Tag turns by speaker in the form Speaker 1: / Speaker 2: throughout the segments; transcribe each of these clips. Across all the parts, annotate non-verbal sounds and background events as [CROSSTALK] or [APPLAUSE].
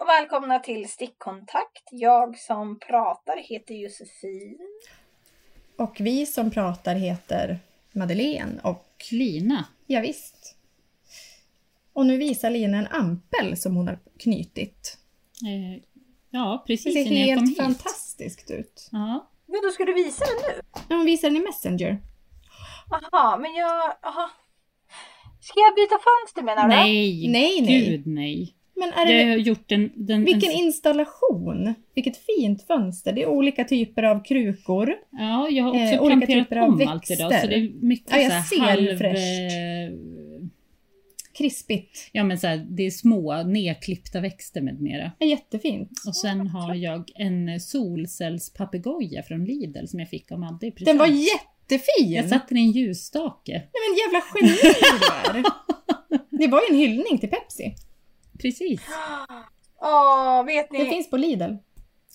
Speaker 1: och välkomna till Stickkontakt. Jag som pratar heter Josefin.
Speaker 2: Och vi som pratar heter Madeleine och
Speaker 3: Lina.
Speaker 2: ja, visst. Och nu visar Lina en ampel som hon har knutit.
Speaker 3: Eh, ja,
Speaker 2: Det
Speaker 3: precis
Speaker 2: ser
Speaker 3: innan jag kom
Speaker 2: helt
Speaker 3: hit.
Speaker 2: fantastiskt ut.
Speaker 3: Ja.
Speaker 1: Men då ska du visa den nu?
Speaker 2: Ja, Hon visar den i Messenger.
Speaker 1: Jaha, men jag... Aha. Ska jag byta fönster menar du?
Speaker 3: Nej,
Speaker 2: Nej, nej.
Speaker 3: gud nej.
Speaker 2: Men är
Speaker 3: Jag
Speaker 2: det,
Speaker 3: har gjort den... den
Speaker 2: vilken
Speaker 3: en,
Speaker 2: installation! Vilket fint fönster. Det är olika typer av krukor.
Speaker 3: ja, jag har
Speaker 2: eh,
Speaker 3: också
Speaker 2: olika
Speaker 3: planterat
Speaker 2: typer av
Speaker 3: om allt idag. Så
Speaker 2: växter.
Speaker 3: det är mycket
Speaker 2: Ja, jag
Speaker 3: så
Speaker 2: ser
Speaker 3: här halv...
Speaker 2: fräscht.
Speaker 3: eh,
Speaker 2: Krispigt.
Speaker 3: Ja, men så här, det är små nedklippta växter med mera.
Speaker 2: Ja, jättefint.
Speaker 3: Och sen har jag en solcellspapegoja från Lidl som jag fick av Madde i present.
Speaker 2: Den var jättefin!
Speaker 3: Jag satte den i en ljusstake.
Speaker 2: Nej men jävla geni du
Speaker 3: [LAUGHS]
Speaker 2: är! Det var ju en hyllning till Pepsi.
Speaker 3: Precis.
Speaker 1: [GASPS] Åh, vet
Speaker 2: Det
Speaker 1: ni?
Speaker 2: finns på Lidl.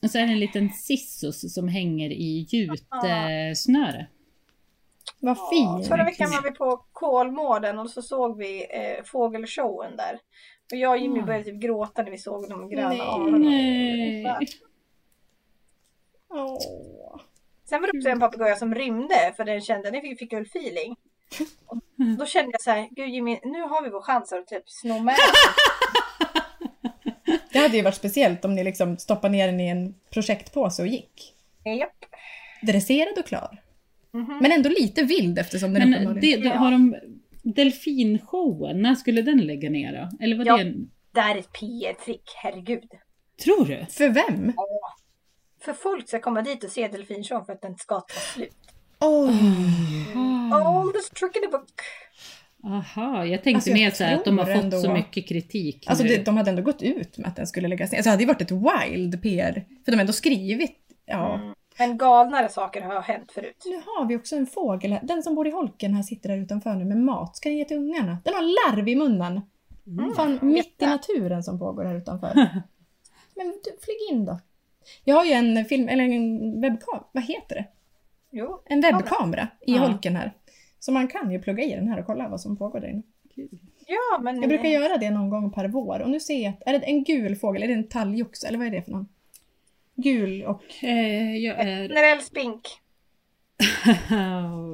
Speaker 3: Och så är det en liten sissus som hänger i gjutesnöre.
Speaker 2: Vad
Speaker 1: Åh,
Speaker 2: fin!
Speaker 1: Förra veckan var vi på Kolmården och så såg vi eh, fågelshowen där. Och jag och Jimmy
Speaker 3: Ah.
Speaker 1: började typ gråta när vi såg de gröna
Speaker 2: Nej.
Speaker 1: anorna.
Speaker 2: Åh.
Speaker 1: Sen var det också en papegoja som rymde för den kände, den fick, fick jag feeling. Och då kände jag så här, gud Jimmy, nu har vi vår chans att typ sno med
Speaker 2: Det hade ju varit speciellt om ni liksom stoppade ner den i en projektpåse och gick.
Speaker 1: den. Japp.
Speaker 2: Dresserad och klar.
Speaker 1: Mhm.
Speaker 2: Men ändå lite vild eftersom den
Speaker 3: Men eh,
Speaker 2: uppenbarligen...
Speaker 3: det, det, har de delfinshowen, när skulle den lägga ner då? Eller var
Speaker 1: Ja.
Speaker 3: det en...
Speaker 1: Där är ett PR-trick, herregud.
Speaker 3: Tror du?
Speaker 2: För vem?
Speaker 1: För folk ska komma dit och se delfinshowen för att den ska ta slut.
Speaker 2: Oj!
Speaker 3: Mm.
Speaker 1: All this trick in the book.
Speaker 3: Aha, jag tänkte
Speaker 2: Alltså, jag
Speaker 3: mer så här att de har
Speaker 2: tror
Speaker 3: fått
Speaker 2: ändå-
Speaker 3: så mycket kritik
Speaker 2: Alltså
Speaker 3: nu.
Speaker 2: det, de hade ändå gått ut med att den skulle läggas ner. Alltså det hade ju varit ett wild PR. För de har ändå skrivit... Ja.
Speaker 1: Mm. Men galnare saker har hänt förut.
Speaker 2: Nu har vi också en fågel här. Den som bor i holken här sitter där utanför nu med mat. Ska den ge till ungarna? Den har larv i munnen!
Speaker 1: Mm.
Speaker 2: Fan, mitt i naturen som pågår här utanför. Men du, flyg in då. Jag har ju en film, eller en webbkamera, vad heter det?
Speaker 1: Jo.
Speaker 2: En webbkamera i
Speaker 3: Ja.
Speaker 2: holken här. Så man kan ju plugga i den här och kolla vad som pågår där inne.
Speaker 1: Ja, men eh,
Speaker 2: Jag brukar göra det någon gång per vår och nu ser jag att, är det en gul fågel? Är det en talgoxe eller vad är det för någon? Gul och...
Speaker 3: [LAUGHS] Eh, jag är...
Speaker 1: generell spink.
Speaker 3: [LAUGHS]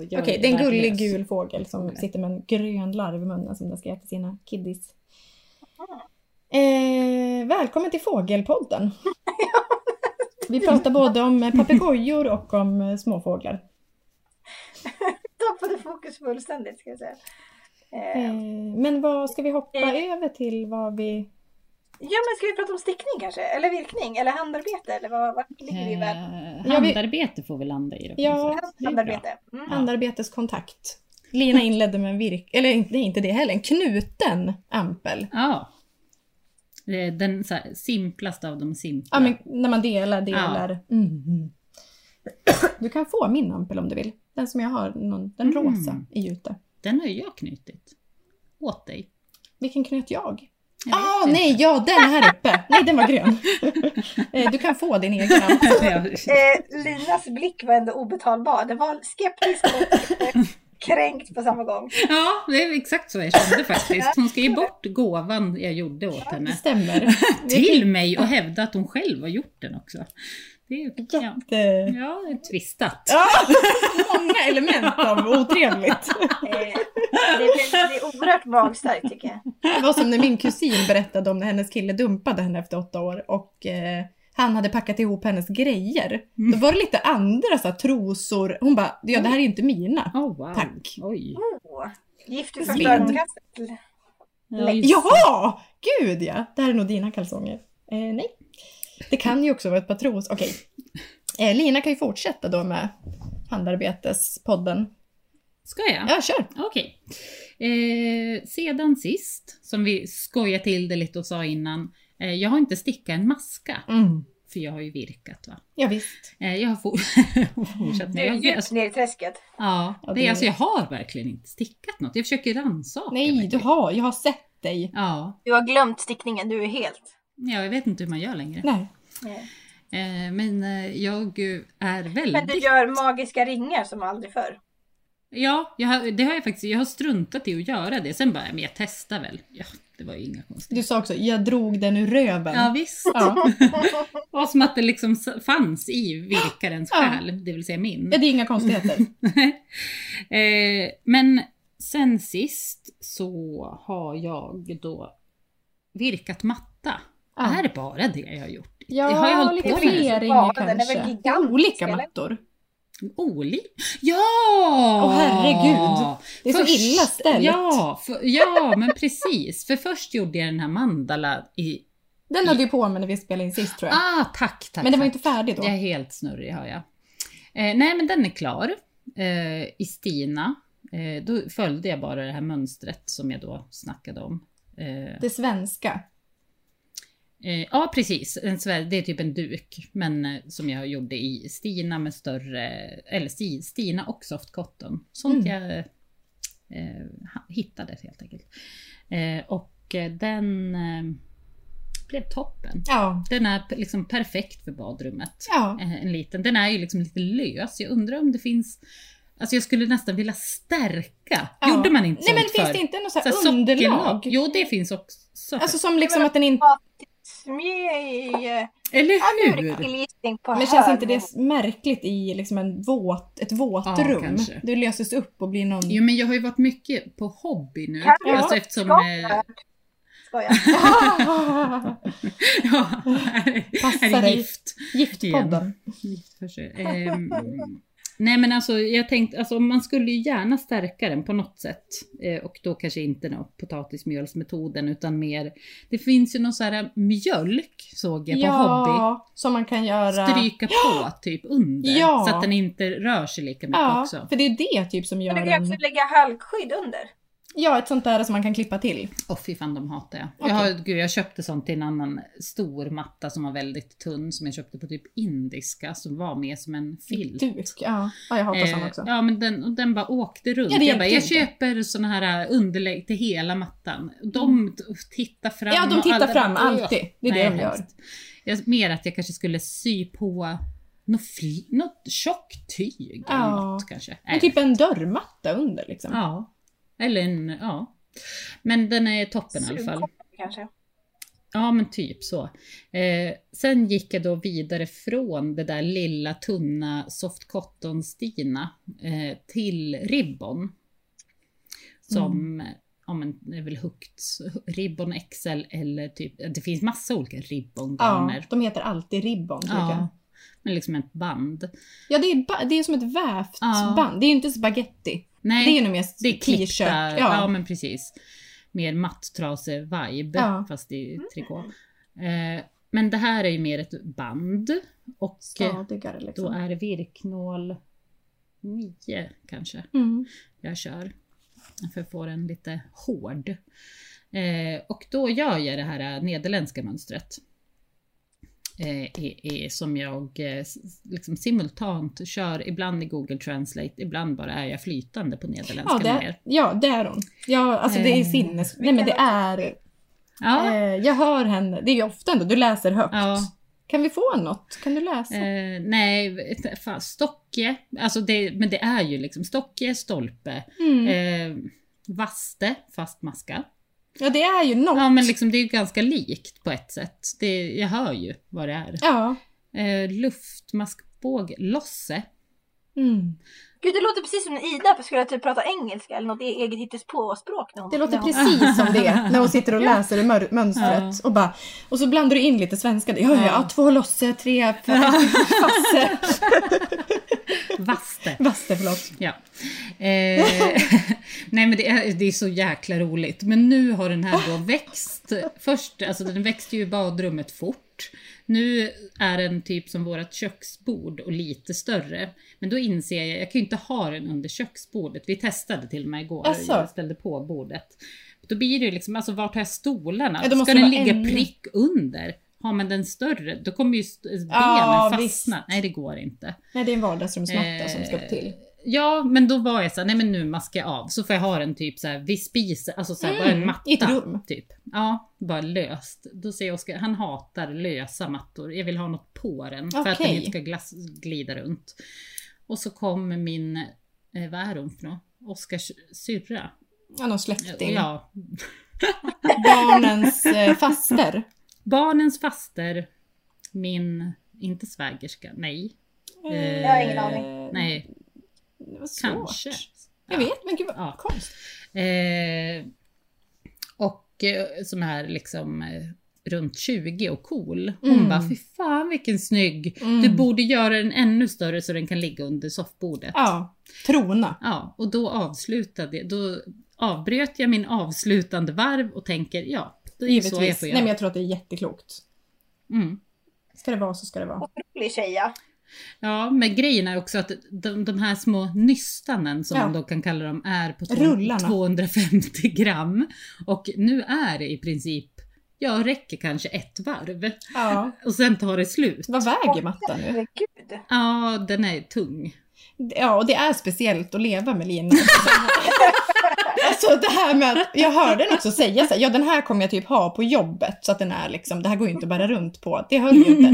Speaker 3: jag
Speaker 2: Okej, det är en gullig
Speaker 3: värdelös.
Speaker 2: gul fågel som sitter med en grön larv i munnen som den ska ge till sina kiddies. Eh, välkommen till Fågelpodden! [LAUGHS] Vi pratar både om eh, papegojor och om eh, småfåglar.
Speaker 1: Tappade fokus fullständigt ska jag säga. Eh,
Speaker 2: Eh, men vad ska vi hoppa
Speaker 1: Eh.
Speaker 2: över till? Vad vi...
Speaker 1: ja men ska vi prata om stickning kanske? Eller virkning? Eller handarbete? Eller vad, vart ligger vi i världen?
Speaker 3: Eh,
Speaker 2: vi-
Speaker 3: handarbete får vi landa i då. på
Speaker 2: Ja,
Speaker 3: något sätt. Det är bra.
Speaker 1: Handarbete. Mm.
Speaker 2: Handarbeteskontakt. Lina inledde med en virk... Eller nej, inte det heller. En knuten ampel.
Speaker 3: Ja. Det är Den så här, simplaste av de simpla.
Speaker 2: Ja, men när man delar, delar. Mm. Du kan få min ampel om du vill. Den som jag har, någon, den
Speaker 3: Mm.
Speaker 2: rosa i jute.
Speaker 3: Den har ju jag knutit. Åt dig.
Speaker 2: Vilken knöt jag?
Speaker 3: Jag vet
Speaker 2: Ah,
Speaker 3: inte.
Speaker 2: nej, ja den här uppe. Nej, den var grön. Eh, du kan få din egen
Speaker 3: [LAUGHS]
Speaker 2: ampel.
Speaker 1: Eh, [LAUGHS] Linas blick var ändå obetalbar. Den var skeptisk och eh, kränkt på samma gång.
Speaker 3: Ja, det är exakt så jag kände faktiskt. Hon skrev bort gåvan jag gjorde åt
Speaker 2: Det
Speaker 3: henne
Speaker 2: stämmer.
Speaker 3: till mig och hävdade att hon själv har gjort den också. Det är ju ja.
Speaker 2: Jätte...
Speaker 3: Ja, det är tvistat.
Speaker 2: Ja, många element av otrevligt.
Speaker 1: Eh, det, blev- det är oerhört magstarkt tycker jag.
Speaker 2: Det var som när min kusin berättade om när hennes kille dumpade henne efter åtta år och eh, han hade packat ihop hennes grejer.
Speaker 3: Mm.
Speaker 2: Då var det lite andra så här, trosor. Hon bara, ja det här är ju inte mina.
Speaker 3: Åh, Oh, wow.
Speaker 2: Tack.
Speaker 3: Oj.
Speaker 1: Oh, gift vid första
Speaker 2: Vind.
Speaker 1: ögonkastet.
Speaker 3: Ja, just-
Speaker 2: Jaha! Gud ja! Det här är nog dina kalsonger. Eh, nej. Det kan ju också vara ett par trosor. Okej. Eh, Lina kan ju fortsätta då med handarbetespodden.
Speaker 3: Ska jag?
Speaker 2: Ja, kör!
Speaker 3: Okej. Eh, sedan sist, som vi skojade till det lite och sa innan, eh, jag har inte stickat en maska.
Speaker 2: Mm.
Speaker 3: För jag har ju virkat va.
Speaker 2: Ja, visst.
Speaker 3: Eh, jag har for- [LAUGHS] fortsatt
Speaker 1: Du är
Speaker 3: med. Jag,
Speaker 1: djupt
Speaker 3: alltså,
Speaker 1: ner i träsket.
Speaker 3: ja,
Speaker 2: Ja,
Speaker 3: det,
Speaker 2: det-
Speaker 3: alltså, jag har verkligen inte stickat något. Jag försöker rannsaka.
Speaker 2: Nej, du
Speaker 3: verkligen.
Speaker 2: har. Jag har sett dig.
Speaker 3: Ja,
Speaker 1: Du har glömt stickningen, du är helt.
Speaker 3: ja, jag vet inte hur man gör längre.
Speaker 2: Nej.
Speaker 1: Eh,
Speaker 3: Eh, men eh, jag eh, är väldigt...
Speaker 1: Men du gör magiska ringar som aldrig förr.
Speaker 3: Ja, jag har, det har jag faktiskt. Jag har struntat i att göra det. Sen bara, men jag testar väl. Ja, det var ju inga konstigheter.
Speaker 2: Du sa också, jag drog den ur röven.
Speaker 3: Ja, visst.
Speaker 2: Ja.
Speaker 3: Det var som att det liksom s- fanns i virkarens
Speaker 2: Ja.
Speaker 3: själ, det vill säga min.
Speaker 2: Ja, det är inga konstigheter.
Speaker 3: [LAUGHS] eh, men sen sist så har jag då virkat matta.
Speaker 2: Ja.
Speaker 3: Det här är bara det jag har gjort.
Speaker 2: Ja,
Speaker 3: Det har jag hållit
Speaker 2: lite
Speaker 3: på med.
Speaker 2: fler
Speaker 1: Ja,
Speaker 2: kanske.
Speaker 1: den är väl gigantisk,
Speaker 2: Olika
Speaker 1: eller?
Speaker 2: mattor.
Speaker 3: Oli. Ja!
Speaker 2: Åh, herregud. Det är så illa ställt.
Speaker 3: Ja, för, ja, men precis. För först gjorde jag den här mandala i...
Speaker 2: Den höll du på med när vi spelade in sist tror jag.
Speaker 3: Ah, tack, tack.
Speaker 2: Men den var
Speaker 3: tack.
Speaker 2: inte färdig då.
Speaker 3: Jag är helt snurrig har jag. Eh, nej men den är klar. Eh, I Stina, eh, då följde jag bara det här mönstret som jag då snackade om. Eh,
Speaker 2: Det svenska.
Speaker 3: eh, ja precis, en svär, det är typ en duk. Men eh, som jag gjorde i Stina med större, eller Sti- Stina och soft cotton.
Speaker 2: Mm.
Speaker 3: Sånt jag eh, ha- hittade helt enkelt. Eh, och eh, den eh, blev toppen.
Speaker 2: Ja.
Speaker 3: Den är p- liksom perfekt för badrummet.
Speaker 2: Ja.
Speaker 3: Eh, en liten. Den är ju liksom lite lös. Jag undrar om det finns... Alltså jag skulle nästan vilja stärka.
Speaker 2: ja.
Speaker 3: Gjorde man inte
Speaker 2: Nej
Speaker 3: sånt
Speaker 2: men finns
Speaker 3: förr?
Speaker 2: det inte något så
Speaker 3: Så
Speaker 2: här
Speaker 3: här sockerlag.
Speaker 2: underlag?
Speaker 3: Jo, det finns också.
Speaker 2: Alltså som liksom att den inte...
Speaker 1: Smej!
Speaker 3: Eller
Speaker 1: Ja, nu är
Speaker 3: hur?
Speaker 1: det killgissning på
Speaker 2: Men känns
Speaker 1: hög
Speaker 2: inte
Speaker 1: nivå.
Speaker 2: det märkligt i liksom en våt, ett
Speaker 3: Ja,
Speaker 2: våtrum?
Speaker 3: kanske.
Speaker 2: det löses upp och blir någon...
Speaker 3: Jo, men jag har ju varit mycket på hobby nu.
Speaker 1: Kan
Speaker 2: jag
Speaker 3: alltså
Speaker 1: vara
Speaker 3: eftersom...
Speaker 1: skadad?
Speaker 3: Eh, [LAUGHS]
Speaker 1: Skojar.
Speaker 3: ja, är,
Speaker 2: Passa
Speaker 3: är det
Speaker 2: dig.
Speaker 3: gift?
Speaker 2: [LAUGHS] Giftpodden.
Speaker 3: Giftförsök. Ehm, nej men alltså jag tänkte, alltså man skulle ju gärna stärka den på något sätt. Eh, och då kanske inte den här potatismjölsmetoden utan mer, det finns ju någon så här eh, mjölk såg jag på hobby.
Speaker 2: Ja, som man kan göra...
Speaker 3: Stryka på typ under
Speaker 2: Ja.
Speaker 3: så att den inte rör sig lika mycket
Speaker 2: Ja,
Speaker 3: också.
Speaker 2: för det är det typ som gör
Speaker 1: Men du kan ju också
Speaker 2: en...
Speaker 1: lägga halkskydd under.
Speaker 2: Ja, ett sånt där som man kan klippa till.
Speaker 3: Åh fy fan de hatar jag.
Speaker 2: Okej.
Speaker 3: Jag, har, gud, jag köpte sånt till en annan stor matta som var väldigt tunn som jag köpte på typ indiska som var mer som en filt.
Speaker 2: Duk. Ja, ja jag hatar såna också.
Speaker 3: Eh, Ja men den, och den bara åkte runt.
Speaker 2: Ja, det
Speaker 3: jag bara, jag
Speaker 2: hjälpte inte.
Speaker 3: köper såna här äh, underlägg till hela mattan. De t- tittar fram.
Speaker 2: Mm. Ja, de
Speaker 3: och alla
Speaker 2: tittar
Speaker 3: bara,
Speaker 2: fram
Speaker 3: "Åh."
Speaker 2: alltid. Det är det de gör.
Speaker 3: hemskt. Jag, mer att jag kanske skulle sy på något, fli, något tjockt tyg
Speaker 2: Ja.
Speaker 3: eller något kanske.
Speaker 2: Men
Speaker 3: Nej.
Speaker 2: typ en dörrmatta under liksom.
Speaker 3: Ja. Eller en, ja. Men den är toppen i alla fall.
Speaker 1: Sugkoppar kanske.
Speaker 3: Ja men typ så. Eh, sen gick jag då vidare från det där lilla tunna soft cotton Stina eh, till Ribbon. Som,
Speaker 2: Mm.
Speaker 3: ja men det är väl högt, Ribbon XL eller typ, det finns massa olika
Speaker 2: Ja,
Speaker 3: Ribbon-garner.
Speaker 2: de heter alltid ribbon. tycker
Speaker 3: Ja,
Speaker 2: jag.
Speaker 3: men liksom ett band.
Speaker 2: ja det, är ba- det är som ett vävt
Speaker 3: Ja.
Speaker 2: band. Det är ju inte spaghetti.
Speaker 3: Nej,
Speaker 2: Det är ju nog mer
Speaker 3: det är
Speaker 2: t-shirt.
Speaker 3: klippta, ja.
Speaker 2: Ja.
Speaker 3: men precis. Mer matttrase-vibe,
Speaker 2: Ja. Mm.
Speaker 3: fast i trikå. Eh, men det här är ju mer ett band. Och eh,
Speaker 2: Stadigare liksom.
Speaker 3: Då är det virknål 9 kanske
Speaker 2: Mm.
Speaker 3: jag kör. För att få den lite hård. Eh, och då gör jag det här eh, nederländska mönstret. Eh, i, i, som jag eh, s- s- liksom simultant kör ibland i Google Translate, ibland bara är jag flytande på nederländska.
Speaker 2: Ja, det,
Speaker 3: mer.
Speaker 2: ja, det är hon. Ja, alltså det är
Speaker 3: Eh.
Speaker 2: sinnes... Nej men det är...
Speaker 3: ja.
Speaker 2: Eh, jag hör henne. Det är ju ofta ändå, du läser högt.
Speaker 3: Ja.
Speaker 2: Kan vi få något? Kan du läsa?
Speaker 3: Eh, nej, vet- fan, stocke. Alltså det, men det är ju liksom stocke, stolpe,
Speaker 2: Mm.
Speaker 3: eh, vaste, fast maska.
Speaker 2: Ja, det är ju något.
Speaker 3: Ja men liksom det är ju ganska likt på ett sätt. Det, jag hör ju vad det är.
Speaker 2: Ja.
Speaker 3: Eh, luftmaskbåge, losse.
Speaker 2: Mm.
Speaker 1: Gud, det låter precis som när Ida skulle typ prata engelska eller något eget hittespåspråk. när hon-
Speaker 2: Det låter
Speaker 1: när hon-
Speaker 2: precis som det när hon sitter och läser i mör- mönstret. Och, bara, och så blandar du in lite svenska. Ja, ja,
Speaker 3: Ja.
Speaker 2: ja två losse, tre fasse.
Speaker 3: Vaste.
Speaker 2: Vasse, förlåt.
Speaker 3: Ja. Eh, [LAUGHS] nej men det är, det är så jäkla roligt. Men nu har den här då växt. Först, alltså den växte ju i badrummet fort. Nu är den typ som vårt köksbord och lite större. Men då inser jag, jag kan ju inte ha den under köksbordet. Vi testade till och med igår.
Speaker 2: Asså?
Speaker 3: Jag ställde på bordet. Då blir det ju liksom, alltså vart har jag stolarna?
Speaker 2: Ja, då måste
Speaker 3: Ska den
Speaker 2: det
Speaker 3: ligga
Speaker 2: vara en-
Speaker 3: prick under? Har man den större, då kommer ju st- benen
Speaker 2: Ja,
Speaker 3: fastna. Nej, det går inte.
Speaker 2: Nej, det är en vardagsrumsmatta som ska
Speaker 3: Eh,
Speaker 2: till.
Speaker 3: Ja, men då var jag så här, nej men nu maskar jag av. Så får jag ha den typ så här vid spisen, alltså så här, bara en
Speaker 2: Mm,
Speaker 3: matta.
Speaker 2: i ett rum.
Speaker 3: Typ. Ja, bara löst. Då säger Oskar, han hatar lösa mattor. Jag vill ha något på den för att den
Speaker 2: Okej.
Speaker 3: inte ska glass, glida runt. Och så kom min, eh, vad är hon för något? Oskars syrra.
Speaker 2: Ja, någon släkting.
Speaker 3: Ja.
Speaker 2: Barnens eh, faster.
Speaker 3: Barnens faster, min, inte svägerska, nej.
Speaker 2: Eh,
Speaker 1: Jag har ingen aning.
Speaker 3: Nej,
Speaker 2: Det var svårt.
Speaker 3: kanske.
Speaker 2: Jag vet, men gud vad
Speaker 3: Ja.
Speaker 2: konstigt.
Speaker 3: Eh, och eh, som är liksom eh, runt 20 och cool. Hon
Speaker 2: Mm.
Speaker 3: bara, fy fan vilken snygg.
Speaker 2: Mm.
Speaker 3: Du borde göra den ännu större så den kan ligga under soffbordet.
Speaker 2: Ja, trona.
Speaker 3: Ja, och då avslutade jag, då avbröt jag min avslutande varv och tänker, ja, det är så jag
Speaker 2: Givetvis.
Speaker 3: får
Speaker 2: Nej
Speaker 3: göra.
Speaker 2: men jag tror att det är jätteklokt.
Speaker 3: Mm.
Speaker 2: Ska det vara så ska det vara.
Speaker 1: Otrolig tjeja.
Speaker 3: Ja, men grejen är också att de, de här små nystanen som
Speaker 2: Ja.
Speaker 3: man då kan kalla dem är på
Speaker 2: Rullarna.
Speaker 3: 250 gram. Och nu är det i princip, ja räcker kanske ett varv.
Speaker 2: Ja.
Speaker 3: Och sen tar det slut.
Speaker 2: Vad väger mattan nu?
Speaker 1: Herregud.
Speaker 3: Ja, den är
Speaker 2: [LAUGHS]
Speaker 3: tung.
Speaker 2: Ja, och det är speciellt att leva med Lina. [LAUGHS] alltså det här med att, jag hörde den också säga så här, ja den här kommer jag typ ha på jobbet så att den är liksom, det här går ju inte att bära runt på, det höll ju
Speaker 3: [LAUGHS]
Speaker 2: inte.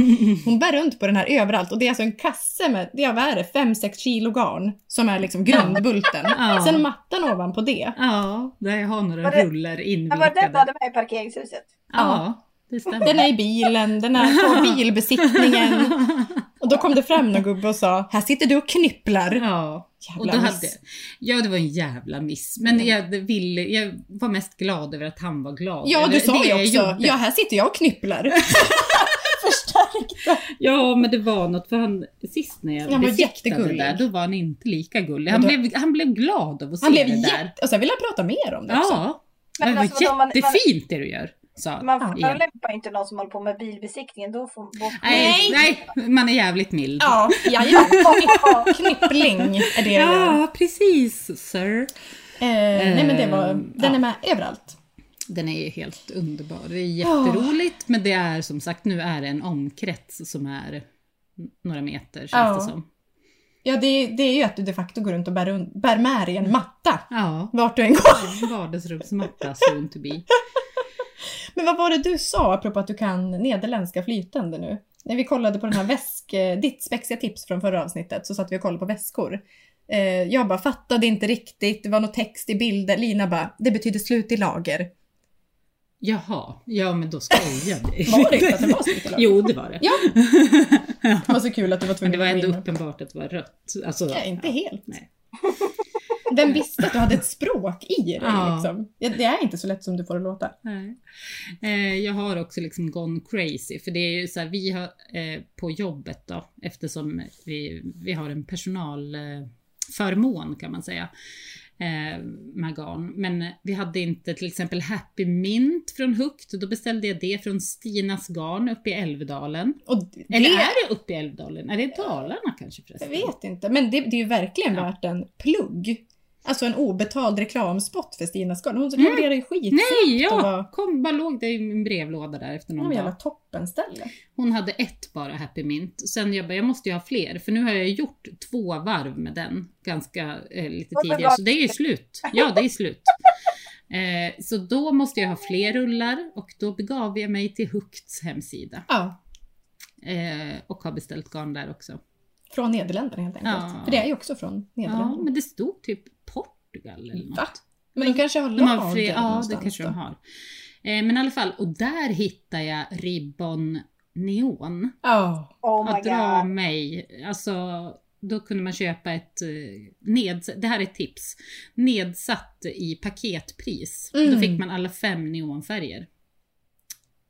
Speaker 2: Hon bär runt på den här överallt och det är alltså en kasse med, ja vad är det, 5-6 kilo garn som är liksom grundbulten.
Speaker 3: Ja.
Speaker 2: Sen mattan ovanpå det.
Speaker 3: Ja, där jag har några
Speaker 1: Var det-
Speaker 3: rullar
Speaker 1: Men var det den du
Speaker 3: invikade.
Speaker 1: hade med i parkeringshuset?
Speaker 3: Ja, det
Speaker 2: Den
Speaker 3: stämmer. [LAUGHS]
Speaker 2: är i bilen, den är på bilbesiktningen. Och då kom det fram någon gubbe och sa, här sitter du och knipplar.
Speaker 3: Ja, och då
Speaker 2: Jävla miss.
Speaker 3: hade, ja, det var en jävla miss. Men jag, ville, jag var mest glad över att han var glad.
Speaker 2: Ja, du
Speaker 3: över
Speaker 2: sa
Speaker 3: det
Speaker 2: ju
Speaker 3: jag
Speaker 2: också,
Speaker 3: gjorde.
Speaker 2: ja här sitter jag och
Speaker 3: [LAUGHS]
Speaker 2: knipplar. Förstärkta.
Speaker 3: Ja men det var något för han sist när jag
Speaker 2: Han var
Speaker 3: besiktade det
Speaker 2: jättegullig.
Speaker 3: där då var han inte lika gullig. Han,
Speaker 2: Men då-
Speaker 3: blev, han blev glad av att se
Speaker 2: Han blev
Speaker 3: det där.
Speaker 2: jätte... Och sen ville han prata mer om det också.
Speaker 3: Ja.
Speaker 1: Men
Speaker 3: Men det
Speaker 1: alltså, vadå,
Speaker 3: var
Speaker 1: man-
Speaker 3: jättefint det du gör, sa han.
Speaker 1: Man
Speaker 2: Ja.
Speaker 1: förolämpar ju inte någon som håller på med bilbesiktningen. Då får då-
Speaker 3: Nej,
Speaker 2: Nej.
Speaker 3: nej, man är jävligt mild.
Speaker 2: Ja, jajamän. [LAUGHS] Knippling är det jag gör.
Speaker 3: Ja, precis sir.
Speaker 2: Eh, nej men det var, den är med överallt.
Speaker 3: Den är ju helt underbar. Det är jätteroligt men det är som sagt nu är det en omkrets som är n- några meter känns
Speaker 2: Ja.
Speaker 3: det som.
Speaker 2: Ja det, det är ju att du de facto går runt och bär, runt- bär med dig en matta.
Speaker 3: Ja,
Speaker 2: Vart du än går.
Speaker 3: vardagsrumsmatta soon to be.
Speaker 2: Men vad var det du sa apropå att du kan nederländska flytande nu? När vi kollade på den här väsk... eh, Ditt spexiga tips från förra avsnittet så satt vi och kollade på väskor. Eh, jag bara fattade inte riktigt, det var någon text i bilder. Lina bara, det betyder slut i lager.
Speaker 3: Jaha, ja men då skojar vi.
Speaker 2: [LAUGHS] Var det inte att det var
Speaker 3: [LAUGHS]
Speaker 2: slut i lager?
Speaker 3: Jo, det var det.
Speaker 2: Ja. Det var så kul att du var
Speaker 3: Men
Speaker 2: tvungen
Speaker 3: det var
Speaker 2: att gå
Speaker 3: ändå
Speaker 2: in och-
Speaker 3: uppenbart att det var rött. Alltså,
Speaker 2: Ja, inte helt.
Speaker 3: Nej.
Speaker 2: Vem visste att du hade ett språk i dig
Speaker 3: Ja.
Speaker 2: liksom? Ja, det är inte så lätt som du får det låta.
Speaker 3: Nej. Eh, jag har också liksom gone crazy, för det är ju så här, vi har eh, på jobbet då, eftersom vi, vi har en personalförmån eh, förmån kan man säga, eh, med garn. Men vi hade inte till exempel Happy Mint från Hukt, då beställde jag det från Stinas garn uppe i Älvdalen.
Speaker 2: Och det,
Speaker 3: Eller är det uppe i Älvdalen? Är det Dalarna kanske
Speaker 2: jag
Speaker 3: förresten?
Speaker 2: vet inte, men det, det är ju verkligen
Speaker 3: Ja.
Speaker 2: värt en plugg. Alltså en obetald reklamspot för Stina Skarn. Hon levererar ju skit.
Speaker 3: Mm. Nej,
Speaker 2: och
Speaker 3: ja!
Speaker 2: bara-
Speaker 3: Kom, bara låg det i min brevlåda där efter någon
Speaker 2: Hon
Speaker 3: dag.
Speaker 2: jävla toppenställe.
Speaker 3: Hon hade ett bara Happy Mint. Sen jag bara, jag måste ju ha fler. För nu har jag gjort två varv med den ganska eh, lite
Speaker 1: Ja, men
Speaker 3: tidigare. Så
Speaker 1: vad-
Speaker 3: det är ju slut. Ja, det
Speaker 2: [LAUGHS]
Speaker 3: är slut. Eh, så då måste jag ha fler rullar och då begav jag mig till Hukts hemsida.
Speaker 2: Ja,
Speaker 3: Eh, och har beställt garn där också.
Speaker 2: från Nederländerna helt enkelt.
Speaker 3: Ja.
Speaker 2: För det är ju också från Nederländerna.
Speaker 3: Ja, men det stod typ Portugal eller något.
Speaker 2: Va? Men de kanske har
Speaker 3: De
Speaker 2: lager
Speaker 3: har fri, ja, det
Speaker 2: någonstans
Speaker 3: kanske
Speaker 2: då.
Speaker 3: de har. Eh, men i alla fall, och där hittar jag ribbon neon.
Speaker 2: Ja.
Speaker 1: Oh my
Speaker 3: att dra
Speaker 1: god.
Speaker 3: mig. Alltså, då kunde man köpa ett eh, neds- det här är ett tips, nedsatt i paketpris.
Speaker 2: Mm.
Speaker 3: Då fick man alla fem neonfärger.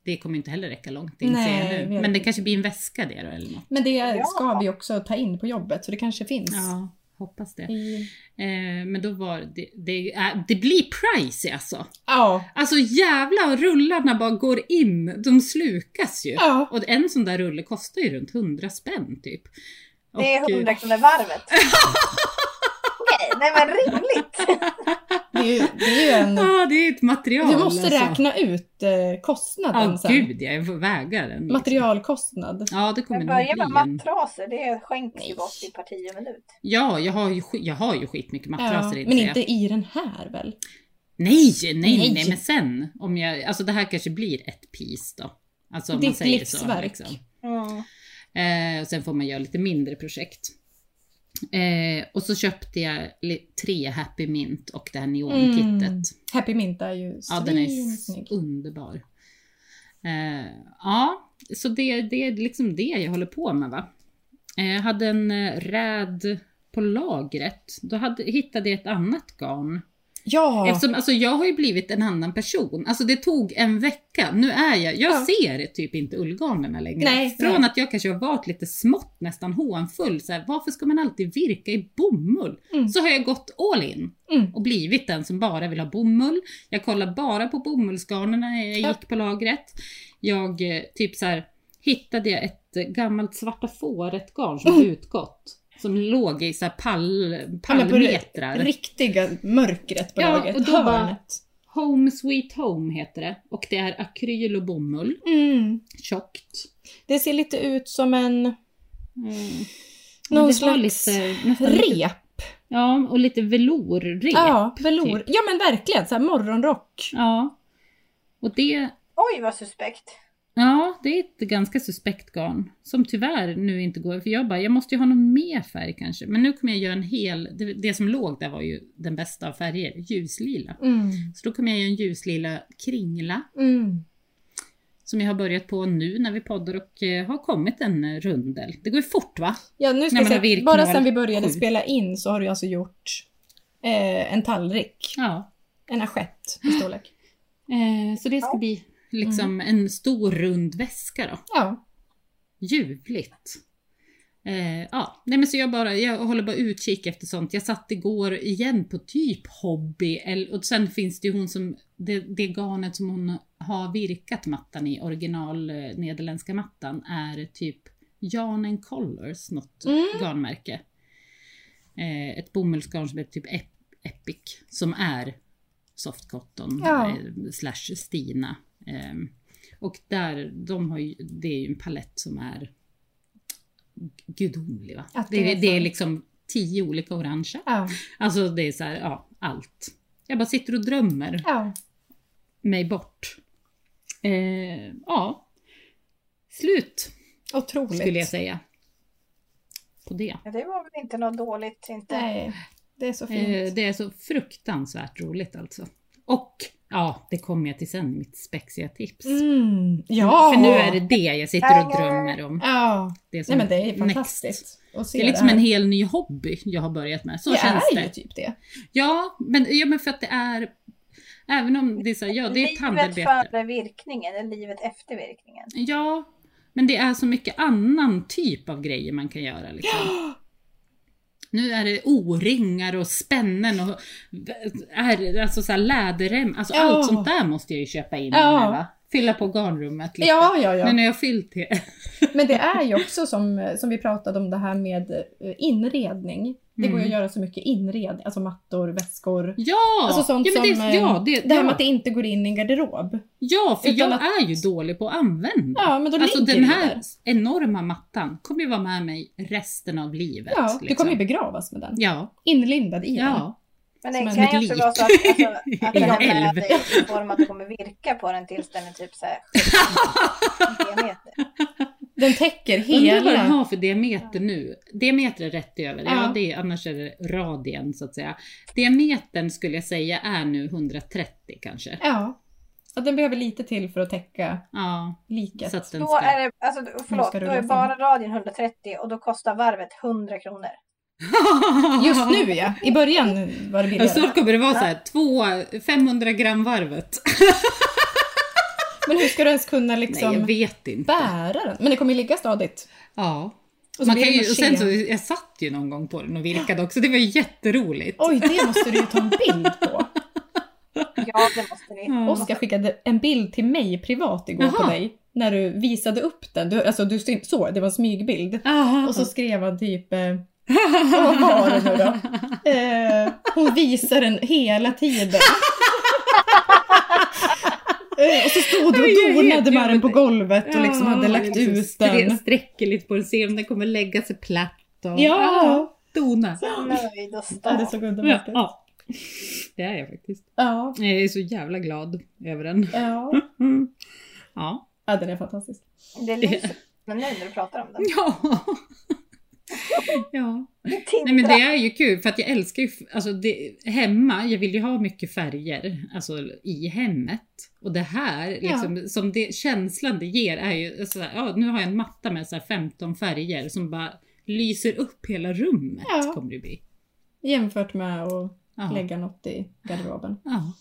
Speaker 3: Det kommer inte heller räcka långt inser
Speaker 2: Nej,
Speaker 3: jag nu.
Speaker 2: vi-
Speaker 3: Men det kanske blir en väska det då eller något.
Speaker 2: Men det
Speaker 1: Ja.
Speaker 2: ska vi också ta in på jobbet så det kanske finns.
Speaker 3: Ja, hoppas det.
Speaker 2: I...
Speaker 3: Eh, men då var det, det, äh, det blir pricey alltså.
Speaker 2: ja.
Speaker 3: Alltså jävla rullarna bara går in, de slukas ju.
Speaker 2: ja.
Speaker 3: Och en sån där rulle kostar ju runt 100 spänn typ.
Speaker 1: Det är
Speaker 3: Och, eh, [LAUGHS]
Speaker 1: 100 kronor
Speaker 2: [LAUGHS]
Speaker 1: varvet. Okej, nej men rimligt.
Speaker 2: Det är ju, det är ju en
Speaker 3: Ja, det är ett material.
Speaker 2: Du måste
Speaker 3: alltså.
Speaker 2: räkna ut eh, kostnaden
Speaker 3: Ja,
Speaker 2: sen.
Speaker 3: gud jag får väga den. liksom.
Speaker 2: Materialkostnad.
Speaker 3: Ja, det kommer
Speaker 1: Men
Speaker 3: nog
Speaker 1: börja med
Speaker 3: bli en...
Speaker 1: mattraser, det skänks ju
Speaker 2: Nej.
Speaker 1: bort i parti och minut.
Speaker 3: Ja, jag har ju, sk- jag har ju skitmycket
Speaker 2: Ja,
Speaker 3: matraser inser
Speaker 2: men
Speaker 3: jag.
Speaker 2: inte i den här väl?
Speaker 3: Nej, nej, nej,
Speaker 2: Nej.
Speaker 3: men sen om jag... Alltså det här kanske blir ett piece då. Alltså om man
Speaker 2: Ditt
Speaker 3: säger så.
Speaker 2: livsverk.
Speaker 1: Mm.
Speaker 3: Liksom. Eh, och sen får man göra lite mindre projekt. Eh, och så köpte jag li- tre Happy Mint och det här neonkittet.
Speaker 2: Mm. Happy Mint är ju
Speaker 3: Ja, den är
Speaker 2: svinsnygg.
Speaker 3: underbar. Eh, ja, så det, det är liksom det jag håller på med va. Eh, jag hade en eh, räd på lagret. Då hade, hittade jag ett annat garn.
Speaker 2: Ja,
Speaker 3: Eftersom, alltså, jag har ju blivit en annan person. Alltså det tog en vecka. Nu är jag, jag
Speaker 2: Ja.
Speaker 3: ser typ inte ullgarnerna längre.
Speaker 2: Nej,
Speaker 3: Från att jag kanske har varit lite smått, nästan hånfull, så här, varför ska man alltid virka i bomull?
Speaker 2: Mm.
Speaker 3: Så har jag gått all in
Speaker 2: Mm.
Speaker 3: och blivit den som bara vill ha bomull. Jag kollar bara på bomullsgarnen när jag
Speaker 2: Ja.
Speaker 3: gick på lagret. Jag eh, typ så här hittade jag ett eh, gammalt svarta fåret garn som utgått. Som låg i så här pall,
Speaker 2: Mm. men på det-
Speaker 3: pallmetrar.
Speaker 2: riktiga mörkret på
Speaker 3: Ja,
Speaker 2: laget.
Speaker 3: och då
Speaker 2: Hörnet.
Speaker 3: bara- Home Sweet Home heter det och det är akryl och bomull.
Speaker 2: Mm.
Speaker 3: Tjockt.
Speaker 2: Det ser lite ut som en...
Speaker 3: Mm. Men
Speaker 2: Någon
Speaker 3: det var
Speaker 2: slags
Speaker 3: lite, nästan lite,
Speaker 2: Rep.
Speaker 3: Ja, och lite velourrep.
Speaker 2: Ja, velour.
Speaker 3: typ.
Speaker 2: Ja men verkligen, så här morgonrock.
Speaker 3: Ja. Och det,
Speaker 1: Oj vad suspekt.
Speaker 3: ja, det är ett ganska suspekt garn som tyvärr nu inte går, för jag bara, jag måste ju ha någon mer färg kanske. Men nu kommer jag göra en hel, det, det som låg där var ju den bästa av färger, ljuslila.
Speaker 2: Mm.
Speaker 3: Så då kommer jag göra en ljuslila kringla
Speaker 2: Mm.
Speaker 3: som jag har börjat på nu när vi poddar och eh, har kommit en eh, rundel. Det går ju fort va?
Speaker 2: Ja, nu ska jag
Speaker 3: Nej, men har
Speaker 2: säga,
Speaker 3: virkning
Speaker 2: bara
Speaker 3: varit
Speaker 2: sen vi började
Speaker 3: sju?
Speaker 2: spela in så har du alltså gjort eh, en tallrik.
Speaker 3: Ja.
Speaker 2: En assiett i storlek.
Speaker 3: Eh, så det ska
Speaker 1: Ja.
Speaker 3: bli liksom en stor rund väska då.
Speaker 2: Ja.
Speaker 3: Ljuvligt. Eh, ja, nej men så jag bara, jag håller bara utkik efter sånt. Jag satt igår igen på typ hobby eller, och sen finns det ju hon som, det, det garnet som hon har virkat mattan i, original eh, nederländska mattan, är typ Jan and Collars, något
Speaker 2: Mm.
Speaker 3: garnmärke. Eh, ett bomullsgarn som heter typ Ep- Epic, som är soft cotton
Speaker 2: Ja.
Speaker 3: eh, slash Stina. Ehm, och där, de har ju, det är ju en palett som är gudomlig va?
Speaker 2: Att
Speaker 3: Det,
Speaker 2: det är
Speaker 3: är- det är
Speaker 2: så.
Speaker 3: liksom tio olika orangea.
Speaker 2: Ja.
Speaker 3: Alltså det är så här, ja, allt. Jag bara sitter och drömmer
Speaker 2: ja.
Speaker 3: mig bort. Eh, ja. Slut,
Speaker 2: Otroligt.
Speaker 3: skulle jag säga. På det.
Speaker 1: Ja, Det var väl inte något dåligt inte.
Speaker 2: Nej, det är så fint.
Speaker 3: Eh, det är så fruktansvärt roligt alltså. Och, ja, det kommer jag till sen, mitt spexiga tips.
Speaker 2: Mm. Ja!
Speaker 3: För nu är det det jag sitter och drömmer om.
Speaker 2: Ja.
Speaker 3: Det är,
Speaker 2: Nej
Speaker 3: som
Speaker 2: men det är
Speaker 3: liksom. next.
Speaker 2: fantastiskt. att se
Speaker 3: Det är liksom
Speaker 2: här.
Speaker 3: en hel ny hobby jag har börjat med. Så
Speaker 2: det
Speaker 3: känns
Speaker 2: är ju
Speaker 3: det.
Speaker 2: typ det.
Speaker 3: Ja men, ja, men för att det är... Även om det är så här, ja det är ett
Speaker 1: livet
Speaker 3: handarbete.
Speaker 1: före virkningen, eller livet efter virkningen.
Speaker 3: Ja, men det är så mycket annan typ av grejer man kan göra liksom. Nu är det O-ringar och spännen och är, alltså så här läderrem. Alltså
Speaker 2: Ja.
Speaker 3: allt sånt där måste jag ju köpa in.
Speaker 2: Ja.
Speaker 3: Med, va? Fylla på garnrummet lite.
Speaker 2: Ja, ja, ja.
Speaker 3: Men nu har jag fyllt det.
Speaker 2: Men det är ju också som, som vi pratade om det här med eh, inredning. Det går ju att
Speaker 3: Mm.
Speaker 2: göra så mycket inredning, alltså mattor, väskor.
Speaker 3: Ja!
Speaker 2: Alltså sånt
Speaker 3: ja, men
Speaker 2: som,
Speaker 3: det,
Speaker 2: eh,
Speaker 3: ja, det,
Speaker 2: det här med
Speaker 3: ja.
Speaker 2: att det inte går in i en garderob.
Speaker 3: Ja, för
Speaker 2: Utan
Speaker 3: jag
Speaker 2: att-
Speaker 3: är ju dålig på att använda.
Speaker 2: Ja, men då
Speaker 3: alltså
Speaker 2: ligger
Speaker 3: den
Speaker 2: det
Speaker 3: här
Speaker 2: där.
Speaker 3: enorma mattan kommer ju vara med mig resten av livet.
Speaker 2: Ja, du
Speaker 3: liksom.
Speaker 2: kommer ju begravas med den.
Speaker 3: Ja,
Speaker 2: Inlindad i den.
Speaker 3: ja.
Speaker 1: Men det
Speaker 2: Som en
Speaker 1: kan ju
Speaker 3: lik.
Speaker 1: inte vara så att, alltså, att
Speaker 3: En
Speaker 1: den har
Speaker 3: älv.
Speaker 1: med dig i form att du kommer virka på den tills den är typ så här 70
Speaker 3: [LAUGHS]
Speaker 1: meter.
Speaker 2: [LAUGHS] Den täcker
Speaker 3: Undrar vad den
Speaker 2: hela.
Speaker 3: har för diameter nu. Diameter är rätt över, ja.
Speaker 2: Ja.
Speaker 3: det är, annars är det radien så att säga. Diametern skulle jag säga är nu 130 kanske.
Speaker 2: Ja. Och den behöver lite till för att täcka
Speaker 3: Ja,
Speaker 2: liket.
Speaker 3: så att den
Speaker 1: Då
Speaker 3: ska... [LAUGHS]
Speaker 1: är det, alltså förlåt,
Speaker 2: ska
Speaker 1: då
Speaker 2: rulla
Speaker 1: är
Speaker 2: fram.
Speaker 1: bara radien 130 och då kostar varvet 100 kronor.
Speaker 2: Just
Speaker 3: [LAUGHS]
Speaker 2: nu ja. I början var det
Speaker 3: Ja,
Speaker 2: billigare.
Speaker 3: snart kommer det vara så här, två 500 gram varvet.
Speaker 2: Men hur ska du ens kunna liksom
Speaker 3: Nej, jag vet inte.
Speaker 2: bära den? Men det kommer ju ligga stadigt.
Speaker 3: Ja.
Speaker 2: så
Speaker 3: Man
Speaker 2: blir
Speaker 3: kan
Speaker 2: det
Speaker 3: ju,
Speaker 2: någon
Speaker 3: och sen så,
Speaker 2: ske.
Speaker 3: jag satt ju någon gång på den och virkade också, det var ju jätteroligt.
Speaker 2: Oj, det måste du ju ta en bild på.
Speaker 3: [LAUGHS]
Speaker 1: Ja, det måste ni.
Speaker 3: Ja.
Speaker 2: Oskar skickade en bild till mig privat igår på
Speaker 3: Jaha.
Speaker 2: dig. När du visade upp den. Du, alltså, du syn- så, det var en smygbild.
Speaker 3: Aha.
Speaker 2: Och så skrev han typ...
Speaker 3: [LAUGHS]
Speaker 2: Eh, vad var det nu då? Eh, hon visar den hela
Speaker 3: [LAUGHS]
Speaker 2: tiden. Eh, och så stod du och donade med den på golvet och liksom hade lagt ut den.
Speaker 3: Sträcker lite på den, ser om den kommer lägga sig platt och Ah,
Speaker 2: Ja!
Speaker 3: dona.
Speaker 1: Så nöjd och
Speaker 2: Ja, det
Speaker 1: stolt.
Speaker 2: såg
Speaker 3: Ja,
Speaker 2: underbart ut.
Speaker 3: ja. Det är jag faktiskt.
Speaker 2: Ja.
Speaker 3: Jag är så jävla glad över den.
Speaker 2: Ja.
Speaker 3: Mm. Ja.
Speaker 2: ja, den är fantastisk.
Speaker 1: Det lyser men nu när du pratar om den.
Speaker 3: Ja. ja. Nej men det är ju kul för att jag älskar ju, alltså det, hemma, jag vill ju ha mycket färger, alltså i hemmet. Och det här,
Speaker 2: Ja.
Speaker 3: liksom, som det, känslan det ger är ju såhär, ja nu har jag en matta med så här 15 färger som bara lyser upp hela rummet
Speaker 2: Ja.
Speaker 3: kommer det bli.
Speaker 2: Jämfört med att
Speaker 3: Ja.
Speaker 2: lägga något i garderoben.
Speaker 3: Ja.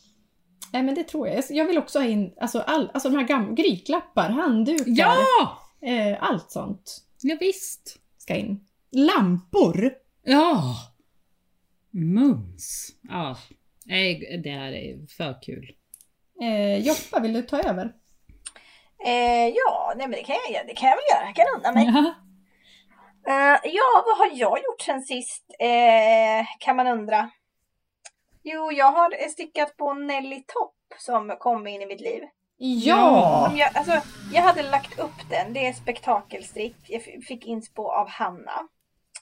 Speaker 2: Nej men det tror jag. Jag vill också ha in alltså, all, alltså de här gamla grytlappar, handdukar,
Speaker 3: ja!
Speaker 2: eh, allt sånt
Speaker 3: Ja, visst.
Speaker 2: ska in. Lampor!
Speaker 3: Ja! Mums. Ja. Nej, det här är för kul.
Speaker 2: Eh, Joppa, vill du ta över?
Speaker 1: Eh, ja, nej men det kan jag, göra. det kan jag väl göra. Jag kan unna mig.
Speaker 3: Ja.
Speaker 1: Eh, ja, vad har jag gjort sen sist? Eh, kan man undra. Jo, jag har eh, stickat på Nelly Topp som kom in i mitt liv.
Speaker 2: Ja!
Speaker 1: Om Jag, alltså, jag hade lagt upp den. Det är spektakelstrick. Jag f- fick inspo av Hanna.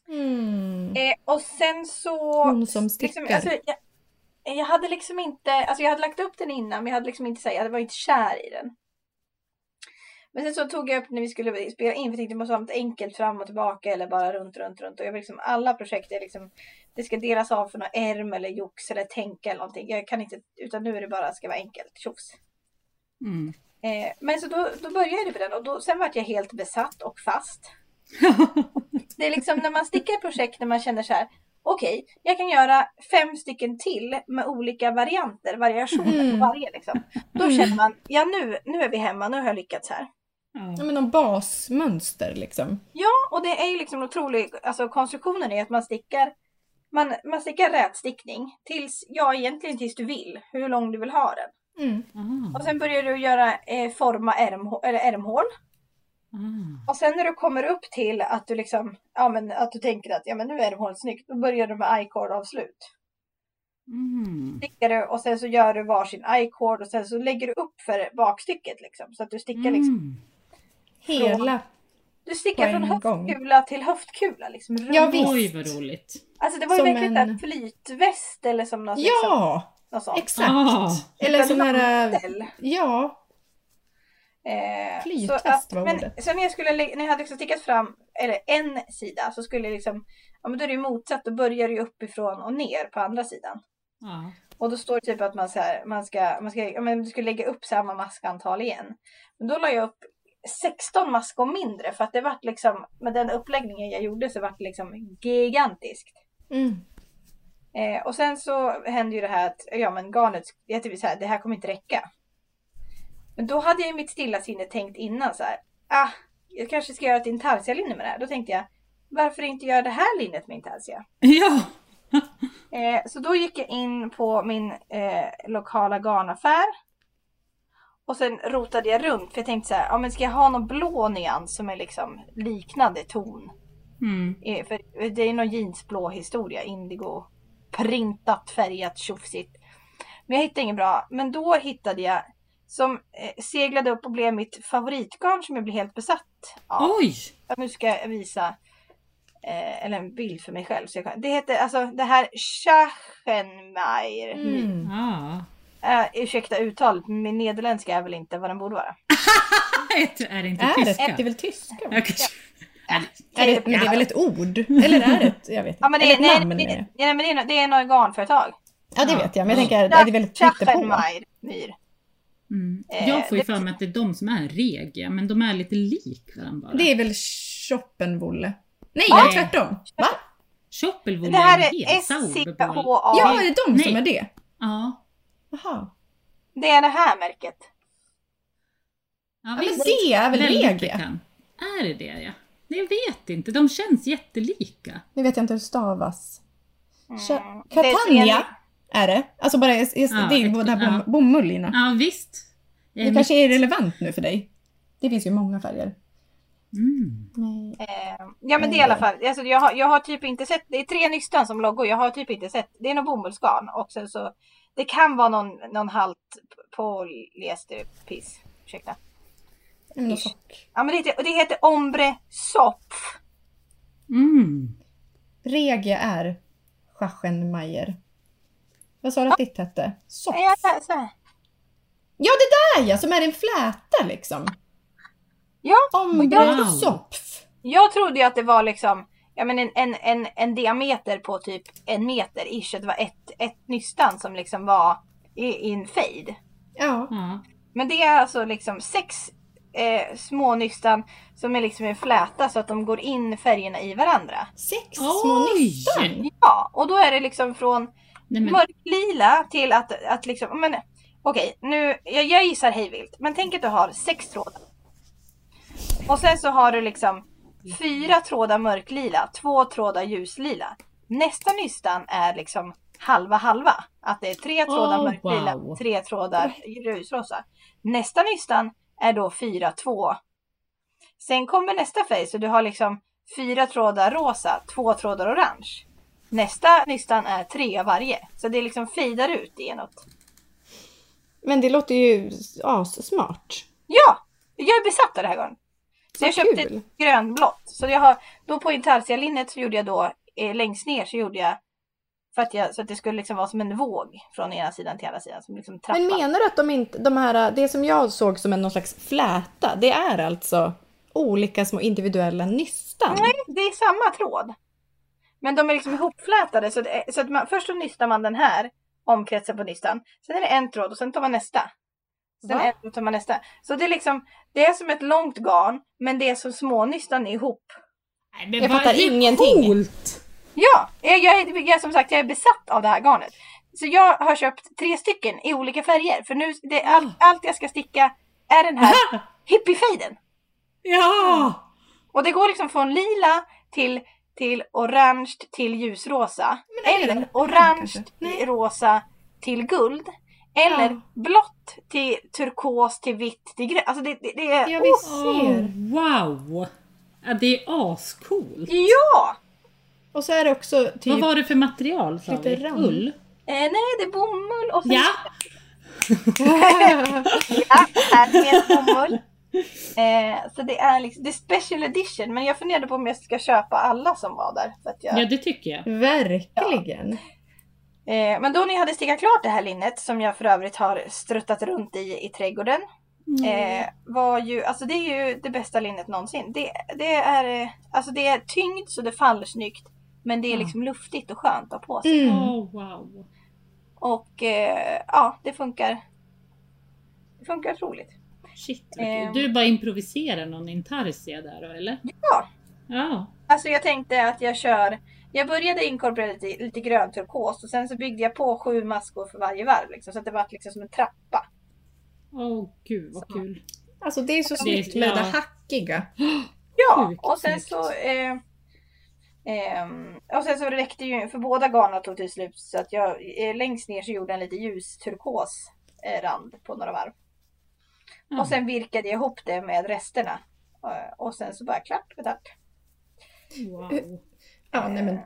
Speaker 2: Mm.
Speaker 1: Eh, och sen så...
Speaker 2: Hon som stickar.
Speaker 1: Liksom, alltså, jag, jag hade liksom inte, alltså jag hade lagt upp den innan men jag hade liksom inte så här, jag var inte kär i den. Men sen så tog jag upp när vi skulle spela in för jag tänkte det måste vara något enkelt fram och tillbaka eller bara runt, runt, runt. Och jag vill liksom, alla projekt är liksom, det ska delas av för någon ärm eller jox eller tänka eller någonting. Jag kan inte, utan nu är det bara, ska vara enkelt, tjofs.
Speaker 3: Mm. [LAUGHS]
Speaker 1: Eh, men så då, då började jag på den och då, sen vart jag helt besatt och fast. Det är liksom när man stickar ett projekt när man känner så här. Okej, jag kan göra fem stycken till med olika varianter, variationer
Speaker 2: Mm.
Speaker 1: på varje liksom. Då
Speaker 2: Mm.
Speaker 1: känner man, ja nu, nu är vi hemma, nu har jag lyckats här.
Speaker 3: Ja.
Speaker 2: Ja men de basmönster liksom.
Speaker 1: Och det är ju liksom otroligt, alltså konstruktionen är att man stickar, man, man stickar rätstickning tills, ja egentligen tills du vill, hur lång du vill ha den.
Speaker 2: Mm.
Speaker 3: Ah.
Speaker 1: Och sen börjar du göra, eh, forma ärmhå- eller ärmhål.
Speaker 3: Ah.
Speaker 1: Och sen när du kommer upp till att du liksom, ja men att du tänker att ja men nu är det hål snyggt, då börjar du med i-cord avslut.
Speaker 3: Mm.
Speaker 1: Stickar du och sen så gör du varsin i-cord och sen så lägger du upp för bakstycket liksom. Så att du stickar liksom,
Speaker 3: Mm.
Speaker 2: Hela.
Speaker 1: du stickar
Speaker 2: På
Speaker 1: från
Speaker 2: en gång.
Speaker 1: höftkula till höftkula liksom.
Speaker 2: Ja, visst.
Speaker 3: Oj vad roligt.
Speaker 1: Alltså det var ju
Speaker 2: Som
Speaker 1: verkligen
Speaker 2: en-
Speaker 1: en flytväst eller som något, liksom,
Speaker 2: Ja!
Speaker 1: något sånt. Typ
Speaker 2: Exakt!
Speaker 3: Ah.
Speaker 2: Eller sån här... äh,
Speaker 1: Mantel.
Speaker 2: Ja,
Speaker 1: Eh,
Speaker 2: Flytväst
Speaker 1: så att-
Speaker 2: var
Speaker 1: men
Speaker 2: ordet.
Speaker 1: sen när jag, skulle, lä- när jag hade liksom stickat fram eller en sida så skulle jag liksom, ja men då är det ju motsatt, då börjar det ju uppifrån och ner på andra sidan.
Speaker 3: Ja.
Speaker 1: Och då står det typ att man, så här, man, ska, man, ska, ja, men du skulle lägga upp samma maskantal igen. Men då la jag upp 16 maskor mindre för att det vart liksom, med den uppläggningen jag gjorde så vart det liksom gigantiskt.
Speaker 2: Mm.
Speaker 1: Eh, och sen så hände ju det här att, ja men garnet, jag typ så här, det här kommer inte räcka. Men då hade jag i mitt stilla sinne tänkt innan så här, ah, jag kanske ska göra ett intarsia-linne med det här. Då tänkte jag, varför inte göra det här linnet med intarsia?
Speaker 3: ja.
Speaker 1: Eh, så då gick jag in på min eh, lokala garnaffär. Och sen rotade jag runt för jag tänkte så här, ja men ska jag ha någon blå nyans som är liksom liknande ton?
Speaker 3: Mm.
Speaker 1: Eh, för det är någon jeansblå historia, indigo, printat, färgat, tjofsigt. Men jag hittade ingen bra. Men då hittade jag som eh, seglade upp och blev mitt favoritgarn som jag blev helt besatt av.
Speaker 3: Oj!
Speaker 1: Ja, nu ska jag visa eh, eller en bild för mig själv. Så jag kan, det heter alltså det här Schachenmeier.
Speaker 2: Mm.
Speaker 3: Ja. [LAUGHS]
Speaker 1: Eh, ursäkta uttalet, men min nederländska är väl inte vad den borde vara.
Speaker 3: Är det inte
Speaker 2: Är det?
Speaker 3: tyska?
Speaker 2: Det är väl tyska? va?
Speaker 3: Jag kanske...
Speaker 2: Är det, men det är väl ett ord? Eller är det ett, jag vet inte.
Speaker 1: Ja, men det,
Speaker 2: Eller
Speaker 1: är-
Speaker 2: ett
Speaker 1: nej,
Speaker 2: namn
Speaker 1: nej,
Speaker 2: menar jag.
Speaker 1: nej, nej, men det är no- det är något garnföretag.
Speaker 2: Ja det vet jag, men jag
Speaker 3: Ja.
Speaker 2: tänker är det väldigt på?
Speaker 1: Schachenmeier. Myr.
Speaker 3: Mm.
Speaker 1: Eh,
Speaker 3: Jag får ju
Speaker 1: det-
Speaker 3: för mig att det är de som är regia, men de är lite lik varandra bara.
Speaker 2: Det är väl Schoppenwolle? Nej,
Speaker 3: Ja.
Speaker 2: tvärtom! Va?
Speaker 3: Schoppelvolle
Speaker 1: Det här
Speaker 3: är
Speaker 1: är
Speaker 3: Sauberboll.
Speaker 1: SCHA.
Speaker 2: Ja, är det de som
Speaker 3: Nej.
Speaker 2: är det?
Speaker 3: Ja.
Speaker 2: Jaha.
Speaker 1: Det är det här märket.
Speaker 3: Ja,
Speaker 2: Ja, men
Speaker 3: visst.
Speaker 2: det är väl
Speaker 3: Väldigt
Speaker 2: Regia?
Speaker 3: bekant. Är det det ja? Jag vet inte, de känns jättelika.
Speaker 2: Nu vet jag inte hur det stavas.
Speaker 1: Mm.
Speaker 2: Scha-
Speaker 1: Det är
Speaker 2: Catania
Speaker 1: sen-
Speaker 2: är det. Alltså bara, es- es-
Speaker 3: Ja,
Speaker 2: det är ju
Speaker 3: ett-
Speaker 2: båda
Speaker 3: ja.
Speaker 2: bom, bomullierna.
Speaker 3: Ja visst. Jag är
Speaker 2: Det kanske är irrelevant nu för dig. Det finns ju många färger.
Speaker 3: mitt- Mm.
Speaker 2: Nej.
Speaker 1: Eh, ja men det är i alla fall, alltså, jag, har, jag har typ inte sett, det är tre nystan som loggor, jag har typ inte sett, det är nog bomullsgarn och sen så det kan vara någon, någon halt polyesterpiss, ursäkta.
Speaker 2: Men någon sock.
Speaker 1: Ja men det heter, och det heter ombre sopf.
Speaker 3: Mm.
Speaker 2: Regia är Schachenmeier. Vad sa du att ditt hette? Sock?
Speaker 1: Är jag så här- så här?
Speaker 2: Ja, det där ja! Som är en fläta liksom.
Speaker 1: Ja,
Speaker 2: Ombre
Speaker 3: jag-
Speaker 2: och sopf.
Speaker 1: jag trodde ju att det var liksom ja, men en, en, en, en diameter på typ en meter ish. Det var ett, ett nystan som liksom var i, i en fade.
Speaker 2: Ja.
Speaker 3: Ja.
Speaker 1: Men det är alltså liksom sex eh, små nystan som är liksom en fläta så att de går in färgerna i varandra.
Speaker 2: Sex små
Speaker 3: Oj!
Speaker 2: nystan!
Speaker 1: Ja, och då är det liksom från
Speaker 3: Nej, men,
Speaker 1: mörklila till att, att liksom, men okej, nu, jag, jag gissar hejvilt, men tänk att du har sex trådar. Och sen så har du liksom fyra trådar mörklila, två trådar ljuslila. Nästa nystan är liksom halva halva. Att det är tre trådar
Speaker 3: Oh,
Speaker 1: mörklila,
Speaker 3: wow.
Speaker 1: tre trådar ljusrosa. Nästa nystan är då fyra två. Sen kommer nästa färg så du har liksom fyra trådar rosa, två trådar orange. Nästa nystan är tre av varje. Så det liksom fejdar ut genåt.
Speaker 2: Men det låter ju assmart.
Speaker 1: Ja! Jag är besatt av det här gången. Så
Speaker 2: Vad
Speaker 1: jag köpte
Speaker 2: kul.
Speaker 1: ett grönblått. Så jag har, då på intarsialinnet så gjorde jag då eh, längst ner så gjorde jag för att jag, så att det skulle liksom vara som en våg från ena sidan till andra sidan. Som liksom trappa.
Speaker 2: Men menar du att de inte, de här, det som jag såg som en någon slags fläta, det är alltså olika små individuella nystan?
Speaker 1: Nej, det är samma tråd. Men de är liksom ihopflätade så, det, är- så att man, först så nystar man den här omkretsen på nystan. Sen är det en tråd och sen tar man nästa. Sen
Speaker 2: Va?
Speaker 1: en tråd tar man nästa. Så det är liksom, det är som ett långt garn men det är som små nystan ihop.
Speaker 3: nej, men
Speaker 2: Jag
Speaker 3: vad-
Speaker 2: fattar
Speaker 3: det är
Speaker 2: ingenting.
Speaker 3: Coolt.
Speaker 1: Ja, jag, jag, är- jag, som sagt jag är besatt av det här garnet. Så jag har köpt tre stycken i olika färger för nu, det,
Speaker 2: Ah.
Speaker 1: är allt- allt jag ska sticka är den
Speaker 2: [LAUGHS]
Speaker 1: här hippiefejden.
Speaker 3: Ja!
Speaker 1: Och det går liksom från lila till, till orange till ljusrosa.
Speaker 2: det är
Speaker 1: Eller
Speaker 2: det.
Speaker 1: orange
Speaker 2: Kanske.
Speaker 1: till rosa till guld. Eller
Speaker 2: Ja.
Speaker 1: blått till turkos till vitt till grönt. Alltså det, det, det är...
Speaker 2: Ja,
Speaker 1: Åh,
Speaker 2: visst
Speaker 3: Oh,
Speaker 2: ser.
Speaker 3: wow! Ja, det är ascoolt.
Speaker 1: Oh, ja!
Speaker 2: Och så är det också
Speaker 3: Vad
Speaker 2: typ...
Speaker 3: var det för material? Sa
Speaker 2: Lite
Speaker 3: vi?
Speaker 2: ram.
Speaker 3: Ull?
Speaker 1: Eh, nej, det är bomull och sen
Speaker 3: Ja!
Speaker 1: ja, här med bomull. Eh, så det är liksom, det är special edition. Men jag funderade på om jag ska köpa alla som var där. För att jag,
Speaker 3: Ja, det tycker jag.
Speaker 2: [LAUGHS] Verkligen!
Speaker 1: eh, men då när jag hade stickat klart det här linnet, som jag för övrigt har struttat runt i i trädgården. eh, var ju, alltså det är ju det bästa linnet någonsin. Det, det, är, eh, alltså det är tyngd så det faller snyggt. Men det är
Speaker 3: Ja.
Speaker 1: liksom luftigt och skönt att ha på sig.
Speaker 2: Mm.
Speaker 3: Oh, wow.
Speaker 1: Och eh, ja, det funkar. Det funkar otroligt.
Speaker 3: Shit, vad
Speaker 1: Ehm.
Speaker 3: kul. Du bara improviserar någon intarsia där då, eller?
Speaker 1: Ja.
Speaker 3: Ja.
Speaker 1: Alltså jag tänkte att jag kör, jag började inkorporera lite, lite grön turkos och sen så byggde jag på sju maskor för varje varv. Liksom, så att det var liksom som en trappa.
Speaker 3: Åh gud vad
Speaker 1: Så.
Speaker 3: kul.
Speaker 2: Alltså det är så snyggt
Speaker 3: ja.
Speaker 2: med det där hackiga.
Speaker 1: Ja,
Speaker 3: Sjukt
Speaker 1: och sen
Speaker 3: snyggt.
Speaker 1: så... Eh, ehm, och sen så räckte ju, för båda garnen tog till slut så att jag eh, längst ner så gjorde jag en lite ljus turkos eh, rand på några varv.
Speaker 3: Ja.
Speaker 1: Och sen virkade jag ihop det med resterna. Eh, och sen så bara klart och klart.
Speaker 3: Ah, Wow.
Speaker 2: Ja, nej, men,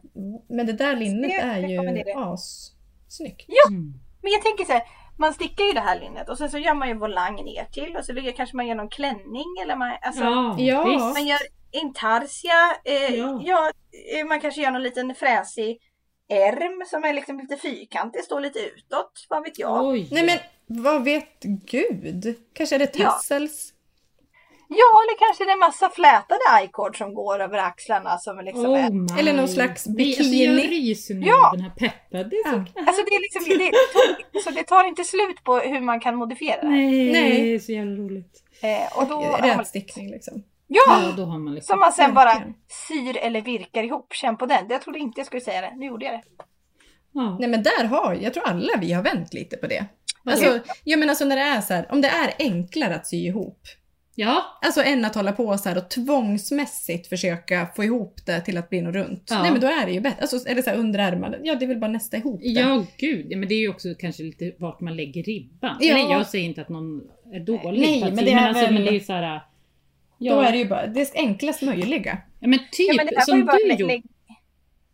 Speaker 2: men det där linnet
Speaker 1: Snyggt,
Speaker 2: är ju
Speaker 1: rekommenderar.
Speaker 2: assnyggt.
Speaker 3: Mm.
Speaker 1: Men jag tänker så här, man stickar ju det här linnet och sen så gör man ju volang ner till och så lägger kanske man gör någon klänning eller man, alltså,
Speaker 3: Ja,
Speaker 2: Ja.
Speaker 3: visst.
Speaker 1: man gör intarsia. Eh, ja.
Speaker 3: Ja.
Speaker 1: eh, man kanske gör någon liten fräsig ärm som är liksom lite fyrkantig, står lite utåt, vad vet jag.
Speaker 3: Oj.
Speaker 2: Nej men vad vet gud? Kanske är det
Speaker 1: Ja.
Speaker 2: tassels?
Speaker 1: Ja, eller kanske det är massa flätade i-cord som går över axlarna som är liksom
Speaker 3: Oh
Speaker 1: är...
Speaker 3: my.
Speaker 2: Eller någon slags
Speaker 3: Nej, Alltså, jag
Speaker 2: bikini.
Speaker 3: ryser nu
Speaker 1: Ja.
Speaker 3: av den här peppen. Det är så knä-
Speaker 1: Alltså det är liksom, det, det- så det tar inte slut på hur man kan modifiera det.
Speaker 3: Nej,
Speaker 2: Nej.
Speaker 3: det är så jävla roligt.
Speaker 1: Eh, och då,
Speaker 2: Ja, rätstickning liksom.
Speaker 1: ja,
Speaker 3: Ja, då har man liksom...
Speaker 1: som man sen bara
Speaker 2: Verkligen.
Speaker 1: syr eller virkar ihop. Känn på den. Jag trodde inte jag skulle säga det. Nu gjorde jag
Speaker 3: Typ
Speaker 1: det.
Speaker 3: Ja.
Speaker 2: Nej men där har, jag tror alla vi har vänt lite på det.
Speaker 3: Vad
Speaker 2: Alltså, jag menar så när det är så här, om det är enklare att sy ihop,
Speaker 3: Ja.
Speaker 2: alltså än att hålla på så här och tvångsmässigt försöka få ihop det till att bli något runt.
Speaker 3: Ja.
Speaker 2: Nej men då är det ju bättre. Alltså, eller så här underärmarna, ja det är väl bara nästa ihop det.
Speaker 3: Ja, gud. Ja, Men det är ju också kanske lite vart man lägger ribban.
Speaker 2: Ja.
Speaker 3: Eller jag säger inte att någon är dålig.
Speaker 2: Nej,
Speaker 3: på att
Speaker 2: men
Speaker 3: sy,
Speaker 2: det är
Speaker 3: alltså,
Speaker 2: väl-
Speaker 3: men det är ju så här... Ja,
Speaker 2: Då är det ju bara det enklast möjliga.
Speaker 3: ja, men typ
Speaker 1: Ja, men det här var
Speaker 3: som
Speaker 1: ju bara
Speaker 3: du
Speaker 1: lä-
Speaker 3: gjorde.
Speaker 1: lä-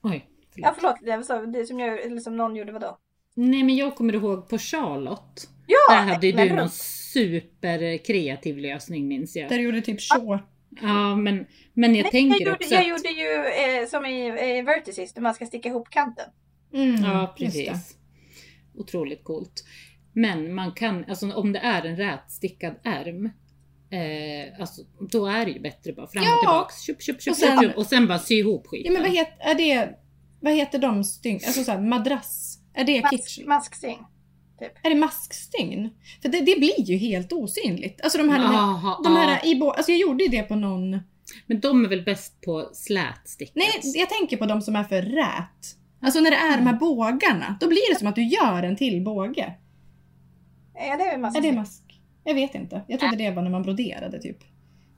Speaker 3: Oj, förlåt.
Speaker 1: Ja förlåt, det, så, det som, jag, eller som någon gjorde vadå?
Speaker 3: Nej men jag kommer ihåg på Charlotte.
Speaker 1: Ja!
Speaker 3: Där hade ju
Speaker 1: men
Speaker 3: du
Speaker 1: bra.
Speaker 3: någon superkreativ lösning minns jag.
Speaker 2: Där du gjorde typ short.
Speaker 3: Ja men, men jag
Speaker 1: Nej, jag
Speaker 3: tänker
Speaker 1: gjorde,
Speaker 3: också
Speaker 1: jag
Speaker 3: att-
Speaker 1: gjorde ju eh, som i eh, Vertices, när man ska sticka ihop kanten.
Speaker 2: Mm,
Speaker 3: Ja
Speaker 2: just det.
Speaker 3: precis. Otroligt coolt. Men man kan, alltså om det är en rätstickad ärm Eh, alltså, då är det ju bättre bara fram
Speaker 2: Ja.
Speaker 3: och tillbaks, tjup, tjup, tjup,
Speaker 2: Och sen-
Speaker 3: tjup, och sen bara sy ihop skiten.
Speaker 2: Ja, men vad heter, är det, vad heter de stygn? Alltså såhär madrass? Är det
Speaker 1: Mask,
Speaker 2: kitsch?
Speaker 1: maskstring.
Speaker 2: Är det maskstygn? För det, det blir ju helt osynligt. Alltså de här,
Speaker 3: Aha,
Speaker 2: de
Speaker 3: ja.
Speaker 2: här i bo, alltså jag gjorde ju det på någon...
Speaker 3: Men de är väl bäst på slätsticket?
Speaker 2: Nej, jag tänker på de som är för rät. Alltså när det är
Speaker 3: Mm.
Speaker 2: de här bågarna, då blir det som att du gör en till båge.
Speaker 1: Är det
Speaker 2: Är
Speaker 1: maskstring?
Speaker 2: det mask? Jag vet inte. Jag trodde det var när man broderade typ.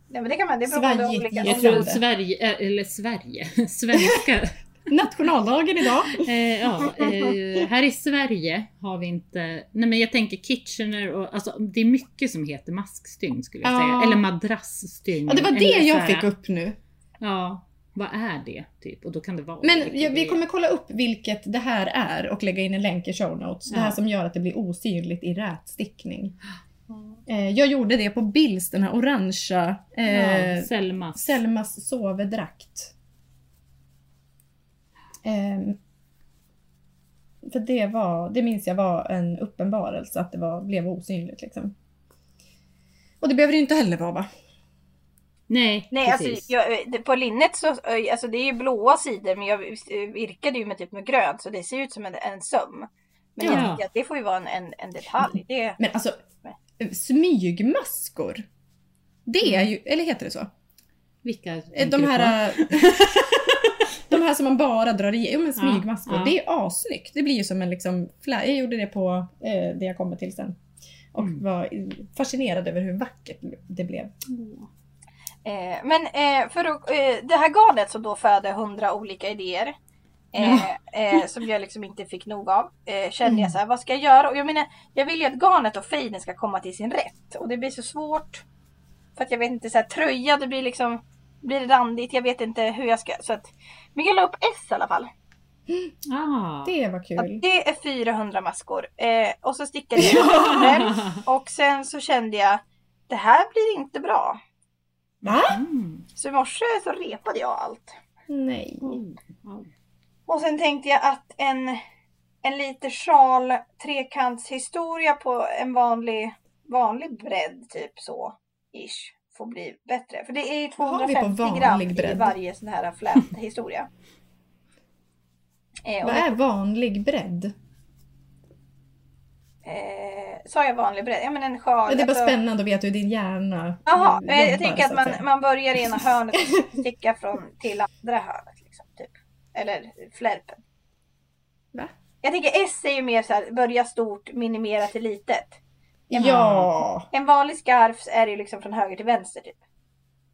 Speaker 1: Nej, men det kan man. Det beror på
Speaker 2: Svajigt
Speaker 1: de olika.
Speaker 2: gäss.
Speaker 3: jag tror
Speaker 2: Irlande.
Speaker 3: Sverige, eh, eller Sverige, [LAUGHS] svenska.
Speaker 2: Nationaldagen
Speaker 3: [LAUGHS]
Speaker 2: idag.
Speaker 3: eh, ja, eh, här i Sverige har vi inte, nej men jag tänker Kitchener och alltså det är mycket som heter maskstygn skulle jag säga.
Speaker 2: Ja.
Speaker 3: Eller madrassstygn.
Speaker 2: Ja, det var
Speaker 3: eller
Speaker 2: det
Speaker 3: så
Speaker 2: jag
Speaker 3: här-
Speaker 2: fick upp nu.
Speaker 3: Ja, vad är det typ? Och då kan det vara.
Speaker 2: Men
Speaker 3: vilket
Speaker 2: jag,
Speaker 3: det
Speaker 2: vi
Speaker 3: är.
Speaker 2: kommer kolla upp vilket det här är och lägga in en länk i show notes. Det här
Speaker 3: Ja.
Speaker 2: som gör att det blir osynligt i rätstickning.
Speaker 1: Mm.
Speaker 2: Eh, jag gjorde det på Bills, den här orangea eh,
Speaker 3: ja, Selmas.
Speaker 2: Selmas sovedrakt. Ehm, för det var, det minns jag var en uppenbarelse att det var, blev osynligt liksom. Och det behöver det ju inte heller vara va?
Speaker 3: nej,
Speaker 1: Nej, alltså,
Speaker 3: precis.
Speaker 1: jag, det- på linnet så, alltså det är ju blåa sidor men jag virkade ju med typ med grönt så det ser ut som en, en söm. Men jag
Speaker 3: Ja.
Speaker 1: tänker att det får ju vara en, en, en detalj. Det,
Speaker 2: Men alltså, smygmaskor. Det
Speaker 3: Mm.
Speaker 2: är ju, eller heter det så?
Speaker 3: Vilka
Speaker 2: Eh,
Speaker 3: tänker
Speaker 2: De
Speaker 3: du på?
Speaker 2: här, eh, [LAUGHS] de här som man bara drar i, jo men smygmaskor.
Speaker 3: ja.
Speaker 2: Det är assnyggt. Det blir ju som en liksom, fla- jag gjorde det på eh, det jag kommer till sen. Och
Speaker 3: Mm.
Speaker 2: var fascinerad över hur vackert det blev.
Speaker 1: eh, men eh, för att, eh, det här garnet som då föder hundra olika idéer eh, eh, som jag liksom inte fick nog av. Eh, kände
Speaker 2: Mm.
Speaker 1: jag så här, vad ska jag göra? Och jag menar, jag vill ju att garnet och fejden ska komma till sin rätt och det blir så svårt. För att jag vet inte, så här, tröja det blir liksom, blir det randigt? Jag vet inte hur jag ska, så att. Men jag la upp S i alla fall.
Speaker 2: eh,
Speaker 3: Ah.
Speaker 2: Det var
Speaker 1: Ja,
Speaker 2: kul.
Speaker 1: det är 400 maskor. Eh, och så stickade jag
Speaker 2: [LAUGHS]
Speaker 1: den. Och sen så kände jag, det här blir inte bra.
Speaker 2: Va?
Speaker 3: [LAUGHS] Mm.
Speaker 1: Så i morse så repade jag allt.
Speaker 2: Nej.
Speaker 3: Oh, oh.
Speaker 1: Och sen tänkte jag att en, en lite sjal trekantshistoria på en vanlig, vanlig bredd, typ så, ish, får bli bättre. För det är ju
Speaker 2: Vad har vi på
Speaker 1: 250 gram
Speaker 2: vanlig
Speaker 1: i
Speaker 2: bredd?
Speaker 1: varje sån här
Speaker 2: [LAUGHS]
Speaker 1: fläthistoria. Eh, och
Speaker 2: Vad
Speaker 1: då,
Speaker 2: är vanlig bredd?
Speaker 1: eh, sa jag vanlig bredd? Ja men en sjal.
Speaker 2: Det är bara
Speaker 1: alltså-
Speaker 2: spännande att veta hur din hjärna eh,
Speaker 1: Jaha,
Speaker 2: jobbar,
Speaker 1: men jag tänker
Speaker 2: så
Speaker 1: att man,
Speaker 2: säga.
Speaker 1: man börjar i ena hörnet
Speaker 2: [LAUGHS]
Speaker 1: och stickar från till andra hörnet. Liksom, typ. Eller flärpen.
Speaker 2: Va?
Speaker 1: Jag tänker S är ju mer så här, börja stort, minimera till litet.
Speaker 2: Ja.
Speaker 1: En vanlig scarf är ju liksom från höger till vänster typ.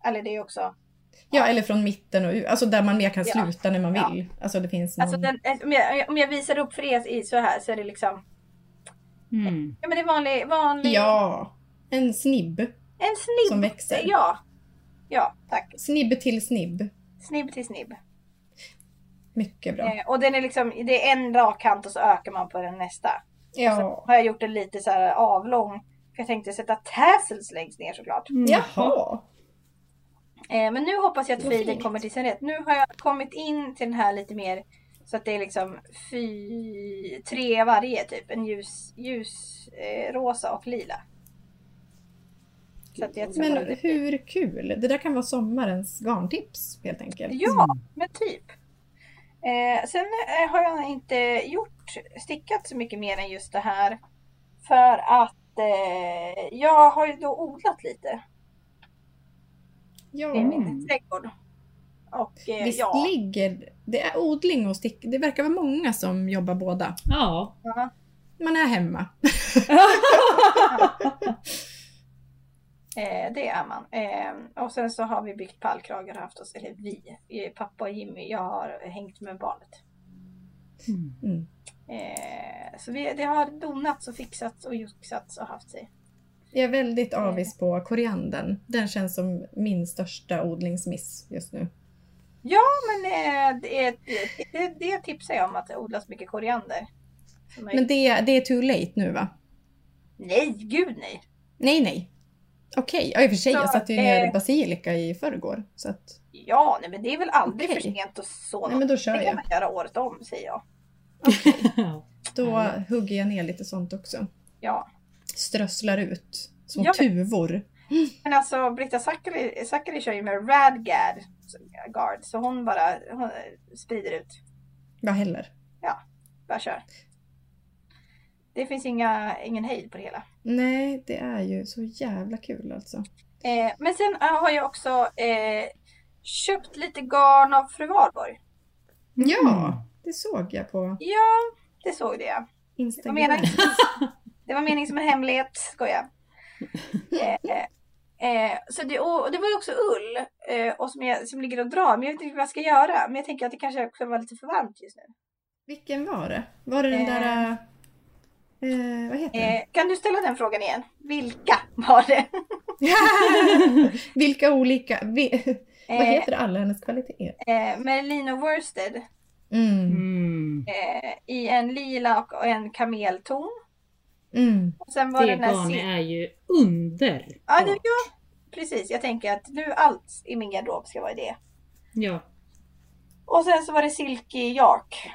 Speaker 1: Eller det är ju också.
Speaker 2: ja, eller från mitten och ut. Alltså där man mer kan
Speaker 1: Ja.
Speaker 2: sluta när man
Speaker 1: Ja.
Speaker 2: vill. Alltså det finns någon...
Speaker 1: Alltså den, om, jag, om jag visar upp för er i så här så är det liksom.
Speaker 3: Mm.
Speaker 1: Ja men det är vanlig, vanlig.
Speaker 2: Ja. En snibb.
Speaker 1: En snibb.
Speaker 2: Som växer.
Speaker 1: Ja. Ja, tack.
Speaker 2: Snibb till snibb.
Speaker 1: Snibb till snibb.
Speaker 2: Mycket bra.
Speaker 1: Eh, och den är liksom, det är en rak kant och så ökar man på den nästa.
Speaker 2: Ja.
Speaker 1: har jag gjort den lite så här avlång. För jag tänkte sätta tassels längst ner såklart.
Speaker 2: Jaha.
Speaker 1: Eh, men nu hoppas jag att
Speaker 2: Vad
Speaker 1: fejden
Speaker 2: fint.
Speaker 1: kommer till sin rätt. Nu har jag kommit in till den här lite mer så att det är liksom fy, tre varje typ. En ljus, ljus eh, rosa och lila. Så att jag tror att
Speaker 2: Men
Speaker 1: det-
Speaker 2: hur kul? Det där kan vara sommarens garntips helt enkelt.
Speaker 1: Ja, men typ. Eh, sen eh, har jag inte gjort stickat så mycket mer än just det här. För att eh, jag har ju då odlat lite.
Speaker 2: Ja.
Speaker 1: i
Speaker 3: Mm.
Speaker 1: min trädgård. Och eh,
Speaker 2: Visst
Speaker 1: ja,
Speaker 2: ligger... Det är odling och stick... Det verkar vara många som jobbar båda.
Speaker 3: Ja. [LAUGHS]
Speaker 2: Man är hemma.
Speaker 1: [LAUGHS] eh, det är man. Eh, och sen så har vi byggt pallkragar och haft oss, eller vi, eh, pappa och Jimmy, jag har hängt med barnet.
Speaker 3: Mm.
Speaker 2: Mm.
Speaker 1: Eh, så vi, det har donats och fixats och joxats och haft sig.
Speaker 2: Jag är väldigt avis på koriandern. Den känns som min största odlingsmiss just nu.
Speaker 1: Men eh, det, det, det, det tipsar jag om att det odlas mycket koriander. Som är-
Speaker 2: Men det, det är too late nu va?
Speaker 1: Nej, gud nej!
Speaker 2: Nej, nej. Okej, ja, i och för sig.
Speaker 1: Så,
Speaker 2: Jag satte ju ner
Speaker 1: eh,
Speaker 2: basilika i förrgår. Så att,
Speaker 1: Ja, nej, men det är väl aldrig
Speaker 2: Okej.
Speaker 1: för sent att så
Speaker 2: nej, men
Speaker 1: något.
Speaker 2: då kör
Speaker 1: Det kan
Speaker 2: jag.
Speaker 1: man göra året om, säger jag.
Speaker 2: Då hugger jag ner lite sånt också.
Speaker 1: Mm. Ja.
Speaker 2: Strösslar ut små
Speaker 1: Ja.
Speaker 2: tuvor.
Speaker 1: Men alltså Britta Zackari, Zackari kör ju med Radgad Guard. Så hon bara hon sprider ut.
Speaker 2: Vad heller?
Speaker 1: Bara kör. Det finns inga, ingen hejd på det hela.
Speaker 2: Nej, det är ju så jävla kul alltså.
Speaker 1: Eh, men sen har jag också eh, köpt lite garn av fru Valborg.
Speaker 2: Ja, det såg jag på
Speaker 1: Ja, det såg det jag. Det var
Speaker 2: Instagram. [LAUGHS]
Speaker 1: meningen, det var meningen som en hemlighet, skoja. Eh, eh, så det, och det var ju också ull eh, och som, jag, som ligger och drar. Men jag vet inte vad jag ska göra. Men jag tänker att det kanske också var lite för varmt just nu.
Speaker 2: Vilken var det? Var det den
Speaker 1: Eh.
Speaker 2: där... eh, vad heter den?
Speaker 1: Eh, kan du ställa den frågan igen? Vilka var det?
Speaker 2: [LAUGHS] Vilka olika... Vi, [LAUGHS] [LAUGHS] vad
Speaker 1: Eh,
Speaker 2: heter det? alla hennes kvaliteter?
Speaker 1: eh, Merlino Worsted
Speaker 2: Mm.
Speaker 3: Mm.
Speaker 1: eh, i en lila och- och en kamelton.
Speaker 2: Mm.
Speaker 1: Och sen var
Speaker 3: Det
Speaker 1: det den här...
Speaker 3: garnet
Speaker 1: sil-
Speaker 3: är ju under.
Speaker 1: Ja, det, ja, precis. Jag tänker att nu allt i min garderob ska vara i det.
Speaker 3: Ja.
Speaker 1: Och sen så var det silky jak.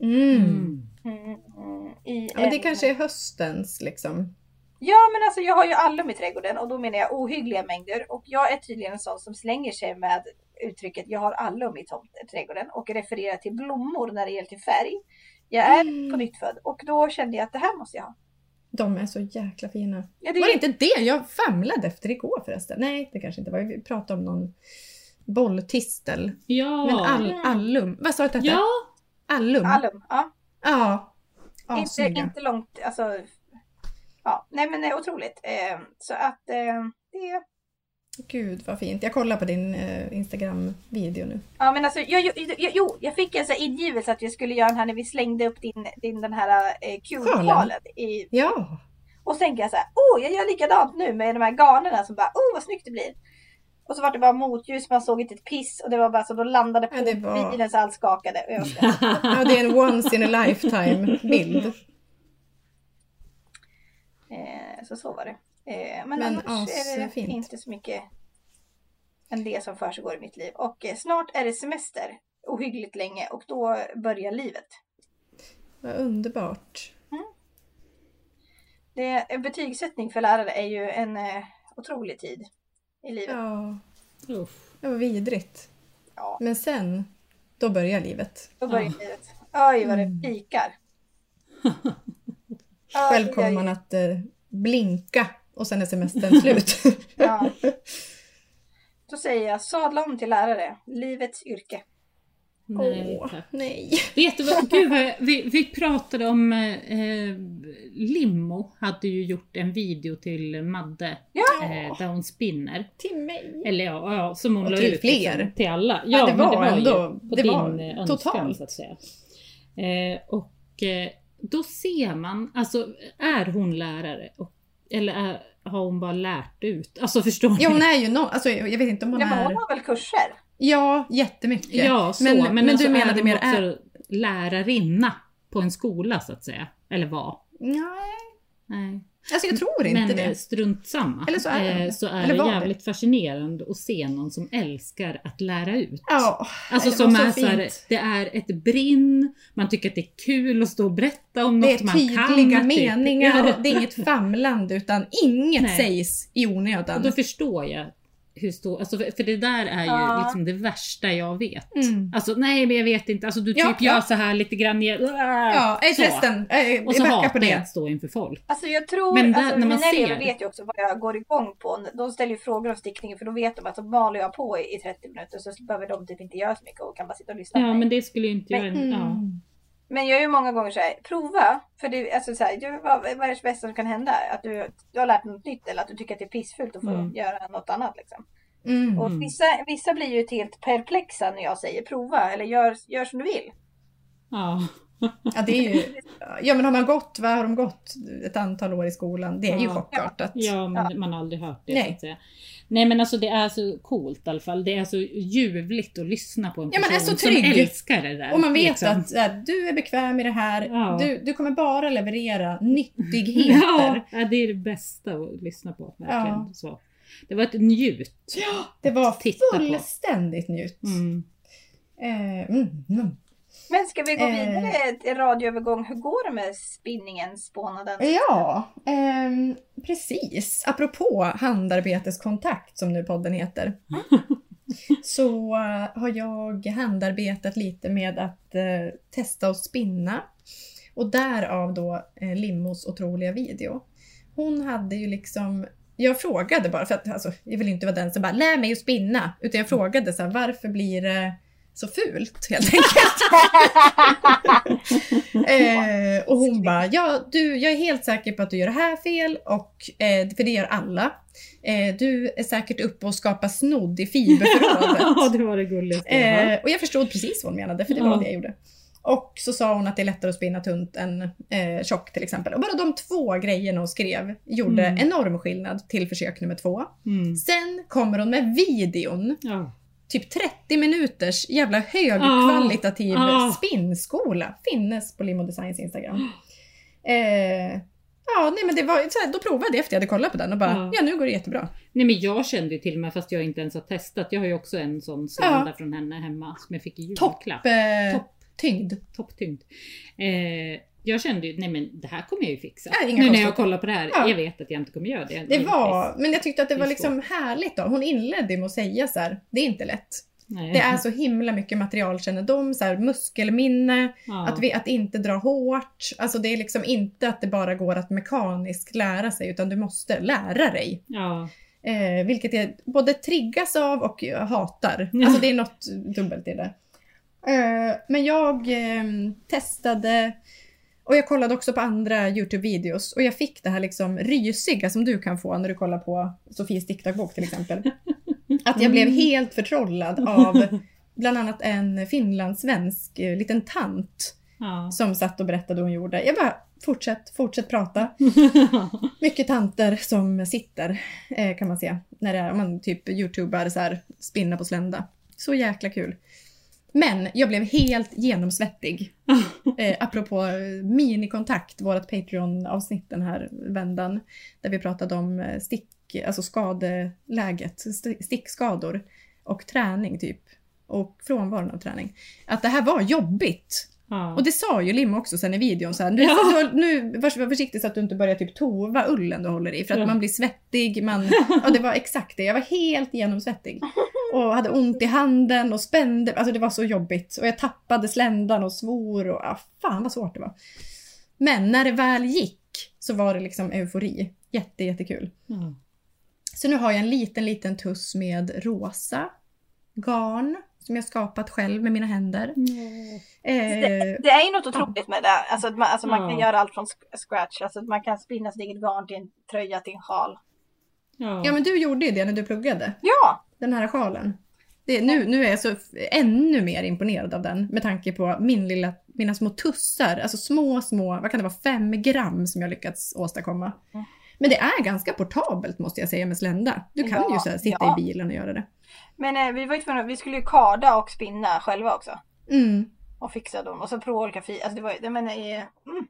Speaker 2: Mm.
Speaker 3: Mm.
Speaker 1: Mm, mm, i
Speaker 2: Ja, men det
Speaker 1: en-
Speaker 2: kanske är höstens liksom.
Speaker 1: Ja men alltså jag har ju allum i trädgården och då menar jag ohyggliga mängder och jag är tydligen en sån som slänger sig med uttrycket jag har allum i tomt- trädgården och refererar till blommor när det gäller till färg. Jag är
Speaker 2: Mm.
Speaker 1: på nytt född och då kände jag att det här måste jag ha.
Speaker 2: De är så jäkla fina.
Speaker 1: Ja, det
Speaker 2: Var det
Speaker 1: är
Speaker 2: inte det jag famlade efter igår förresten? Nej, det kanske inte var. Vi pratade om någon bolltistel.
Speaker 3: Ja.
Speaker 2: Men all, allum. Vad sa du att det hette?
Speaker 3: ja.
Speaker 2: Allum?
Speaker 1: allum. Ja.
Speaker 2: Ja. ja
Speaker 1: inte,
Speaker 2: snygga.
Speaker 1: inte långt, alltså. Ja, nej men det är otroligt. Eh, så att eh, det
Speaker 2: Gud vad fint. Jag kollar på din eh, Instagram-video nu.
Speaker 1: Ja men alltså, jag, jag, jag, jo, jag fick en sån här ingivelse att vi skulle göra den här när vi slängde upp din, din den här eh, kulpalen i
Speaker 2: Ja!
Speaker 1: Och så tänker jag så här, åh jag gör likadant nu med de här garnerna som bara, åh vad snyggt det blir. Och så var det bara motljus, man såg inte ett piss och det var bara så då landade på
Speaker 2: Ja, det var-
Speaker 1: bilen så allt skakade. Och jag bara,
Speaker 2: ja det är en once in a lifetime-bild.
Speaker 1: eh, så så var det. Eh, men,
Speaker 2: Men
Speaker 1: annars är det
Speaker 2: asfint.
Speaker 1: inte så mycket än det som försiggår i mitt liv. Och eh, snart är det semester, ohyggligt länge och då börjar livet.
Speaker 2: Vad underbart.
Speaker 1: Det, en betygssättning för lärare är ju en eh, otrolig tid i livet.
Speaker 2: Ja,
Speaker 3: Uff. [LAUGHS]
Speaker 2: det var vidrigt.
Speaker 1: Ja.
Speaker 2: Men sen, då börjar livet.
Speaker 1: Då börjar
Speaker 3: Ja.
Speaker 1: livet. Oj vad
Speaker 2: Mm.
Speaker 1: det pikar. Oj,
Speaker 2: Själv
Speaker 1: oj,
Speaker 2: kommer
Speaker 1: oj.
Speaker 2: man att eh, blinka och sen är semestern slut. [LAUGHS]
Speaker 1: Ja. Då säger jag sadla om till lärare, livets yrke.
Speaker 3: Nej,
Speaker 2: Åh,
Speaker 3: tack.
Speaker 2: nej.
Speaker 3: Vet du vad, gud vad jag, vi, vi pratade om eh, Limmo hade ju gjort en video till Madde
Speaker 1: Ja.
Speaker 3: eh, där hon spinner.
Speaker 2: Till mig.
Speaker 3: Eller ja, ja som hon
Speaker 2: Och
Speaker 3: la
Speaker 2: till
Speaker 3: ut
Speaker 2: fler.
Speaker 3: liksom, till alla. Ja,
Speaker 2: det
Speaker 3: men
Speaker 2: var
Speaker 3: ju
Speaker 2: ändå-
Speaker 3: på
Speaker 2: det
Speaker 3: din
Speaker 2: var
Speaker 3: eh, önskan
Speaker 2: totalt.
Speaker 3: så att säga. Eh, och eh, då ser man, alltså är hon lärare? Och, eller är, har hon bara lärt ut? Alltså förstår ni?
Speaker 2: Ja, hon är ju no- alltså, jag vet inte om hon
Speaker 1: Ja, men hon
Speaker 2: är...
Speaker 1: har väl kurser?
Speaker 2: Ja, jättemycket.
Speaker 3: Ja, så.
Speaker 2: Men-
Speaker 3: Men,
Speaker 2: men du
Speaker 3: alltså,
Speaker 2: menade
Speaker 3: är hon
Speaker 2: mer
Speaker 3: också lärarinna på en skola så att säga? Eller vad?
Speaker 2: Nej,
Speaker 3: Nej.
Speaker 2: alltså jag tror inte
Speaker 3: Men eh,
Speaker 2: det.
Speaker 3: strunt samma.
Speaker 2: Eller så är
Speaker 3: Eh,
Speaker 2: det.
Speaker 3: så är
Speaker 2: Eller
Speaker 3: det
Speaker 2: var det.
Speaker 3: jävligt fascinerande att se någon som älskar att lära ut.
Speaker 2: Ja,
Speaker 3: Alltså
Speaker 2: det
Speaker 3: som
Speaker 2: var så
Speaker 3: är så här,
Speaker 2: fint.
Speaker 3: det är ett brinn, man tycker att det är kul att stå och berätta om
Speaker 2: det är
Speaker 3: något man kan.
Speaker 2: tydliga
Speaker 3: typ.
Speaker 2: meningar,
Speaker 3: Ja.
Speaker 2: det är inget famlande utan inget
Speaker 3: Nej.
Speaker 2: sägs i onödan.
Speaker 3: Och då förstår jag hur stor, alltså för, för det där är ju
Speaker 1: Ja.
Speaker 3: liksom det värsta jag vet.
Speaker 2: Mm.
Speaker 3: Alltså nej men jag vet inte, alltså du typ
Speaker 2: Ja, ja.
Speaker 3: gör så här lite grann. Jag,
Speaker 2: Ja, äh,
Speaker 3: så.
Speaker 2: förresten, äh,
Speaker 3: Och så
Speaker 2: backa på
Speaker 3: hatar jag
Speaker 2: det.
Speaker 3: att stå inför folk.
Speaker 1: Alltså jag tror,
Speaker 3: Men där-
Speaker 1: alltså,
Speaker 3: när man
Speaker 1: mina elever
Speaker 3: ser-
Speaker 1: vet ju också vad jag går igång på. De ställer ju frågor om stickningen för då vet de att då maler jag på i i 30 minuter så behöver de typ inte göra så mycket och kan bara sitta och lyssna på
Speaker 3: Ja
Speaker 1: mig.
Speaker 3: men det skulle ju inte jag...
Speaker 1: Men-
Speaker 2: Mm.
Speaker 3: Ja.
Speaker 1: Men jag är ju många gånger så här, prova. För det, alltså så här, du, vad, vad är det bästa som kan hända? Att du, du har lärt dig något nytt eller att du tycker att det är pissfult att få
Speaker 3: Mm.
Speaker 1: göra något annat liksom.
Speaker 2: Mm.
Speaker 1: Och vissa, vissa blir ju helt perplexa när jag säger prova eller gör, gör som du vill.
Speaker 3: ja.
Speaker 2: Ja, det är ju, ja, men har man gått, vad har de gått ett antal år i skolan? Det är ju
Speaker 3: Ja.
Speaker 2: chockartat.
Speaker 3: Ja, men man har aldrig hört det.
Speaker 2: Nej.
Speaker 3: Nej. Så att säga. Nej men alltså det är så coolt i alla fall. Det är så ljuvligt att lyssna på en
Speaker 2: Ja,
Speaker 3: person
Speaker 2: man är så
Speaker 3: som
Speaker 2: trygg.
Speaker 3: älskar det där.
Speaker 2: Och man vet
Speaker 3: liksom.
Speaker 2: att så här, du är bekväm i det här,
Speaker 3: Ja.
Speaker 2: du, du kommer bara leverera
Speaker 3: [LAUGHS] Ja,
Speaker 2: nyttigheter.
Speaker 3: ja, det är det bästa att lyssna på. Verkligen.
Speaker 2: Ja.
Speaker 3: Så. Det var ett njut.
Speaker 2: Det var
Speaker 3: Titta på.
Speaker 2: Mm. fullständigt nytt.
Speaker 3: Mm.
Speaker 2: Eh, mm, mm.
Speaker 1: Men ska vi gå
Speaker 2: Eh.
Speaker 1: vidare till radioövergång? Hur går det med spinningen, spånaden?
Speaker 2: Ja, ehm, precis. Apropå handarbeteskontakt som nu podden
Speaker 3: [LAUGHS]
Speaker 2: heter. Så eh, har jag handarbetat lite med att eh, testa att spinna. Och därav då eh, Limmos otroliga video. Hon hade ju liksom... Jag frågade bara, för att alltså, jag vill inte vara den som bara lär mig att spinna. Utan jag frågade så här, varför blir det så fult helt enkelt? Eh, och hon bara, ja, du, jag är helt säker på att du gör det här fel, och, eh, för det gör alla. Eh, du är säkert uppe och skapar snodd i
Speaker 3: [LAUGHS] [LAUGHS] ja,
Speaker 2: fiberförrådet.
Speaker 3: det var det gulligaste jag har hört.
Speaker 2: eh, och jag förstod precis vad hon menade, för det
Speaker 3: Ja.
Speaker 2: var det jag gjorde. Och så sa hon att det är lättare att spinna tunt än eh, tjock till exempel. Och bara de två grejerna hon skrev gjorde
Speaker 3: Mm.
Speaker 2: enorm skillnad till försök nummer två.
Speaker 3: Mm.
Speaker 2: Sen kommer hon med videon,
Speaker 3: Ja.
Speaker 2: typ 30 minuters jävla högkvalitativ
Speaker 3: Ah.
Speaker 2: spinnskola finnes på Limo Designs Instagram. Eh, ja, nej men det var så här, då provade jag efter jag hade kollat på den och bara,
Speaker 3: Ja.
Speaker 2: ja nu går det jättebra.
Speaker 3: Nej men jag kände ju till och med, fast jag inte ens har testat, jag har ju också en sån slända från henne hemma som jag fick i
Speaker 2: Topp,
Speaker 3: julklapp.
Speaker 2: eh,
Speaker 3: Topp.
Speaker 2: tyngd.
Speaker 3: Topptyngd. Eh, jag kände ju, nej men det här kommer jag ju fixa.
Speaker 2: Ja, inga
Speaker 3: nu när jag
Speaker 2: konstigheter.
Speaker 3: kollar på det här,
Speaker 2: Ja.
Speaker 3: jag vet att jag inte kommer göra det.
Speaker 2: Det var, men jag tyckte att det
Speaker 3: Det är
Speaker 2: var liksom härligt då. Hon inledde med att säga så här, det är inte lätt.
Speaker 3: Nej.
Speaker 2: Det är så himla mycket materialkännedom, så här, muskelminne,
Speaker 3: [LAUGHS] Ja.
Speaker 2: Att, vi, att inte dra hårt. Alltså det är liksom inte att det bara går att mekaniskt lära sig utan du måste lära dig.
Speaker 3: Ja. [LAUGHS]
Speaker 2: Eh, vilket jag både triggas av och jag hatar.
Speaker 3: Ja.
Speaker 2: Alltså det är något dubbelt i det. Eh, men jag eh, testade och jag kollade också på andra Youtube-videos och jag fick det här liksom rysiga som du kan få när du kollar på Sofies diktdagbok till exempel. Att jag blev
Speaker 3: Mm.
Speaker 2: helt förtrollad av
Speaker 3: [LAUGHS]
Speaker 2: bland annat en finlandssvensk eh, liten tant
Speaker 3: Ja.
Speaker 2: som satt och berättade hon gjorde. Jag bara, fortsätt, fortsätt prata. Mycket tanter som sitter eh, kan man se. När det är, om man typ youtubar så här, spinna på slända. Så jäkla kul. Men jag blev helt genomsvettig. Eh, apropå eh, minikontakt, vårt Patreon-avsnitt den här vändan. Där vi pratade om eh, stick, alltså skadeläget, st- stickskador och träning typ. Och frånvaron av träning. Att det här var jobbigt.
Speaker 3: Ja.
Speaker 2: Och det sa ju Lim också sen i videon så här, nu,
Speaker 3: Ja.
Speaker 2: nu, nu var, var försiktig så att du inte börjar typ tova ullen du håller i för att
Speaker 3: Ja.
Speaker 2: man blir svettig,
Speaker 3: [LAUGHS]
Speaker 2: man, ja det var exakt det, jag var helt genomsvettig. Och hade ont i handen och spände, alltså det var så jobbigt. Och jag tappade sländan och svor och ah, fan vad svårt det var. Men när det väl gick så var det liksom eufori. Jätte, jättekul.
Speaker 3: Ja.
Speaker 2: Så nu har jag en liten, liten tuss med rosa garn som jag skapat själv med mina händer. Eh,
Speaker 1: Det, det är ju något otroligt med det. Alltså, att man, alltså, man kan
Speaker 3: Ja.
Speaker 1: göra allt från sc- scratch. Alltså, att man kan spinna sitt eget garn till en tröja, till en sjal.
Speaker 3: Ja.
Speaker 2: Ja men du gjorde ju det när du pluggade,
Speaker 1: Ja!
Speaker 2: den här sjalen. Det, nu, nu är jag så f- ännu mer imponerad av den med tanke på min lilla, mina små tussar, alltså små, små, vad kan det vara, fem gram som jag lyckats åstadkomma.
Speaker 1: Mm.
Speaker 2: Men det är ganska portabelt måste jag säga med slända. Du kan
Speaker 1: Ja,
Speaker 2: ju så här, sitta
Speaker 1: ja.
Speaker 2: i bilen och göra det.
Speaker 1: Men eh, vi var ju tvungna, vi skulle ju karda och spinna själva också.
Speaker 2: Mm.
Speaker 1: Och fixa dem. Och så prova olika fi... Alltså det var ju, jag menar, eh, mm.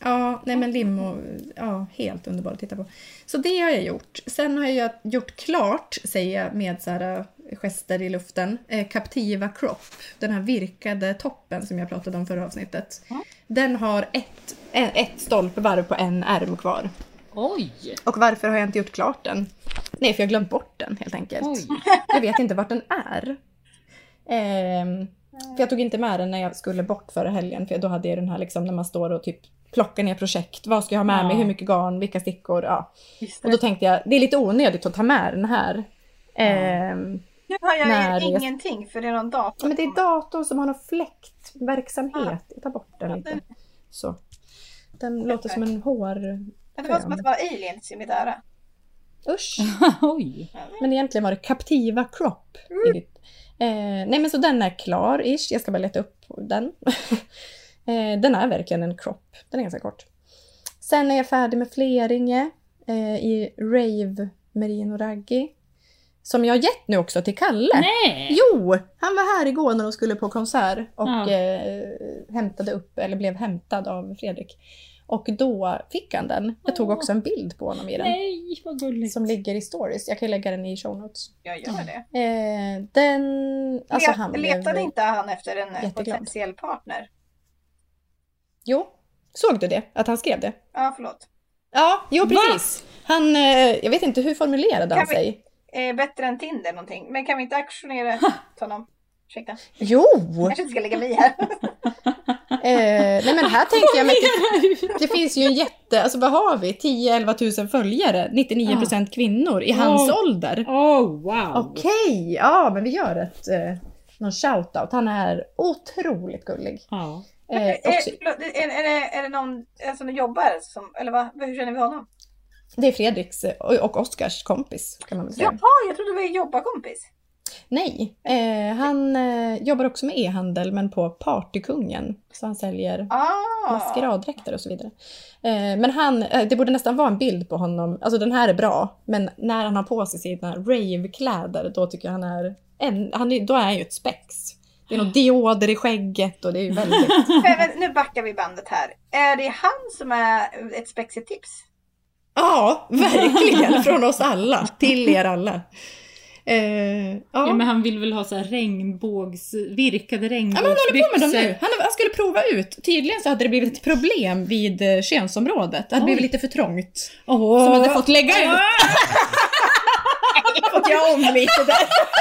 Speaker 2: Ja, nej men lim och, ja, helt underbart att titta på. Så det har jag gjort. Sen har jag gjort klart, säger jag med så här äh, gester i luften, eh, Captiva Crop. Den här virkade toppen som jag pratade om förra avsnittet.
Speaker 1: Mm.
Speaker 2: Den har ett, en, ett stolpvarv på en ärm kvar. [LAUGHS]
Speaker 3: Oj!
Speaker 2: Och varför har jag inte gjort klart den? Nej, för jag har glömt bort den helt enkelt.
Speaker 3: Oj!
Speaker 2: Jag vet inte vart den är. Ehm, för jag tog inte med den när jag skulle bort förra helgen, för då hade jag den här liksom när man står och typ plockar ner projekt. Vad ska jag ha med
Speaker 3: Ja.
Speaker 2: mig? Hur mycket garn? Vilka stickor? Ja.
Speaker 1: Just
Speaker 2: Och
Speaker 1: det.
Speaker 2: då tänkte jag, det är lite onödigt att ta med den här. Ehm,
Speaker 1: Nu har jag
Speaker 2: när
Speaker 1: ju
Speaker 2: jag-
Speaker 1: ingenting för det är någon dator.
Speaker 2: men det
Speaker 1: som-
Speaker 2: är datorn som har någon fläktverksamhet. Jag tar bort den lite. Så. Den låter som en hår...
Speaker 1: Men det var som att det var aliens i mitt öra.
Speaker 2: Usch!
Speaker 3: Oj!
Speaker 2: Men egentligen var det Captiva Crop.
Speaker 3: Mm.
Speaker 2: Eh, nej men så den är klar ish. Jag ska bara leta upp den. [LAUGHS] eh, den är verkligen en crop. Den är ganska kort. Sen är jag färdig med Fleringe eh, i Rave Merino Raggi. Som jag har gett nu också till Kalle.
Speaker 3: Nej!
Speaker 2: Jo! Han var här igår när de skulle på konsert och
Speaker 3: Ja.
Speaker 2: eh, hämtade upp, eller blev hämtad av Fredrik. Och då fick han den. Jag tog
Speaker 3: Åh.
Speaker 2: också en bild på honom i den.
Speaker 3: Nej, vad gulligt.
Speaker 2: Som ligger i stories. Jag kan ju lägga den i show notes.
Speaker 1: Jag gör det.
Speaker 2: Eh, den... Alltså han
Speaker 1: Let,
Speaker 2: blev-
Speaker 1: letade inte han efter en eh,
Speaker 2: jätteglad.
Speaker 1: potentiell partner?
Speaker 2: Jo. Såg du det? Att han skrev det?
Speaker 1: Ja, förlåt.
Speaker 2: Ja, jo
Speaker 3: Va?
Speaker 2: precis. Han, eh, jag vet inte hur formulerade han
Speaker 1: Kan vi-
Speaker 2: sig.
Speaker 1: Eh, bättre än Tinder någonting. Men kan vi inte auktionera
Speaker 2: [LAUGHS]
Speaker 1: ut honom? Ursäkta. [LAUGHS]
Speaker 2: Jo!
Speaker 1: Jag kanske inte ska lägga mig i här.
Speaker 2: Eh, nej men här tänkte jag, men det, det finns ju en jätte, alltså vad har vi? 10-11 000 följare, 99% kvinnor i hans
Speaker 3: Ja.
Speaker 2: ålder.
Speaker 3: [LAUGHS] Oh, wow!
Speaker 2: Okej, ja men vi gör ett, eh, någon shoutout. Han är otroligt gullig.
Speaker 3: Ja.
Speaker 2: Eh,
Speaker 1: Eh,
Speaker 2: också,
Speaker 1: förlåt, är, är, det, är det någon eh, som jobbar? Som, eller vad? hur känner vi honom?
Speaker 2: det är Fredriks eh, och, och Oskars kompis kan man väl säga.
Speaker 1: Jaha, jag trodde vi var jobbarkompis.
Speaker 2: Nej, eh, han eh, jobbar också med e-handel men på Partykungen. Så han säljer
Speaker 1: Ah.
Speaker 2: maskeraddräkter och så vidare. Eh, men han, eh, det borde nästan vara en bild på honom. Alltså den här är bra, men när han har på sig sina ravekläder då tycker jag han är, en, han är, då är han ju ett spex. Det är nog dioder i skägget och det är ju väldigt...
Speaker 1: Men, men, nu backar vi bandet här. Är det han som är ett spexigt tips?
Speaker 2: ja, verkligen! Från oss alla, till er alla. Eh, ja.
Speaker 3: Ja,
Speaker 2: ja,
Speaker 3: men han vill väl ha så här regnbågs... Virkade
Speaker 2: men han
Speaker 3: regnbågsbyxor.
Speaker 2: håller på med dem nu. Han, han skulle prova ut. Tydligen så hade det blivit ett problem vid eh, könsområdet. Det hade
Speaker 3: Oj.
Speaker 2: blivit lite för trångt.
Speaker 3: Åh.
Speaker 2: Som hade fått lägga [LAUGHS] ut. fått göra om lite där.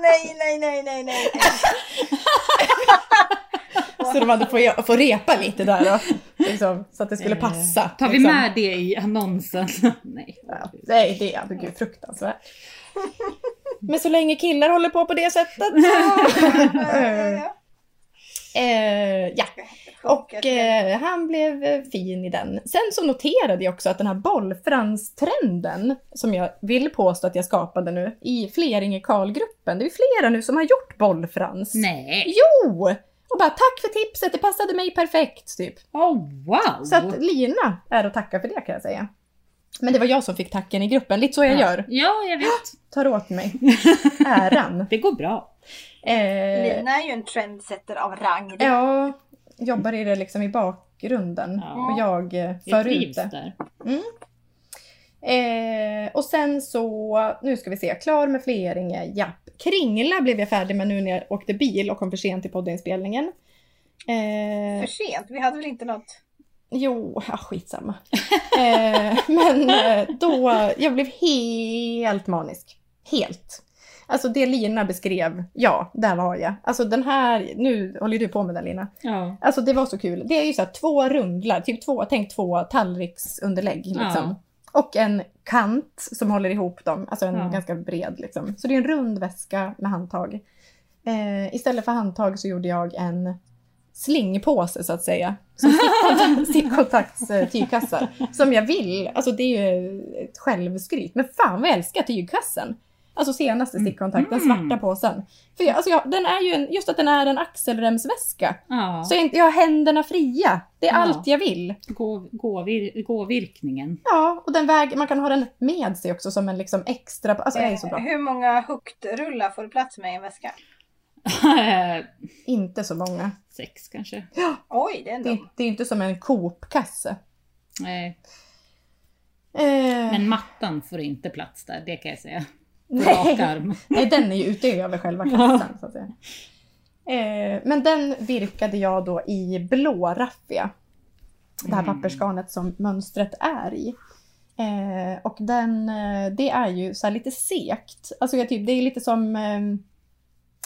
Speaker 1: Nej, nej, nej, nej, [LAUGHS] nej.
Speaker 2: [LAUGHS] Så de hade fått få repa lite där då. Liksom, så att det skulle
Speaker 3: Eh,
Speaker 2: passa.
Speaker 3: Tar vi
Speaker 2: liksom.
Speaker 3: med det i annonsen? [LAUGHS] Nej.
Speaker 2: Ja, nej, det är gud, fruktansvärt. [LAUGHS] Men så länge killar håller på på det sättet. [LAUGHS] eh, ja. Och eh, han blev eh, fin i den. Sen så noterade jag också att den här bollfranstrenden, som jag vill påstå att jag skapade nu, i Fleringe Karl-gruppen. Det är ju flera nu som har gjort bollfrans.
Speaker 3: Nej.
Speaker 2: Jo! Och bara tack för tipset, det passade mig perfekt, typ.
Speaker 3: Oh, wow!
Speaker 2: Så att Lina är att tacka för det kan jag säga. Men det var jag som fick tacken i gruppen, lite så jag gör.
Speaker 3: Ja, jag vet. [LAUGHS]
Speaker 2: Tar åt mig äran.
Speaker 3: Det går bra.
Speaker 2: Eh,
Speaker 1: Lina är ju en trendsetter av rang.
Speaker 2: jag jobbar i det liksom i bakgrunden
Speaker 3: Ja.
Speaker 2: och jag eh,
Speaker 3: Jag
Speaker 2: för ut
Speaker 3: trivs
Speaker 2: det.
Speaker 3: där.
Speaker 2: Mm. Eh, och sen så, nu ska vi se, klar med Fleringe, japp. Kringla blev jag färdig med nu när jag åkte bil och kom för sent till poddinspelningen. Eh,
Speaker 1: För sent, vi hade väl inte något...
Speaker 2: Jo, ja, skitsamma. eh, men eh, då, jag blev helt manisk. Helt. Alltså det Lina beskrev, ja, där var jag. Alltså den här, nu håller ju du på med den Lina.
Speaker 3: Ja.
Speaker 2: Alltså det var så kul. Det är ju så här två rundlar, typ två, tänk två tallriksunderlägg liksom. Och en kant som håller ihop dem, alltså en
Speaker 3: Ja.
Speaker 2: ganska bred liksom. Så det är en rund väska med handtag. Eh, istället för handtag så gjorde jag en slingpåse så att säga. Som
Speaker 3: [LAUGHS]
Speaker 2: sittkontakt- sittkontakts eh, tygkassar. Som jag vill, alltså det är ju ett självskryt. Men fan vad jag älskar tygkassen. Alltså senaste stickkontakten,
Speaker 3: Mm.
Speaker 2: svarta påsen. För jag, alltså jag, den är ju en, just att den är en axelremsväska.
Speaker 3: ja.
Speaker 2: Så jag, inte- jag har händerna fria. Det är
Speaker 3: Ja.
Speaker 2: allt jag vill.
Speaker 3: Gå, gåvir, gåvirkningen.
Speaker 2: Ja, och den väg, man kan ha den med sig också som en liksom extra... Alltså det är så
Speaker 1: Eh,
Speaker 2: bra.
Speaker 1: Hur många huktrullar får du plats med i en väska?
Speaker 2: Inte så många.
Speaker 3: [LAUGHS] Sex kanske.
Speaker 1: Oj, det är
Speaker 2: Det,
Speaker 1: ändå...
Speaker 2: det är inte som en Coop-kasse.
Speaker 3: Nej.
Speaker 2: Eh,
Speaker 3: Men mattan får inte plats där, det kan jag säga. På rak
Speaker 2: nej,
Speaker 3: arm.
Speaker 2: nej, den är ju utöver själva kassan. Så att säga. Eh, men den virkade jag då i blå raffia. Det här
Speaker 3: Mm.
Speaker 2: pappersgarnet som mönstret är i. Eh, och den, eh, det är ju så här lite sekt. Alltså jag typ, det är lite som eh,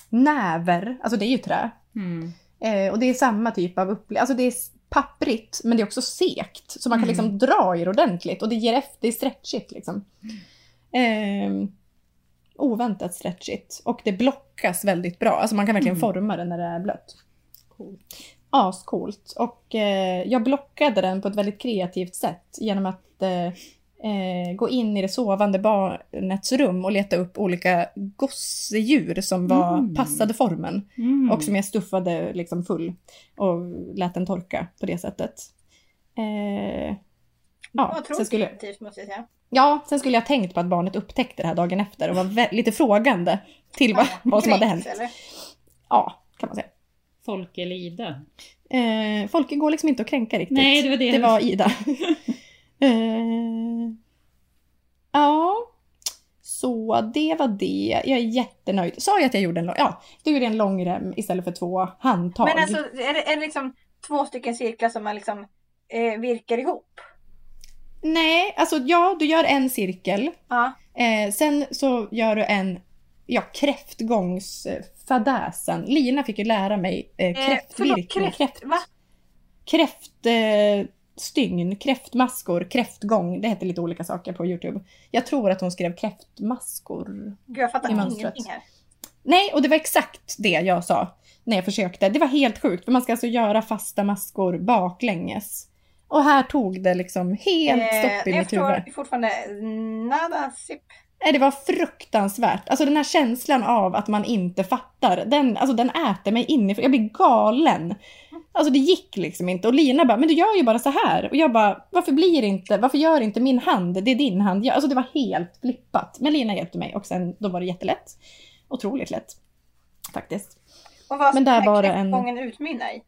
Speaker 2: näver, alltså det är ju trä.
Speaker 3: Mm.
Speaker 2: Eh, och det är samma typ av upplevelse. Alltså det är s- papprigt men det är också sekt. Så man kan
Speaker 3: Mm.
Speaker 2: liksom dra i det ordentligt och det ger efter, det är stretchigt liksom. Eh, oväntat stretchigt. Och det blockas väldigt bra. Alltså man kan verkligen
Speaker 3: Mm.
Speaker 2: forma det när det är blött. Ascoolt. Och eh, jag blockade den på ett väldigt kreativt sätt genom att eh, eh, gå in i det sovande barnets rum och leta upp olika gosedjur som var,
Speaker 3: Mm.
Speaker 2: passade formen.
Speaker 3: Mm.
Speaker 2: Och som jag stuffade liksom full och lät den torka på det sättet. Eh, ja, sen
Speaker 1: Otroligt
Speaker 2: skulle,
Speaker 1: effektivt måste jag säga.
Speaker 2: ja, sen skulle jag tänkt på att barnet upptäckte det här dagen efter och var vä- lite frågande till vad,
Speaker 1: Ja,
Speaker 2: vad som hade
Speaker 1: kränkt,
Speaker 2: hänt.
Speaker 1: eller?
Speaker 2: Ja, kan man säga.
Speaker 3: Folke eller Ida?
Speaker 2: Eh, Folke går liksom inte att kränka riktigt.
Speaker 3: Nej, det var det.
Speaker 2: Det var Ida.
Speaker 3: [LAUGHS]
Speaker 2: eh, ja, så det var det. Jag är jättenöjd. Sa jag att jag gjorde en lång... Ja, du gjorde en lång rem istället för två handtag.
Speaker 1: Men alltså är det, är det liksom två stycken cirklar som man liksom eh, virkar ihop?
Speaker 2: Nej, alltså ja, du gör en cirkel.
Speaker 1: Ja.
Speaker 2: Eh, sen så gör du en ja, kräftgångsfadäsen. Lina fick ju lära mig eh,
Speaker 1: Eh, förlåt,
Speaker 2: kräftvirkning.
Speaker 1: kräft,
Speaker 2: Kräft,
Speaker 1: va?
Speaker 2: kräftstygn, eh, stygn, kräftmaskor, kräftgång. Det heter lite olika saker på Youtube. Jag tror att hon skrev kräftmaskor.
Speaker 1: Gud, jag fattar
Speaker 2: I mönstret.
Speaker 1: ingenting här.
Speaker 2: Nej, och det var exakt det jag sa när jag försökte. Det var helt sjukt, för man ska alltså göra fasta maskor baklänges. Och här tog det liksom helt stopp i
Speaker 1: Eh, jag
Speaker 2: mitt huvud.
Speaker 1: förstår fortfarande nada sip.
Speaker 2: Nej, det var fruktansvärt. Alltså den här känslan av att man inte fattar, den, alltså, den äter mig inifrån. Jag blir galen. Alltså det gick liksom inte. Och Lina bara, men du gör ju bara så här. Och jag bara, varför blir det inte, varför gör inte min hand, det är din hand. Jag, alltså det var helt flippat. Men Lina hjälpte mig och sen, då var det jättelätt. Otroligt lätt. Faktiskt.
Speaker 1: Och vad
Speaker 2: Men
Speaker 1: ska
Speaker 2: där var det en-
Speaker 1: kräftgången utmynna i?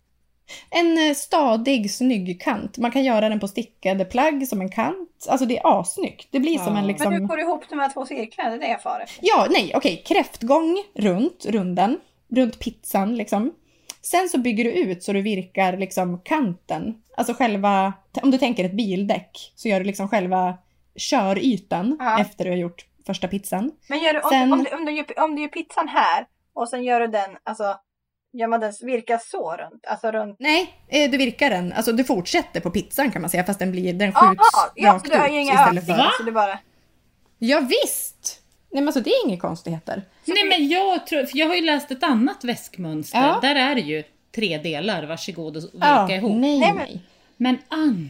Speaker 2: En eh, stadig, snygg kant. Man kan göra den på stickade plagg som en kant. Alltså det är assnyggt. Det blir som
Speaker 3: Ja.
Speaker 2: en
Speaker 1: Men
Speaker 2: liksom...
Speaker 1: hur går det ihop de här två cirklarna? Det är det jag far efter.
Speaker 2: Ja, nej, okej. Kräftgång runt runden, runt pizzan liksom. Sen så bygger du ut så du virkar liksom kanten. Alltså själva, t- om du tänker ett bildäck, så gör du liksom själva körytan
Speaker 1: Ja.
Speaker 2: efter du har gjort första pizzan.
Speaker 1: Men gör du, om,
Speaker 2: Sen-
Speaker 1: om, du, om, du gör, om du gör pizzan här och sen gör du den, alltså gör man den virkar så runt? Alltså runt?
Speaker 2: Nej, eh, du virkar den, alltså du fortsätter på pizzan kan man säga, fast den blir, den
Speaker 1: Jaha!
Speaker 2: skjuts
Speaker 1: Ja,
Speaker 2: rakt
Speaker 1: så du har
Speaker 2: ut
Speaker 1: ju inga
Speaker 2: istället för...
Speaker 1: öppningar så du bara...
Speaker 2: Ja, visst! Nej men alltså det är inga konstigheter.
Speaker 3: Nej men jag tror, för jag har ju läst ett annat väskmönster.
Speaker 2: Ja.
Speaker 3: Där är det ju tre delar, varsågod och virka
Speaker 2: Ja,
Speaker 3: ihop.
Speaker 2: Ah, nej,
Speaker 1: Nej,
Speaker 2: nej.
Speaker 1: men-
Speaker 3: Men Anna,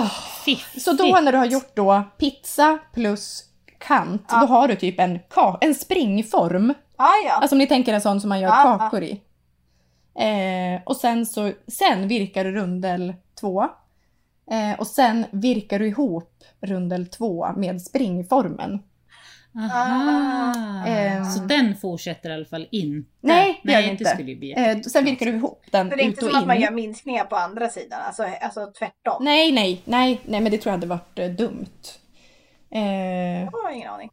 Speaker 2: Ah.
Speaker 3: fiffigt.
Speaker 2: Så då när du har gjort då pizza plus kant,
Speaker 1: Ja.
Speaker 2: då har du typ en, ka- en springform.
Speaker 1: Ja, ja.
Speaker 2: Alltså om ni tänker en sån som man gör
Speaker 1: Ja, ja.
Speaker 2: kakor i. Eh, och sen så, sen virkar du rundel två. Eh, och sen virkar du ihop rundel två med springformen.
Speaker 3: Aha.
Speaker 2: Eh.
Speaker 3: Så den fortsätter i alla fall inte.
Speaker 2: Nej, det gör den inte.
Speaker 3: skulle ju bli
Speaker 2: Eh, sen virkar du ihop den
Speaker 1: För det är
Speaker 2: ut
Speaker 1: inte
Speaker 2: och
Speaker 1: som att man gör
Speaker 2: in.
Speaker 1: minskningar på andra sidan, alltså, alltså tvärtom.
Speaker 2: Nej, nej, nej, nej, men det tror jag hade varit eh, dumt. Eh,
Speaker 1: Jag har ingen aning.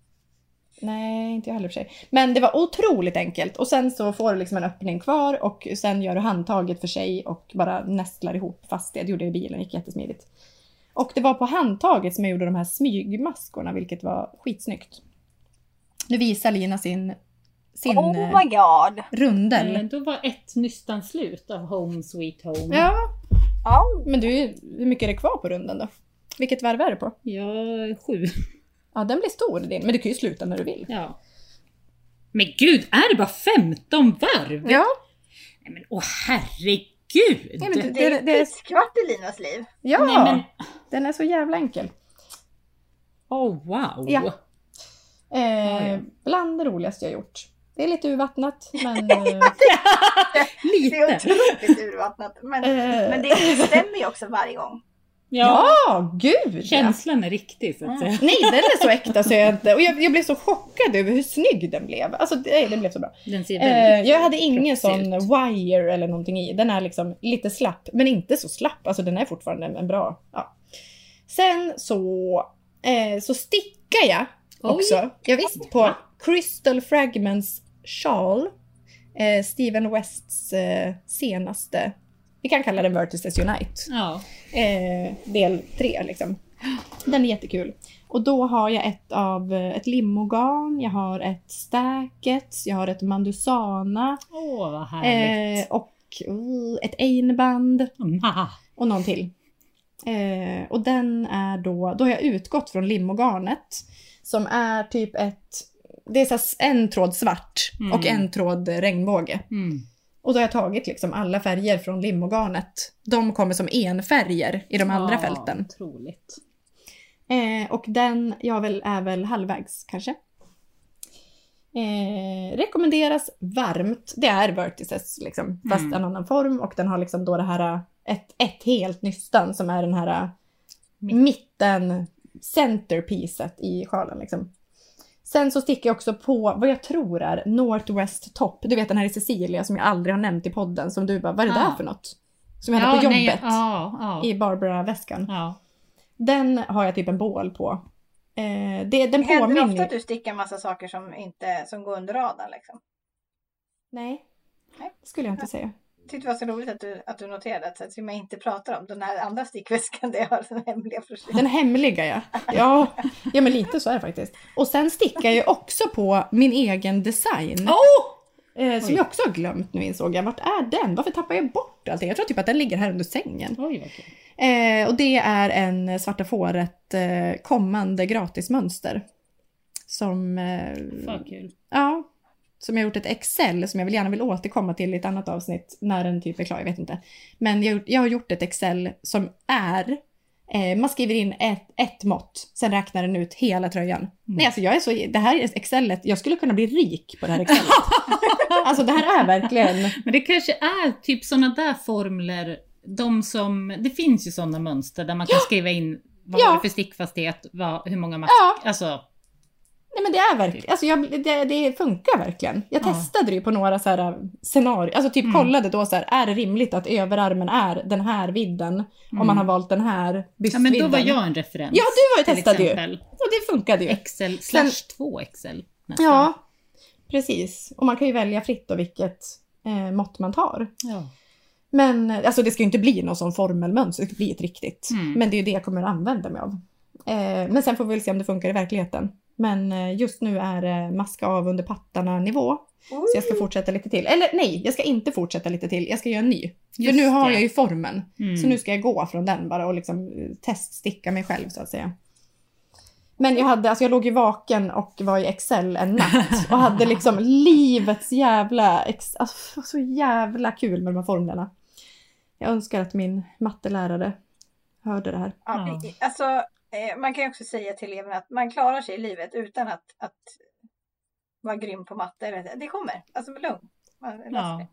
Speaker 2: Nej, inte jag heller i och för sig. Men det var otroligt enkelt. Och sen så får du liksom en öppning kvar och sen gör du handtaget för sig och bara nästlar ihop fast det. Det gjorde jag i bilen, gick jättesmidigt. Och det var på handtaget som jag gjorde de här smygmaskorna, vilket var skitsnyggt. Nu visar Lina sin, sin eh,
Speaker 1: Oh my god!
Speaker 2: rundel.
Speaker 3: Eh, Då var ett nystan slut av Home Sweet Home.
Speaker 2: Ja,
Speaker 1: Oh.
Speaker 2: men du, hur mycket är det kvar på runden då? Vilket varv är det på?
Speaker 3: Ja, sju.
Speaker 2: Ja, den blir stor din, men du kan ju sluta när du vill.
Speaker 3: Ja. Men gud, är det bara 15 varv?
Speaker 2: Ja,
Speaker 3: Nej men åh herregud!
Speaker 2: Nej, men du-
Speaker 1: Det är
Speaker 2: Det-
Speaker 1: en
Speaker 2: det är-
Speaker 1: pisskvart i Linas liv.
Speaker 2: ja.
Speaker 3: Nej, men-
Speaker 2: den är så jävla enkel.
Speaker 3: Oh wow!
Speaker 2: Ja.
Speaker 3: Ja, ja.
Speaker 2: Eh, bland det roligaste jag gjort. Det är lite urvattnat, men... Eh,
Speaker 1: Det är
Speaker 3: Lite!
Speaker 1: otroligt urvattnat. Men,
Speaker 2: eh,
Speaker 1: men det stämmer ju också varje gång.
Speaker 3: Ja,
Speaker 2: ja, gud! ja.
Speaker 3: känslan är riktig så att säga.
Speaker 2: Nej, den är så äkta så jag inte... Och jag, jag blev så chockad över hur snygg den blev. Alltså, det, den blev så bra.
Speaker 3: Den ser
Speaker 2: Eh,
Speaker 3: väldigt
Speaker 2: jag hade ingen
Speaker 3: proffsig
Speaker 2: sån
Speaker 3: ut.
Speaker 2: wire eller någonting i. Den är liksom lite slapp, men inte så slapp. Alltså den är fortfarande en, en bra... Ja. Sen så, eh, så stickar jag
Speaker 3: Oj.
Speaker 2: också. Jag visst på Crystal Fragments Shawl. Eh, Steven Wests eh, senaste, vi kan kalla den Vertices Unite
Speaker 3: Ja.
Speaker 2: eh, del tre. Liksom. Den är jättekul. Och då har jag ett av eh, ett limogarn, jag har ett stäket, jag har ett mandusana
Speaker 3: Åh vad härligt! Mm.
Speaker 2: eh, och uh, ett einband
Speaker 3: Ma.
Speaker 2: och någon till. Eh, och den är då, då har jag utgått från limogarnet som är typ ett, det är så här s- en tråd svart och
Speaker 3: Mm.
Speaker 2: en tråd eh, regnbåge.
Speaker 3: Mm.
Speaker 2: Och då har jag tagit liksom alla färger från limogarnet. De kommer som enfärger i de andra
Speaker 3: Ja,
Speaker 2: fälten.
Speaker 3: Ah, Otroligt.
Speaker 2: Eh, och den, jag väl, är väl halvvägs kanske. Eh, rekommenderas varmt. Det är Vertices liksom, fast
Speaker 3: Mm.
Speaker 2: en annan form och den har liksom då det här eh, ett, ett helt nystan som är den här eh,
Speaker 3: Mitt.
Speaker 2: mitten centerpiecet i sjalen liksom. Sen så sticker jag också på vad jag tror är Northwest Top. Du vet den här i Cecilia som jag aldrig har nämnt i podden som du bara, vad är det
Speaker 3: Ah.
Speaker 2: där för något? Som jag hade på
Speaker 3: nej,
Speaker 2: jobbet
Speaker 3: ja,
Speaker 2: i
Speaker 3: ja,
Speaker 2: Barbara-väskan.
Speaker 3: ja.
Speaker 2: Den har jag typ en bål på. Eh, det, den
Speaker 1: Händer det
Speaker 2: påminner...
Speaker 1: ofta att du stickar massa saker som, inte, som går under radarn? Liksom?
Speaker 2: Nej.
Speaker 1: Nej.
Speaker 2: Det skulle jag inte säga.
Speaker 1: Jag tyckte det var så roligt att du, att du noterade att, så att jag inte pratar om den här andra stickväskan [LAUGHS] där jag har den hemliga broschyren.
Speaker 2: Den hemliga ja. ja. Ja men lite så är det faktiskt. Och sen stickar jag ju också på min egen design.
Speaker 3: Oh!
Speaker 2: eh, som
Speaker 3: oj.
Speaker 2: jag också har glömt nu insåg jag. Vart är den? Varför tappar jag bort allting? Jag tror typ att den ligger här under sängen.
Speaker 3: Oj, vad kul.
Speaker 2: Eh, och det är en Svarta Fåret eh, kommande gratismönster. Som, eh,
Speaker 3: Fan kul.
Speaker 2: ja, som jag har gjort ett Excel som jag vill gärna vill återkomma till i ett annat avsnitt när den typ är klar, jag vet inte. Men jag, har gjort- jag har gjort ett Excel som är, eh, man skriver in ett, ett mått, sen räknar den ut hela tröjan.
Speaker 3: Mm.
Speaker 2: Nej alltså jag är så, det här Excelet, jag skulle kunna bli rik på det här
Speaker 3: [LAUGHS]
Speaker 2: Excelet. alltså det här är verkligen,
Speaker 3: Men det kanske är typ sådana där formler, de som, det finns ju sådana mönster där man kan skriva in vad
Speaker 2: Ja.
Speaker 3: det är för stickfasthet, vad, hur många mask,
Speaker 2: Ja.
Speaker 3: alltså
Speaker 2: Nej men det är verkligen, alltså jag, det, det funkar verkligen. Jag
Speaker 3: Ja.
Speaker 2: testade det ju på några så här scenarier, alltså typ
Speaker 3: Mm.
Speaker 2: kollade då så här, är det rimligt att överarmen är den här vidden om man har valt den här
Speaker 3: mm. Ja
Speaker 2: bystvidden?
Speaker 3: men då var jag en referens.
Speaker 2: Ja, du var ju
Speaker 3: till
Speaker 2: testad ju.
Speaker 3: exempel.
Speaker 2: Och det funkade ju.
Speaker 3: Excel slash 2 Excel. nästan.
Speaker 2: Ja, precis. Och man kan ju välja fritt då vilket eh, mått man tar.
Speaker 3: ja.
Speaker 2: Men eh, alltså det ska ju inte bli någon sån formelmönster, det ska bli ett riktigt.
Speaker 3: Mm.
Speaker 2: Men det är ju det jag kommer att använda mig av. Eh, men sen får vi väl se om det funkar i verkligheten. Men eh, just nu är eh, maska av under pattarna nivå. Så jag ska
Speaker 3: Mm.
Speaker 2: fortsätta lite till. Eller nej, jag ska inte fortsätta lite till. Jag ska göra en ny. För
Speaker 3: Just
Speaker 2: nu har
Speaker 3: det.
Speaker 2: jag ju formen.
Speaker 3: Mm.
Speaker 2: Så nu ska jag gå från den bara och liksom eh, teststicka mig själv så att säga. Men jag, hade, alltså jag låg ju vaken och var i Excel en
Speaker 3: [LAUGHS]
Speaker 2: natt och hade liksom livets jävla... Ex, alltså, så jävla kul med de här formlerna. Jag önskar att min mattelärare hörde det här.
Speaker 1: Ja, i- i- alltså, eh, man kan ju också säga till eleverna att man klarar sig i livet utan att, att vara grym på matte. eller- Det kommer, alltså med lugn. Man löser
Speaker 3: Ja.
Speaker 1: det.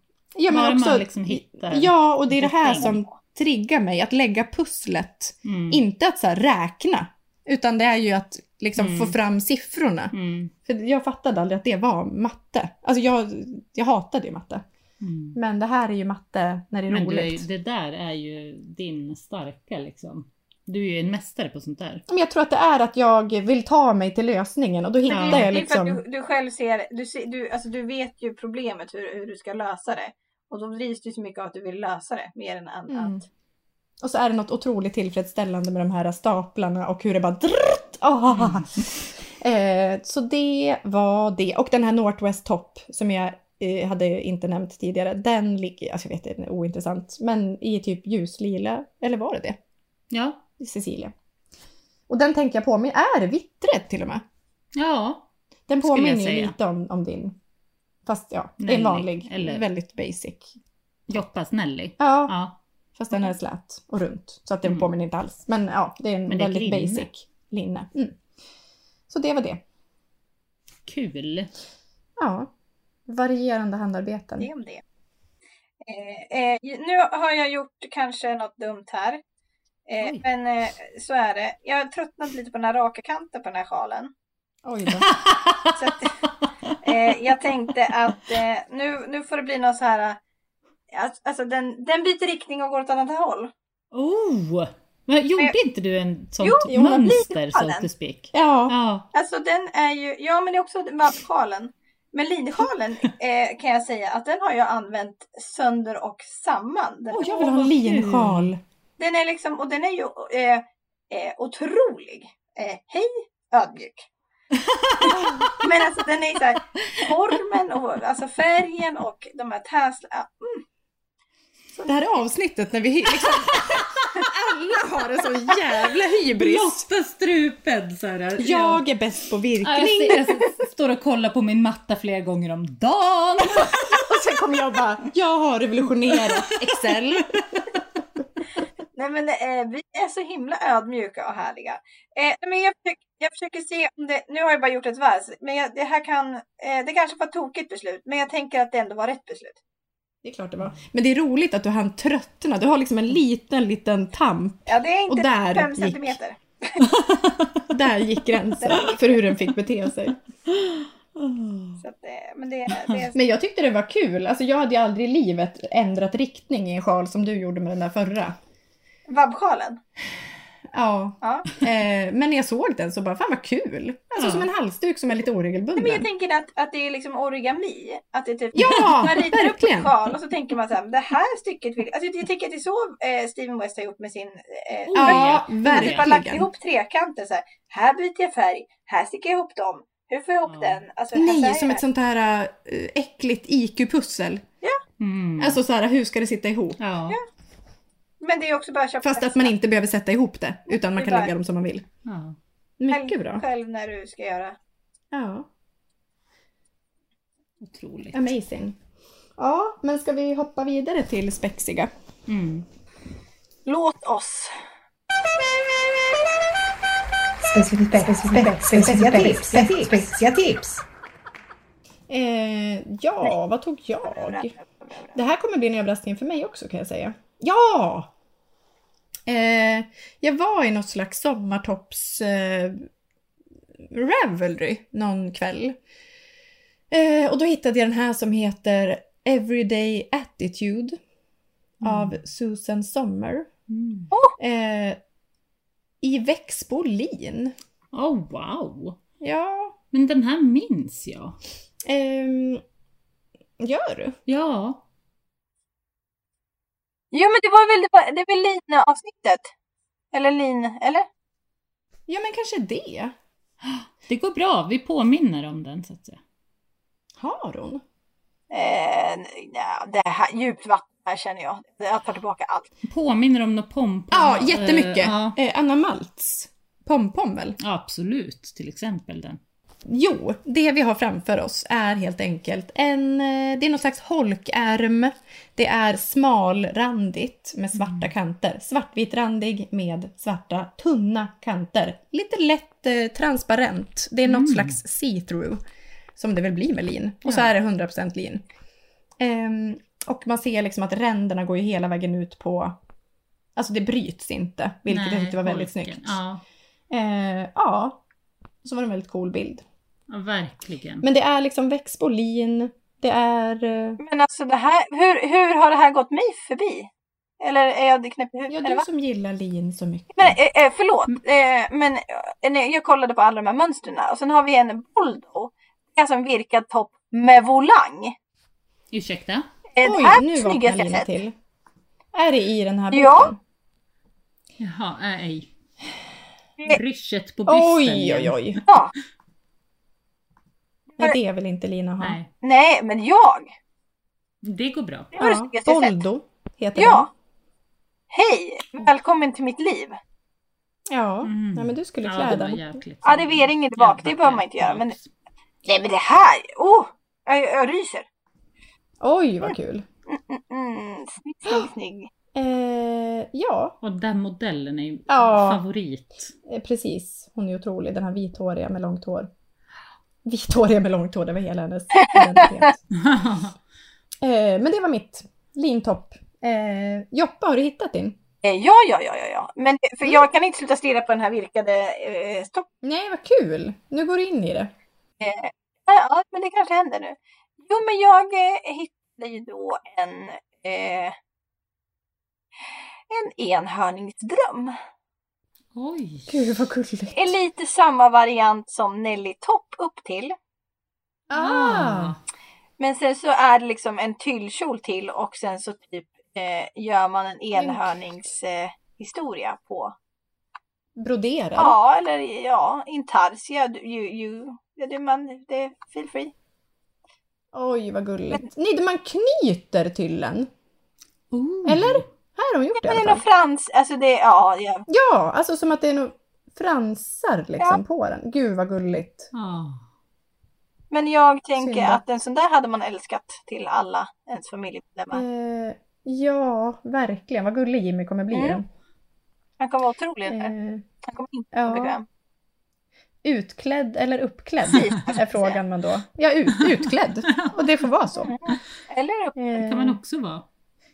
Speaker 2: Ja,
Speaker 3: Bara man liksom hittar
Speaker 2: Ja, och det är det här
Speaker 3: det
Speaker 2: som triggar mig, att lägga pusslet.
Speaker 3: Mm.
Speaker 2: Inte att så här räkna, utan det är ju att liksom
Speaker 3: Mm.
Speaker 2: få fram siffrorna.
Speaker 3: Mm.
Speaker 2: För jag fattade aldrig att det var matte. Alltså jag, jag hatade ju matte.
Speaker 3: Mm.
Speaker 2: Men det här är ju matte när det är
Speaker 3: Men du, är ju-
Speaker 2: roligt.
Speaker 3: det där är ju din starka liksom. Du är ju en mästare på sånt där.
Speaker 2: Men jag tror att det är att jag vill ta mig till lösningen och då
Speaker 1: Men
Speaker 2: hittar
Speaker 1: det, är-
Speaker 2: jag
Speaker 1: det är för att
Speaker 2: liksom...
Speaker 1: du, du själv ser, du, ser du, alltså, du vet ju problemet hur, hur du ska lösa det. Och då drivs du så mycket av att du vill lösa det mer än att...
Speaker 2: Mm.
Speaker 1: att
Speaker 2: Och så är det något otroligt tillfredsställande med de här staplarna och hur det bara drrrt, ah.
Speaker 3: Mm.
Speaker 2: eh, Så det var det. Och den här Northwest Top som jag eh, hade inte nämnt tidigare, den ligger, alltså jag vet det är ointressant, men i typ ljuslila, eller var det det?
Speaker 3: Ja.
Speaker 2: I Cecilia. Och den tänker jag på, men är det vittret till och med?
Speaker 3: Ja.
Speaker 2: Den
Speaker 3: Skulle jag
Speaker 2: påminner ju
Speaker 3: säga.
Speaker 2: lite om, om din. Fast ja, det är
Speaker 3: Nelly,
Speaker 2: en vanlig,
Speaker 3: eller-
Speaker 2: väldigt basic.
Speaker 3: Joppas Nelly.
Speaker 2: Ja,
Speaker 3: Ja.
Speaker 2: fast den är slät och runt. Så att den
Speaker 3: Mm.
Speaker 2: påminner inte alls. Men ja, det är en
Speaker 3: Men det är ett
Speaker 2: väldigt
Speaker 3: linne.
Speaker 2: basic linne. Mm. Så det var det.
Speaker 3: Kul.
Speaker 2: Ja. Varierande handarbeten.
Speaker 1: det om det. Eh, eh, nu har jag gjort kanske något dumt här. Eh,
Speaker 3: Oj.
Speaker 1: men eh, så är det. Jag har tröttnat lite på den här raka kanten på den här sjalen.
Speaker 2: Oj då.
Speaker 1: Så att, eh, jag tänkte att eh, nu, nu får det bli någon så här... eh, att- Alltså den, den byter riktning och går åt annat håll.
Speaker 3: Oh! Men gjorde inte du en sånt
Speaker 2: jo, men
Speaker 3: mönster
Speaker 1: lite på
Speaker 3: så
Speaker 1: den.
Speaker 3: to speak? [LAUGHS]
Speaker 2: Ja.
Speaker 3: Ja.
Speaker 1: Alltså den är ju... Ja men det är också vabbsjalen. Men
Speaker 2: [LAUGHS]
Speaker 1: linsjalen eh, kan jag säga att den har jag använt sönder och samman. Den,
Speaker 2: Åh, jag vill ha en
Speaker 3: vad kul.
Speaker 2: linsjal.
Speaker 1: den är liksom... Och den är ju eh, eh, otrolig. Eh, hej
Speaker 2: [LAUGHS]
Speaker 1: ödmjuk. men alltså den är ju så här, formen och alltså färgen och de här täsla...
Speaker 2: Det här är avsnittet när vi... Liksom, alla har en sån jävla [LAUGHS] hybris.
Speaker 3: Lotta strupen så här.
Speaker 2: Jag är bäst på
Speaker 3: Ja, jag,
Speaker 2: virkning.
Speaker 3: ser, jag s- står och kollar på min matta flera gånger om dagen.
Speaker 2: [LAUGHS] Och sen kommer jag bara, jag har revolutionerat Excel.
Speaker 1: Nej men eh, vi är så himla ödmjuka och härliga. Eh, nej, men jag, försöker, jag försöker se om det, nu har jag bara gjort ett varv, men jag, det här kan, eh, det kanske var ett tokigt beslut, men jag tänker att det ändå var rätt beslut.
Speaker 2: Det är klart det var. Men det är roligt att du hann tröttna. Du har liksom en liten, liten tamp.
Speaker 1: Ja det är
Speaker 2: Och
Speaker 1: inte
Speaker 2: där
Speaker 1: fem
Speaker 2: gick-
Speaker 1: centimeter.
Speaker 2: Där gick gränsen för hur den fick bete sig.
Speaker 1: Så att, eh, men det, det är...
Speaker 2: Men jag tyckte det var kul. Alltså jag hade ju aldrig i livet ändrat riktning i en sjal som du gjorde med den där förra.
Speaker 1: Vabbsjalen.
Speaker 2: Ja.
Speaker 1: Ja.
Speaker 2: Eh, men när jag såg den så bara, fan vad kul! Alltså
Speaker 3: Ja.
Speaker 2: som en halsduk som är lite oregelbunden.
Speaker 1: Men jag tänker att, att det är liksom origami. Att det är typ,
Speaker 2: Ja,
Speaker 1: [LAUGHS] man ritar upp
Speaker 2: verkligen.
Speaker 1: en sjal och så tänker man så här, det här stycket vill alltså, jag. tänker att det är så eh, Steven West har gjort med sin eh,
Speaker 2: Ja,
Speaker 1: Att typ har lagt
Speaker 2: verkligen.
Speaker 1: ihop trekanter så här. Här byter jag färg, här sticker jag ihop dem. Hur får jag ihop
Speaker 3: Ja.
Speaker 1: den? Alltså, här
Speaker 2: Nej,
Speaker 1: färgen.
Speaker 2: som ett sånt här eh, äckligt IQ-pussel.
Speaker 3: Mm.
Speaker 2: Alltså så här, hur ska det sitta ihop?
Speaker 3: ja.
Speaker 1: Men det är också bara att köpa
Speaker 2: Fast att man inte behöver sätta ihop det, utan man
Speaker 1: Det är
Speaker 2: kan
Speaker 1: bara-
Speaker 2: lägga dem som man vill.
Speaker 3: ja.
Speaker 2: Mycket bra.
Speaker 1: själv när du ska göra.
Speaker 2: Ja,
Speaker 3: Otroligt.
Speaker 2: amazing. Ja, men ska vi hoppa vidare till spexiga?
Speaker 3: Mm.
Speaker 1: Låt oss.
Speaker 4: Specifica tips, specifica tips, specifica tips.
Speaker 2: Eh, ja, vad tog jag? Det här kommer bli en överraskning för mig också kan jag säga. Ja! Eh, jag var i något slags sommartopps eh, Ravelry någon kväll. Eh, och då hittade jag den här som heter Everyday Attitude av Susan Sommer.
Speaker 3: Mm.
Speaker 2: Eh, I Växbo Lin.
Speaker 3: Oh, wow!
Speaker 2: Ja,
Speaker 3: Men den här minns jag.
Speaker 2: ehm, gör du?
Speaker 3: Ja.
Speaker 1: Jo men det var väl, det var, det var lin-avsnittet? Eller lin, eller?
Speaker 2: Ja, men kanske det.
Speaker 3: Det går bra, vi påminner om den så att säga.
Speaker 2: Har hon?
Speaker 1: Eh, nja, det här, djupt vatten här känner jag. Jag tar tillbaka allt.
Speaker 3: Påminner om något pompom.
Speaker 2: Ja, jättemycket.
Speaker 3: Eh, ja.
Speaker 2: Eh, Anna Maltz. Pompom väl?
Speaker 3: Ja, absolut, till exempel den.
Speaker 2: Jo, det vi har framför oss är helt enkelt en... eh, Det är någon slags holkärm. Det är smalrandigt med svarta
Speaker 3: Mm.
Speaker 2: kanter. Svartvitrandig med svarta tunna kanter. Lite lätt eh, transparent. Det är något slags see-through. Som det väl blir med lin. Och så
Speaker 3: Mm. Ja.
Speaker 2: är det 100% lin. Ehm, och man ser liksom att ränderna går ju hela vägen ut på... Alltså det bryts inte, vilket jag
Speaker 3: Nej,
Speaker 2: tyckte var väldigt
Speaker 3: holken.
Speaker 2: snyggt.
Speaker 3: Ja,
Speaker 2: Eh, ja. Så var det en väldigt cool bild.
Speaker 3: ja, verkligen.
Speaker 2: Men det är liksom växtbolin, det är... eh,
Speaker 1: Men alltså det här, hur, hur har det här gått mig förbi? Eller är jag knäpp i huvudet?
Speaker 2: Ja,
Speaker 1: eller
Speaker 2: du
Speaker 1: vad?
Speaker 2: som gillar lin så mycket.
Speaker 1: Men, eh, eh, förlåt,
Speaker 2: Mm.
Speaker 1: eh, men eh, nej, jag kollade på alla de här mönstren och sen har vi en boldo. Det är alltså en virkad topp med volang.
Speaker 3: Ursäkta?
Speaker 1: Eh, det
Speaker 2: Oj,
Speaker 1: här är
Speaker 2: nu
Speaker 1: det
Speaker 2: vaknar
Speaker 1: snyggaste jag
Speaker 2: Lina
Speaker 1: sett.
Speaker 2: till. Är det i den här boken?
Speaker 1: Ja.
Speaker 3: Jaha, nej.
Speaker 1: Det-
Speaker 3: Ryschet på bysten
Speaker 2: Oj,
Speaker 3: igen.
Speaker 2: oj, oj.
Speaker 1: Ja,
Speaker 2: Nej, det vill inte Lina ha.
Speaker 3: Nej,
Speaker 1: nej, men jag.
Speaker 3: det går bra.
Speaker 1: Det var det snyggaste jag sett.
Speaker 2: Boldo heter
Speaker 1: Ja. Hej, välkommen till mitt liv.
Speaker 2: den. Ja.
Speaker 3: Mm.
Speaker 2: ja, men du skulle
Speaker 3: Ja,
Speaker 2: klä
Speaker 3: det var
Speaker 2: den.
Speaker 3: jäkligt.
Speaker 1: Ja, det är inget bak, det behöver man inte göra. Men nej, men det här, oh, jag, jag ryser.
Speaker 2: Oj, vad kul.
Speaker 1: Mm, snygg, snygg, snygg.
Speaker 2: Eh, ja,
Speaker 3: Och den modellen är ju
Speaker 2: Ja.
Speaker 3: favorit. [LAUGHS]
Speaker 2: eh, precis. Hon är otrolig, den här vithåriga med långt hår. Vithåriga med långt hår, det var
Speaker 1: [LAUGHS]
Speaker 2: hela hennes identitet. Eh, men det var mitt lintopp. Eh, Joppa, har du hittat din?
Speaker 1: Eh, Ja, ja, ja, ja, ja. Men det-
Speaker 2: Mm.
Speaker 1: för jag kan inte sluta stirra på den här virkade eh, stopp.
Speaker 2: Nej, vad kul! Nu går du in i det.
Speaker 1: Eh, ja, men det kanske händer nu. Jo, men jag eh, hittade ju då en, eh, en enhörningsdröm.
Speaker 3: Oj.
Speaker 2: Gud, vad gulligt.
Speaker 1: Är lite samma variant som Nelly Topp upp till.
Speaker 2: Ah!
Speaker 1: Men sen så är det liksom en tyllkjol till och sen så typ eh, gör man en enhörningshistoria eh, historia på.
Speaker 2: Broderad.
Speaker 1: Ja, eller ja, intarsia. du- You, you, ja, det, man, det, feel free.
Speaker 2: Oj, vad gulligt. Nej, man knyter tyllen.
Speaker 3: Ooh.
Speaker 2: Eller? Här har hon gjort det
Speaker 1: Mm. Men
Speaker 2: i
Speaker 1: det är
Speaker 2: alla
Speaker 1: nog
Speaker 2: fall.
Speaker 1: frans, alltså det, ja, ja.
Speaker 2: Ja, alltså som att det är nog fransar liksom på den. Gud, vad gulligt.
Speaker 3: Ja.
Speaker 1: Men jag tänker
Speaker 2: Synd.
Speaker 1: att en sån där hade man älskat till alla ens familjemedlemmar.
Speaker 2: Eh, ja, verkligen. Vad gullig Jimmy kommer bli i
Speaker 1: Mm.
Speaker 2: den.
Speaker 1: Han kommer vara otrolig.
Speaker 2: Eh,
Speaker 1: Han kommer inte
Speaker 2: ja.
Speaker 1: vara bekväm.
Speaker 2: utklädd eller uppklädd
Speaker 1: Precis, vad jag
Speaker 2: är
Speaker 1: ska säga.
Speaker 2: frågan man då. Ja, ut,
Speaker 1: [LAUGHS]
Speaker 2: utklädd. Och det får vara så.
Speaker 1: Mm.
Speaker 2: Eh,
Speaker 1: Eller
Speaker 2: [LAUGHS]
Speaker 1: upp.
Speaker 3: Det kan man också vara.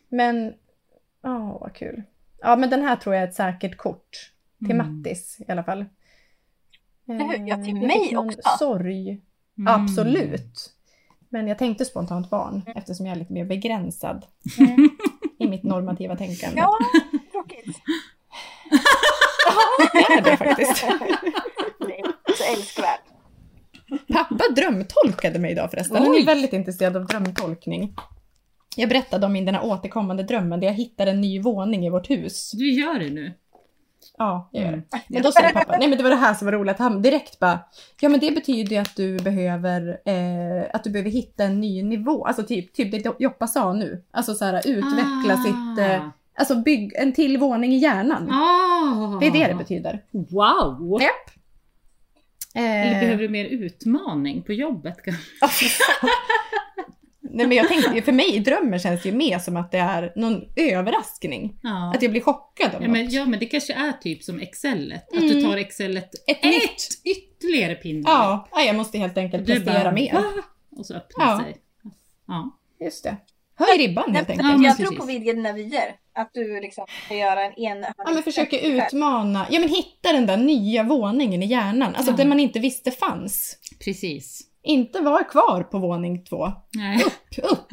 Speaker 2: Men, ja vad kul. Ja men den här tror jag är ett säkert kort. Till
Speaker 3: Mm.
Speaker 2: Mattis i alla fall.
Speaker 1: Eller hur? Ja, till
Speaker 2: Eh, jag
Speaker 1: mig
Speaker 2: fick någon
Speaker 1: också.
Speaker 2: sorg.
Speaker 3: Mm.
Speaker 2: Absolut. Men jag tänkte spontant barn eftersom jag är lite mer begränsad
Speaker 1: Mm.
Speaker 2: [LAUGHS] i mitt normativa tänkande.
Speaker 1: Ja, tråkigt.
Speaker 2: det är det faktiskt.
Speaker 1: [LAUGHS] Nej, Så älskvärt.
Speaker 2: Pappa drömtolkade mig idag förresten. Han är
Speaker 3: Oj.
Speaker 2: väldigt intresserad av drömtolkning. Jag berättade om min den här återkommande drömmen där jag hittade en ny våning i vårt hus.
Speaker 3: Du gör det nu.
Speaker 2: Ja, jag gör det.
Speaker 3: Mm.
Speaker 2: Men då sa pappa, nej men det var det här som var roligt, han direkt bara, ja men det betyder ju att du behöver, eh, att du behöver hitta en ny nivå, alltså typ, typ det Joppa sa nu, alltså så här utveckla
Speaker 3: Ah.
Speaker 2: sitt, eh, alltså bygg en till våning i hjärnan.
Speaker 3: Ah.
Speaker 2: Det är det det betyder. Eh.
Speaker 3: Wow!
Speaker 2: Ja.
Speaker 3: Eller
Speaker 2: Eh,
Speaker 3: behöver du mer utmaning på jobbet [LAUGHS] kanske?
Speaker 2: Ja, fy fan. Nej men jag tänkte ju, för mig i drömmen känns det ju mer som att det är någon överraskning.
Speaker 3: Ja.
Speaker 2: Att jag blir chockad av
Speaker 3: Ja
Speaker 2: något.
Speaker 3: men, ja men det kanske är typ som excelet, att
Speaker 2: Mm.
Speaker 3: du tar excelet
Speaker 2: Ett nytt!
Speaker 3: ytterligare pinne.
Speaker 2: Ja, ja, jag måste helt enkelt
Speaker 3: Det är bara-
Speaker 2: prestera mer.
Speaker 3: Ah! Och så öppnar
Speaker 2: Ja.
Speaker 3: sig. Ja.
Speaker 2: Just det. Höj ribban
Speaker 1: Nej,
Speaker 2: helt enkelt.
Speaker 1: men
Speaker 3: Ja,
Speaker 1: jag
Speaker 3: men
Speaker 1: tror
Speaker 3: precis.
Speaker 1: på vidga dina vyer. Att du liksom ska göra en enhörning.
Speaker 2: Ja men försöka utmana, ja men hitta den där nya våningen i hjärnan. Alltså
Speaker 3: Ja.
Speaker 2: den man inte visste fanns.
Speaker 3: Precis.
Speaker 2: Inte vara kvar på våning två.
Speaker 3: Nej.
Speaker 2: Upp!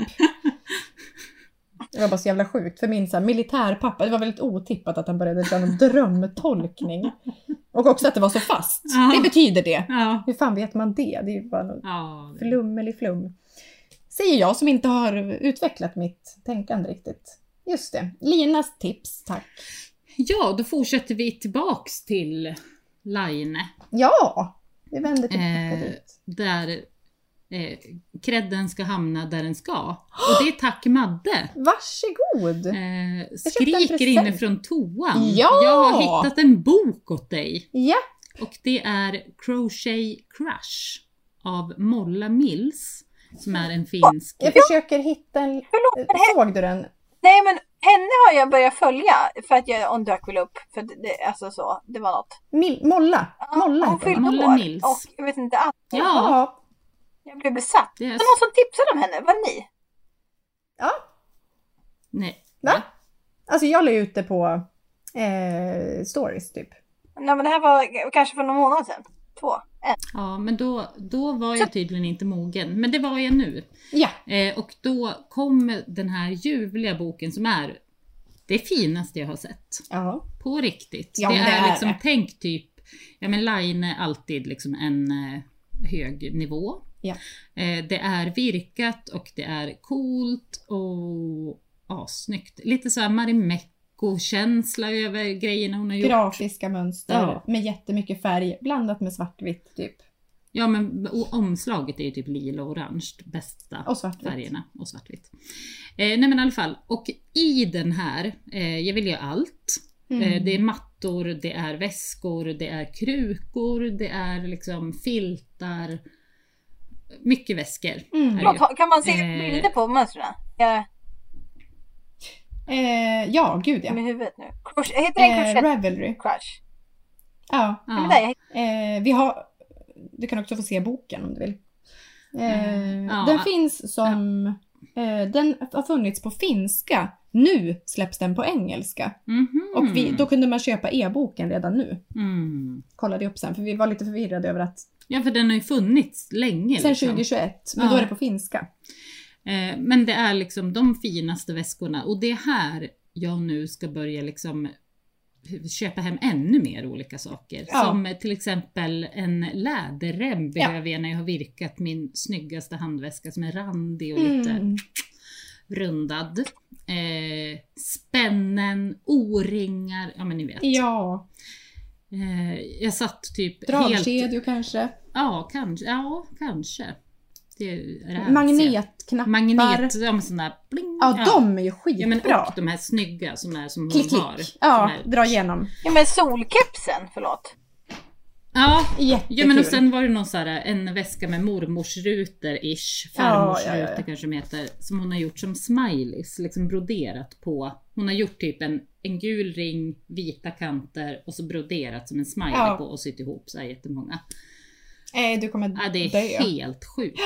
Speaker 2: Det var bara så jävla sjukt för min så här, militärpappa, det var väldigt otippat att han började köra en drömtolkning. Och också att det var så fast.
Speaker 3: Ja.
Speaker 2: Det betyder det.
Speaker 3: [LAUGHS] Ja.
Speaker 2: Hur fan vet man det? Det är ju bara något
Speaker 3: ja. det-
Speaker 2: flummelig flum. Säger jag som inte har utvecklat mitt tänkande riktigt. Just det. Linas tips, tack.
Speaker 3: Ja, då fortsätter vi tillbaks till Line.
Speaker 2: Ja! Vi vänder tillbaka
Speaker 3: Eh,
Speaker 2: dit.
Speaker 3: där eh, credden ska hamna där den ska. Och det är
Speaker 2: [GASPS]
Speaker 3: tack Madde.
Speaker 2: Varsågod!
Speaker 3: Eh,
Speaker 2: köpte en
Speaker 3: skriker
Speaker 2: present.
Speaker 3: inne från toan.
Speaker 2: Ja!
Speaker 3: Jag har hittat en bok åt dig.
Speaker 2: Ja,
Speaker 3: Och det är Crochet Crush av Molla Mills. Som är en finsk...
Speaker 2: jag försöker hitta en...
Speaker 1: Förlåt, men he-
Speaker 2: Såg du den?
Speaker 1: Nej men henne har jag börjat följa för att jag, hon dök väl upp. För det- det, alltså så, det var något.
Speaker 2: Mil- Molla?
Speaker 1: Ja,
Speaker 2: Molla
Speaker 1: Hon
Speaker 2: heter hon.
Speaker 1: fyllde
Speaker 3: Molla
Speaker 1: år.
Speaker 3: Mills.
Speaker 1: Och jag vet inte allt.
Speaker 3: Ja,
Speaker 1: Jag blev besatt.
Speaker 3: det är...
Speaker 1: Det var någon som tipsade om henne, var det ni?
Speaker 2: ja.
Speaker 3: Nej.
Speaker 2: Va? Alltså jag la ut det på eh, stories typ.
Speaker 1: Nej men det här var g- kanske för någon månad sedan. Två. En.
Speaker 3: Ja, men då, då var jag tydligen inte mogen. Men det var jag nu.
Speaker 2: Ja.
Speaker 3: Eh, och då kom den här ljuvliga boken som är det finaste jag har sett.
Speaker 2: Ja.
Speaker 3: På riktigt.
Speaker 2: Ja,
Speaker 3: det,
Speaker 2: men det
Speaker 3: är,
Speaker 2: är
Speaker 3: liksom,
Speaker 2: det.
Speaker 3: tänk typ, ja men line är alltid liksom en eh, hög nivå.
Speaker 2: Ja.
Speaker 3: Eh, det är virkat och det är coolt och assnyggt. Lite såhär Marimekko-känsla över grejerna hon har gjort.
Speaker 2: Grafiska mönster
Speaker 3: Ja.
Speaker 2: med jättemycket färg blandat med svartvitt typ.
Speaker 3: Ja men och omslaget är ju typ lila och orange, bästa
Speaker 2: Och svartvitt.
Speaker 3: färgerna och svartvitt. Eh, nej men i alla fall, och i den här, eh, jag vill göra allt.
Speaker 2: Mm.
Speaker 3: Eh, det är mattor, det är väskor, det är krukor, det är liksom filtar. Mycket väskor.
Speaker 2: Mm.
Speaker 3: är det ju.
Speaker 1: Förlåt, kan man se
Speaker 3: Eh.
Speaker 1: bilder på mönstren? Jag
Speaker 2: Eh, ja, gud ja.
Speaker 1: med huvudet nu. Kors, heter den
Speaker 2: Eh,
Speaker 1: korsett?
Speaker 2: Ravelry.
Speaker 1: Crush.
Speaker 2: Ja.
Speaker 1: Ja. Men där,
Speaker 3: Ja.
Speaker 1: jag,
Speaker 2: Eh, vi har... Du kan också få se boken om du vill. Eh,
Speaker 3: Mm. Ja.
Speaker 2: Den finns som... Eh, den har funnits på finska. Nu släpps den på engelska.
Speaker 3: Mhm.
Speaker 2: Och vi, då kunde man köpa e-boken redan nu.
Speaker 3: Mm.
Speaker 2: Kollade upp sen, för vi var lite förvirrade över att...
Speaker 3: Ja för den har ju funnits länge.
Speaker 2: Sen
Speaker 3: liksom.
Speaker 2: 2021, men
Speaker 3: Ja.
Speaker 2: då är det på finska.
Speaker 3: Eh, Men det är liksom de finaste väskorna och det är här jag nu ska börja liksom köpa hem ännu mer olika saker.
Speaker 2: Ja.
Speaker 3: Som till exempel en läderrem behöver jag när jag har virkat min snyggaste handväska som är randig och lite
Speaker 2: Mm.
Speaker 3: rundad. Eh, spännen, O-ringar, ja men ni vet.
Speaker 2: Ja,
Speaker 3: Eh, jag satt typ helt...
Speaker 2: dragkedjor kanske.
Speaker 3: Ja, kanske. Ja, kanske. Det är det här jag
Speaker 2: Magnetknappar.
Speaker 3: Magnet, ja men sådana där bling.
Speaker 2: Ja, de är ju skitbra.
Speaker 3: Ja, men och de här snygga som är som hon
Speaker 2: klick,
Speaker 3: har.
Speaker 2: klick. Ja,
Speaker 3: Som är-
Speaker 2: dra igenom.
Speaker 1: ja men solkepsen, förlåt.
Speaker 3: Ja.
Speaker 2: Jättekul.
Speaker 3: Ja men och sen var det någon så här, en väska med mormors rutor ish, farmors
Speaker 2: Ja, ja, ja.
Speaker 3: rutor kanske de heter, som hon har gjort som smileys, liksom broderat på. Hon har gjort typ en, en gul ring, vita kanter och så broderat som en smiley
Speaker 2: Ja.
Speaker 3: på och sytt ihop så här jättemånga.
Speaker 2: Nej, Eh, du kommer
Speaker 3: Ja, det är
Speaker 2: dö.
Speaker 3: helt sjukt.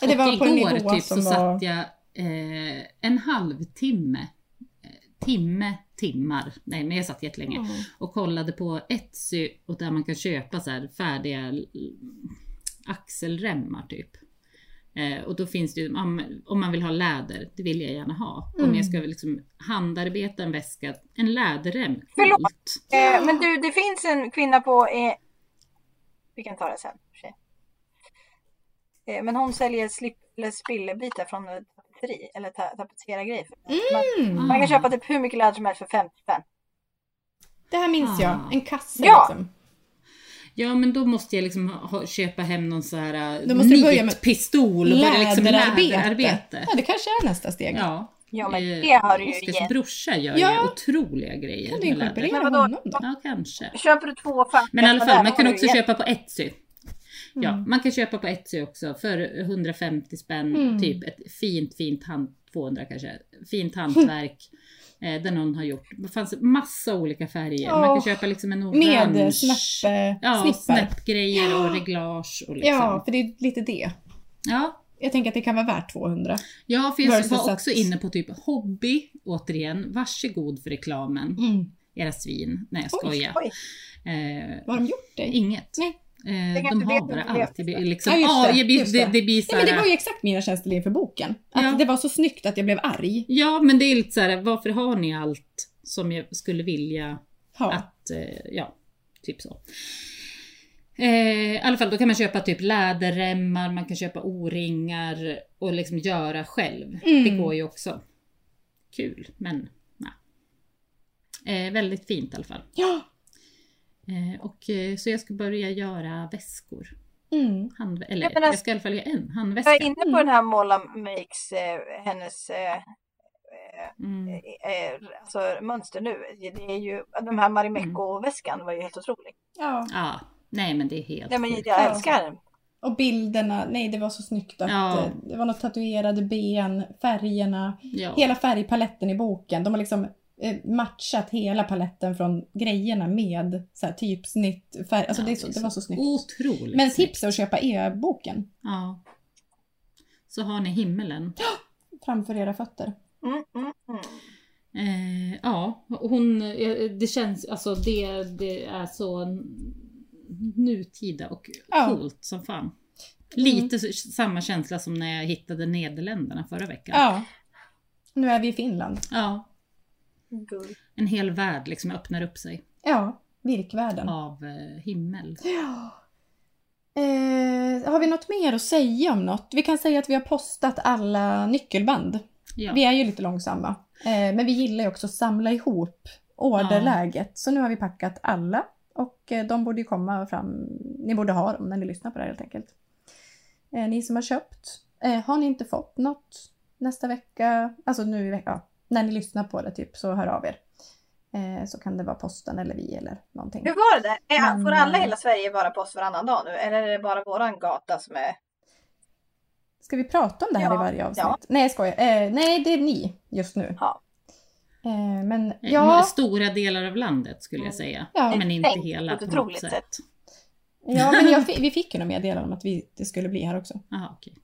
Speaker 2: Ja, det
Speaker 3: och
Speaker 2: var på en
Speaker 3: igår
Speaker 2: nivå
Speaker 3: typ
Speaker 2: som
Speaker 3: så
Speaker 2: var-
Speaker 3: satt jag eh, en halvtimme eh, timme, timmar. Nej, men jag satt jättelänge.
Speaker 2: Mm.
Speaker 3: Och kollade på Etsy och där man kan köpa så här färdiga l- axelremmar typ. Eh, och då finns det ju, om, om man vill ha läder, det vill jag gärna ha. Om
Speaker 2: Mm.
Speaker 3: jag ska liksom handarbeta en väska, en läderrem.
Speaker 1: Förlåt.
Speaker 3: coolt.
Speaker 1: Eh, men du, det finns en kvinna på... Eh, vi kan ta det sen. i och för sig. Eh, men hon säljer slip, eller spillebitar från ett tapeteri. Eller ta, tapetserargrejer. Man,
Speaker 2: Mm.
Speaker 1: man
Speaker 3: Ah.
Speaker 1: kan köpa typ hur mycket läder som helst för 50 spänn.
Speaker 2: Det här minns
Speaker 3: Ah.
Speaker 2: jag. En kasse
Speaker 1: Ja.
Speaker 2: liksom.
Speaker 3: Ja men då måste jag liksom ha, köpa hem någon sån här
Speaker 2: Då måste du börja med
Speaker 3: nitpistol och börja liksom läderarbete.
Speaker 2: Ja, det kanske är nästa steg.
Speaker 3: Ja.
Speaker 1: Ja, men
Speaker 3: Eh,
Speaker 1: det har du ju
Speaker 3: Oskars
Speaker 1: gett.
Speaker 3: brorsa gör
Speaker 2: Ja.
Speaker 3: ju otroliga grejer
Speaker 2: Kan du
Speaker 3: med läder.
Speaker 2: inkorporera
Speaker 1: Men vadå?
Speaker 2: honom då?
Speaker 3: Ja kanske.
Speaker 1: Köper du två och fem
Speaker 3: Men i alla
Speaker 1: där
Speaker 3: fall, man
Speaker 1: har
Speaker 3: kan
Speaker 1: du
Speaker 3: också
Speaker 1: gett.
Speaker 3: köpa på Etsy. Ja,
Speaker 2: Mm.
Speaker 3: man kan köpa på Etsy också för 150 spänn,
Speaker 2: Mm.
Speaker 3: typ ett fint, fint hand, 200 kanske, fint hantverk eh, där någon har gjort, det fanns massa olika färger. Man kan
Speaker 2: Åh.
Speaker 3: köpa liksom en orange,
Speaker 2: Med snäppe,
Speaker 3: ja,
Speaker 2: snippar.
Speaker 3: snäppgrejer och reglage och liksom.
Speaker 2: Ja,
Speaker 3: Ja.
Speaker 2: för det är lite det.
Speaker 3: Ja,
Speaker 2: Jag tänker att det kan vara värt 200.
Speaker 3: för jag
Speaker 2: Versus
Speaker 3: var
Speaker 2: att-
Speaker 3: också inne på typ hobby, återigen, varsågod för reklamen, era svin. Nej jag
Speaker 2: Oj,
Speaker 3: skojar.
Speaker 1: oj.
Speaker 3: Eh,
Speaker 2: vad har de gjort dig?
Speaker 3: Inget.
Speaker 2: Nej.
Speaker 3: Eh,
Speaker 1: Det
Speaker 3: de
Speaker 1: kanske
Speaker 3: har
Speaker 1: det
Speaker 3: bara
Speaker 1: som blev
Speaker 3: alltid
Speaker 1: det.
Speaker 3: liksom,
Speaker 2: Ja, just
Speaker 3: ja,
Speaker 2: det,
Speaker 3: det, blir,
Speaker 2: just
Speaker 3: det.
Speaker 2: det.
Speaker 3: det blir så
Speaker 2: Nej, men det
Speaker 3: här-
Speaker 2: var ju exakt mina känslor inför boken. Att
Speaker 3: Ja.
Speaker 2: det var så snyggt att jag blev arg.
Speaker 3: Ja, men det är lite så här, varför har ni allt som jag skulle vilja
Speaker 2: Ja.
Speaker 3: att, eh, ja, typ så. Eh, I alla fall, då kan man köpa typ läderremmar, man kan köpa o-ringar och liksom göra själv.
Speaker 2: Mm.
Speaker 3: Det går ju också. Kul, men nej. Eh, väldigt fint i alla fall.
Speaker 2: ja.
Speaker 3: Eh, och, eh, så jag ska börja göra väskor.
Speaker 2: Mm.
Speaker 3: Hand, eller
Speaker 1: Jag
Speaker 3: jag,
Speaker 1: menar-
Speaker 3: ska i alla fall göra en handväska.
Speaker 1: Jag är inne på den här Molla Makes, eh, hennes eh,
Speaker 3: Mm.
Speaker 1: eh, alltså, mönster nu. Det är ju, de här Marimekko-väskan var ju helt otrolig.
Speaker 2: ja.
Speaker 3: Ja, nej men det är helt
Speaker 1: Nej, men
Speaker 3: sjukt.
Speaker 1: jag älskar den.
Speaker 2: Och bilderna, nej det var så snyggt att
Speaker 3: Ja.
Speaker 2: eh, det var något tatuerade ben, färgerna,
Speaker 3: ja.
Speaker 2: hela färgpaletten i boken. De har liksom eh, matchat hela paletten från grejerna med så här, typsnitt, färg. Alltså
Speaker 3: Ja,
Speaker 2: det, är så, det var så snyggt.
Speaker 3: Otroligt
Speaker 2: Men
Speaker 3: snyggt.
Speaker 2: tips är att köpa e-boken
Speaker 3: Ja. Så har ni himmelen.
Speaker 2: framför era fötter.
Speaker 1: Mm, mm, mm.
Speaker 3: Eh, ja, hon, eh, det känns, alltså det, det är så n- nutida och
Speaker 2: Ja.
Speaker 3: coolt som fan. Lite s- samma känsla som när jag hittade Nederländerna förra veckan.
Speaker 2: Ja. Nu är vi i Finland.
Speaker 3: Ja,
Speaker 1: Guld.
Speaker 3: en hel värld liksom öppnar upp sig
Speaker 2: Ja, virkvärlden.
Speaker 3: av eh, himmel.
Speaker 2: Ja. Eh, har vi något mer att säga om något? Vi kan säga att vi har postat alla nyckelband.
Speaker 3: Ja.
Speaker 2: Vi är ju lite långsamma. Eh, men vi gillar ju också att samla ihop orderläget. Så nu har vi packat alla. Och eh, de borde ju komma fram. Ni borde ha dem när ni lyssnar på det här helt enkelt. Eh, ni som har köpt. Eh, har ni inte fått något nästa vecka? Alltså nu i veckan. Ja, när ni lyssnar på det typ så hör av er. Eh, så kan det vara posten eller vi eller någonting.
Speaker 1: Hur var det? Är,
Speaker 2: Men,
Speaker 1: får alla i
Speaker 2: eh,
Speaker 1: hela Sverige vara på oss varannan dag nu? Eller är det bara våran gata som är...
Speaker 2: Ska vi prata om det här
Speaker 1: Ja,
Speaker 2: i varje avsnitt?
Speaker 1: ja.
Speaker 2: Nej, jag skojar. Eh, nej, det är ni just nu.
Speaker 1: Ja. Mm,
Speaker 2: Eh, men
Speaker 3: Eh,
Speaker 2: ja,
Speaker 3: Stora delar av landet skulle jag säga.
Speaker 2: Ja.
Speaker 3: Men inte
Speaker 1: Tänkt
Speaker 3: hela
Speaker 1: på ett
Speaker 3: på något
Speaker 1: otroligt
Speaker 3: sätt.
Speaker 1: sätt.
Speaker 2: ja men [LAUGHS] jag, fi- vi fick ju något meddelande om att vi, det skulle bli här också.
Speaker 3: Aha, okej.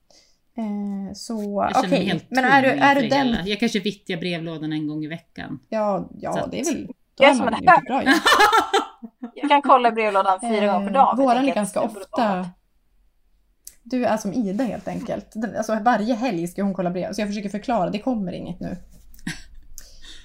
Speaker 2: Eh, så
Speaker 3: Jag känner mig
Speaker 2: okej,
Speaker 3: helt
Speaker 2: men är du,
Speaker 3: tom
Speaker 2: är du
Speaker 3: inför
Speaker 2: den...
Speaker 3: hela- Jag kanske vittjar brevlådan en gång i veckan.
Speaker 2: Ja,
Speaker 3: Så
Speaker 2: ja
Speaker 3: att-
Speaker 2: det är väl... Då
Speaker 1: Jag
Speaker 2: är
Speaker 1: är som
Speaker 2: man
Speaker 1: en
Speaker 2: ju inte [LAUGHS] bra ju.
Speaker 1: Jag kan kolla i brevlådan fyra gånger per dag. Jag
Speaker 2: Eh, Våran
Speaker 1: tänker
Speaker 2: är
Speaker 1: att
Speaker 2: ganska
Speaker 1: det borde vara något.
Speaker 2: ofta... Du är som Ida helt enkelt. Den- Alltså, varje helg ska hon kolla brev. Så jag försöker förklara, det kommer inget
Speaker 3: [LAUGHS]
Speaker 2: nu.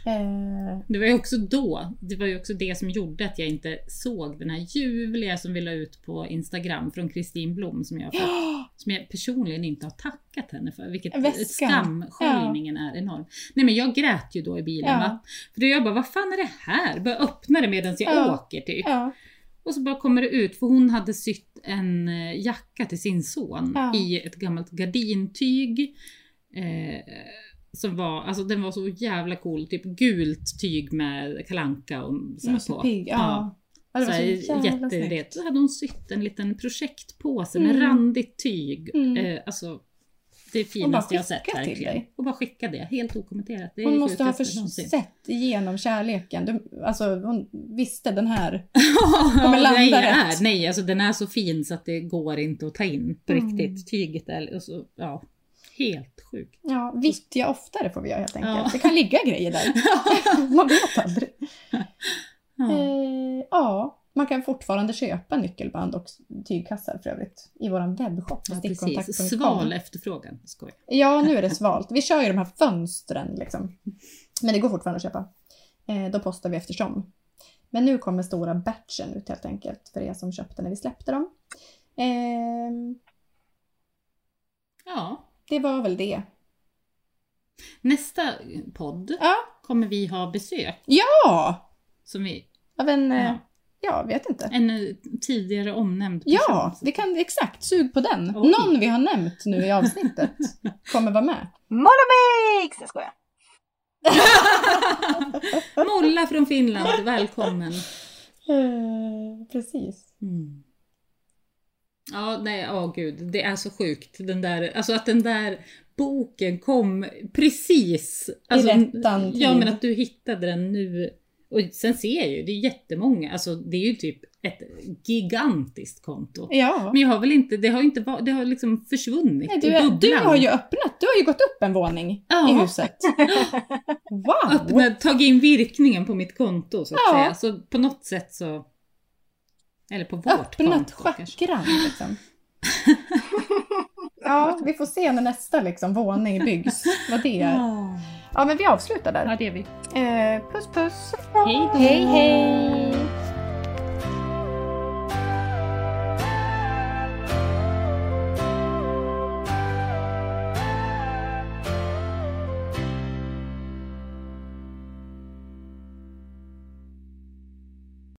Speaker 2: Eh,
Speaker 3: [LAUGHS] Det var ju också då, det var ju också det som gjorde att jag inte såg den här ljuvliga som vi la ut på Instagram från Kristin Blom som jag, har fått, som jag personligen inte har tackat henne för. Vilket
Speaker 2: Väskan.
Speaker 3: skamsköljningen är enorm. Nej men jag grät ju då i bilen
Speaker 2: Ja.
Speaker 3: va. För då jag bara, vad fan är det här? Började öppna det medan jag
Speaker 2: Ja.
Speaker 3: åker typ.
Speaker 2: ja.
Speaker 3: Och så bara kommer det ut, för hon hade sytt en eh, jacka till sin son
Speaker 2: Ja.
Speaker 3: i ett gammalt gardintyg. Eh, som var, alltså den var så jävla cool, typ gult tyg med kalanka och så här
Speaker 2: Musse
Speaker 3: på.
Speaker 2: Mm, Pigg, ja. ja. Det var så,
Speaker 3: så
Speaker 2: jävla
Speaker 3: jätte,
Speaker 2: snyggt.
Speaker 3: det. Så hade hon sytt en liten projektpåse med
Speaker 2: Mm.
Speaker 3: randigt tyg.
Speaker 2: Mm.
Speaker 3: Eh, alltså, det finaste jag har sett
Speaker 2: skicka till
Speaker 3: verkligen.
Speaker 2: dig.
Speaker 3: Och bara skicka det, helt okommenterat. Det är
Speaker 2: Hon
Speaker 3: det
Speaker 2: måste ha
Speaker 3: sjukaste någonsin.
Speaker 2: försett igenom kärleken. Du, alltså hon visste den här. [LAUGHS]
Speaker 3: Ja,
Speaker 2: kommer landa
Speaker 3: nej,
Speaker 2: rätt.
Speaker 3: Är,
Speaker 2: Mm.
Speaker 3: nej, alltså den är så fin så att det går inte att ta in på riktigt. Tyget är, och så, ja. Helt sjukt.
Speaker 2: Ja, vittja oftare får vi göra helt enkelt.
Speaker 3: Ja.
Speaker 2: Det kan ligga grejer
Speaker 3: [LAUGHS]
Speaker 2: där. [LAUGHS] Man vet aldrig.
Speaker 3: Ja.
Speaker 2: Eh, ja, man kan fortfarande köpa nyckelband och tygkassar för övrigt i vår webbshop.
Speaker 3: Ja,
Speaker 2: stickkontakt.com.
Speaker 3: precis. Sval efterfrågan. Skoj.
Speaker 2: Ja, nu är det svalt. Vi kör ju de här fönstren liksom. Men det går fortfarande att köpa. Eh, då postar vi eftersom. Men nu kommer stora batchen ut helt enkelt för er som köpte när vi släppte dem. Eh,
Speaker 3: Ja.
Speaker 2: det var väl det.
Speaker 3: Nästa podd
Speaker 2: Ja.
Speaker 3: kommer vi ha besök.
Speaker 2: Ja!
Speaker 3: Som vi,
Speaker 2: Av en... eh,
Speaker 3: Ja.
Speaker 2: Ja, vet inte.
Speaker 3: en eh, tidigare omnämnd person.
Speaker 2: Ja, det kan exakt. Sug på den.
Speaker 3: Oj.
Speaker 2: Någon vi har nämnt nu i
Speaker 3: [LAUGHS]
Speaker 2: avsnittet kommer vara med.
Speaker 1: Monomix! Jag skojar.
Speaker 3: Molla från Finland, välkommen.
Speaker 2: Eh, precis.
Speaker 3: Mm. Ja, nej, ja gud, det är så sjukt. Den där, alltså att den där boken kom precis. Alltså,
Speaker 2: rättan
Speaker 3: Ja,
Speaker 2: tid.
Speaker 3: men att du hittade den nu. Och sen ser jag ju, det är jättemånga. Alltså det är ju typ ett gigantiskt konto.
Speaker 2: Ja.
Speaker 3: Men jag har väl inte, det har inte varit, det har liksom försvunnit
Speaker 2: Nej,
Speaker 3: i
Speaker 2: du, är,
Speaker 3: bubblan.
Speaker 2: du har ju öppnat. Du har ju gått upp en våning
Speaker 3: Ja.
Speaker 2: i
Speaker 3: [LAUGHS]
Speaker 2: huset. Wow!
Speaker 3: öppnat, tagit in virkningen på mitt konto så att
Speaker 2: Ja.
Speaker 3: säga. Så på något sätt så... Eller på vårt
Speaker 2: Öppnat
Speaker 3: konto kanske.
Speaker 2: chakran
Speaker 3: [LAUGHS]
Speaker 2: liksom. Ja, vi får se när nästa liksom, våning byggs. Vad det är.
Speaker 3: Ja,
Speaker 2: Ja, men vi avslutar där.
Speaker 3: det är vi.
Speaker 2: Eh, puss puss!
Speaker 3: Hej då.
Speaker 2: Hej hej!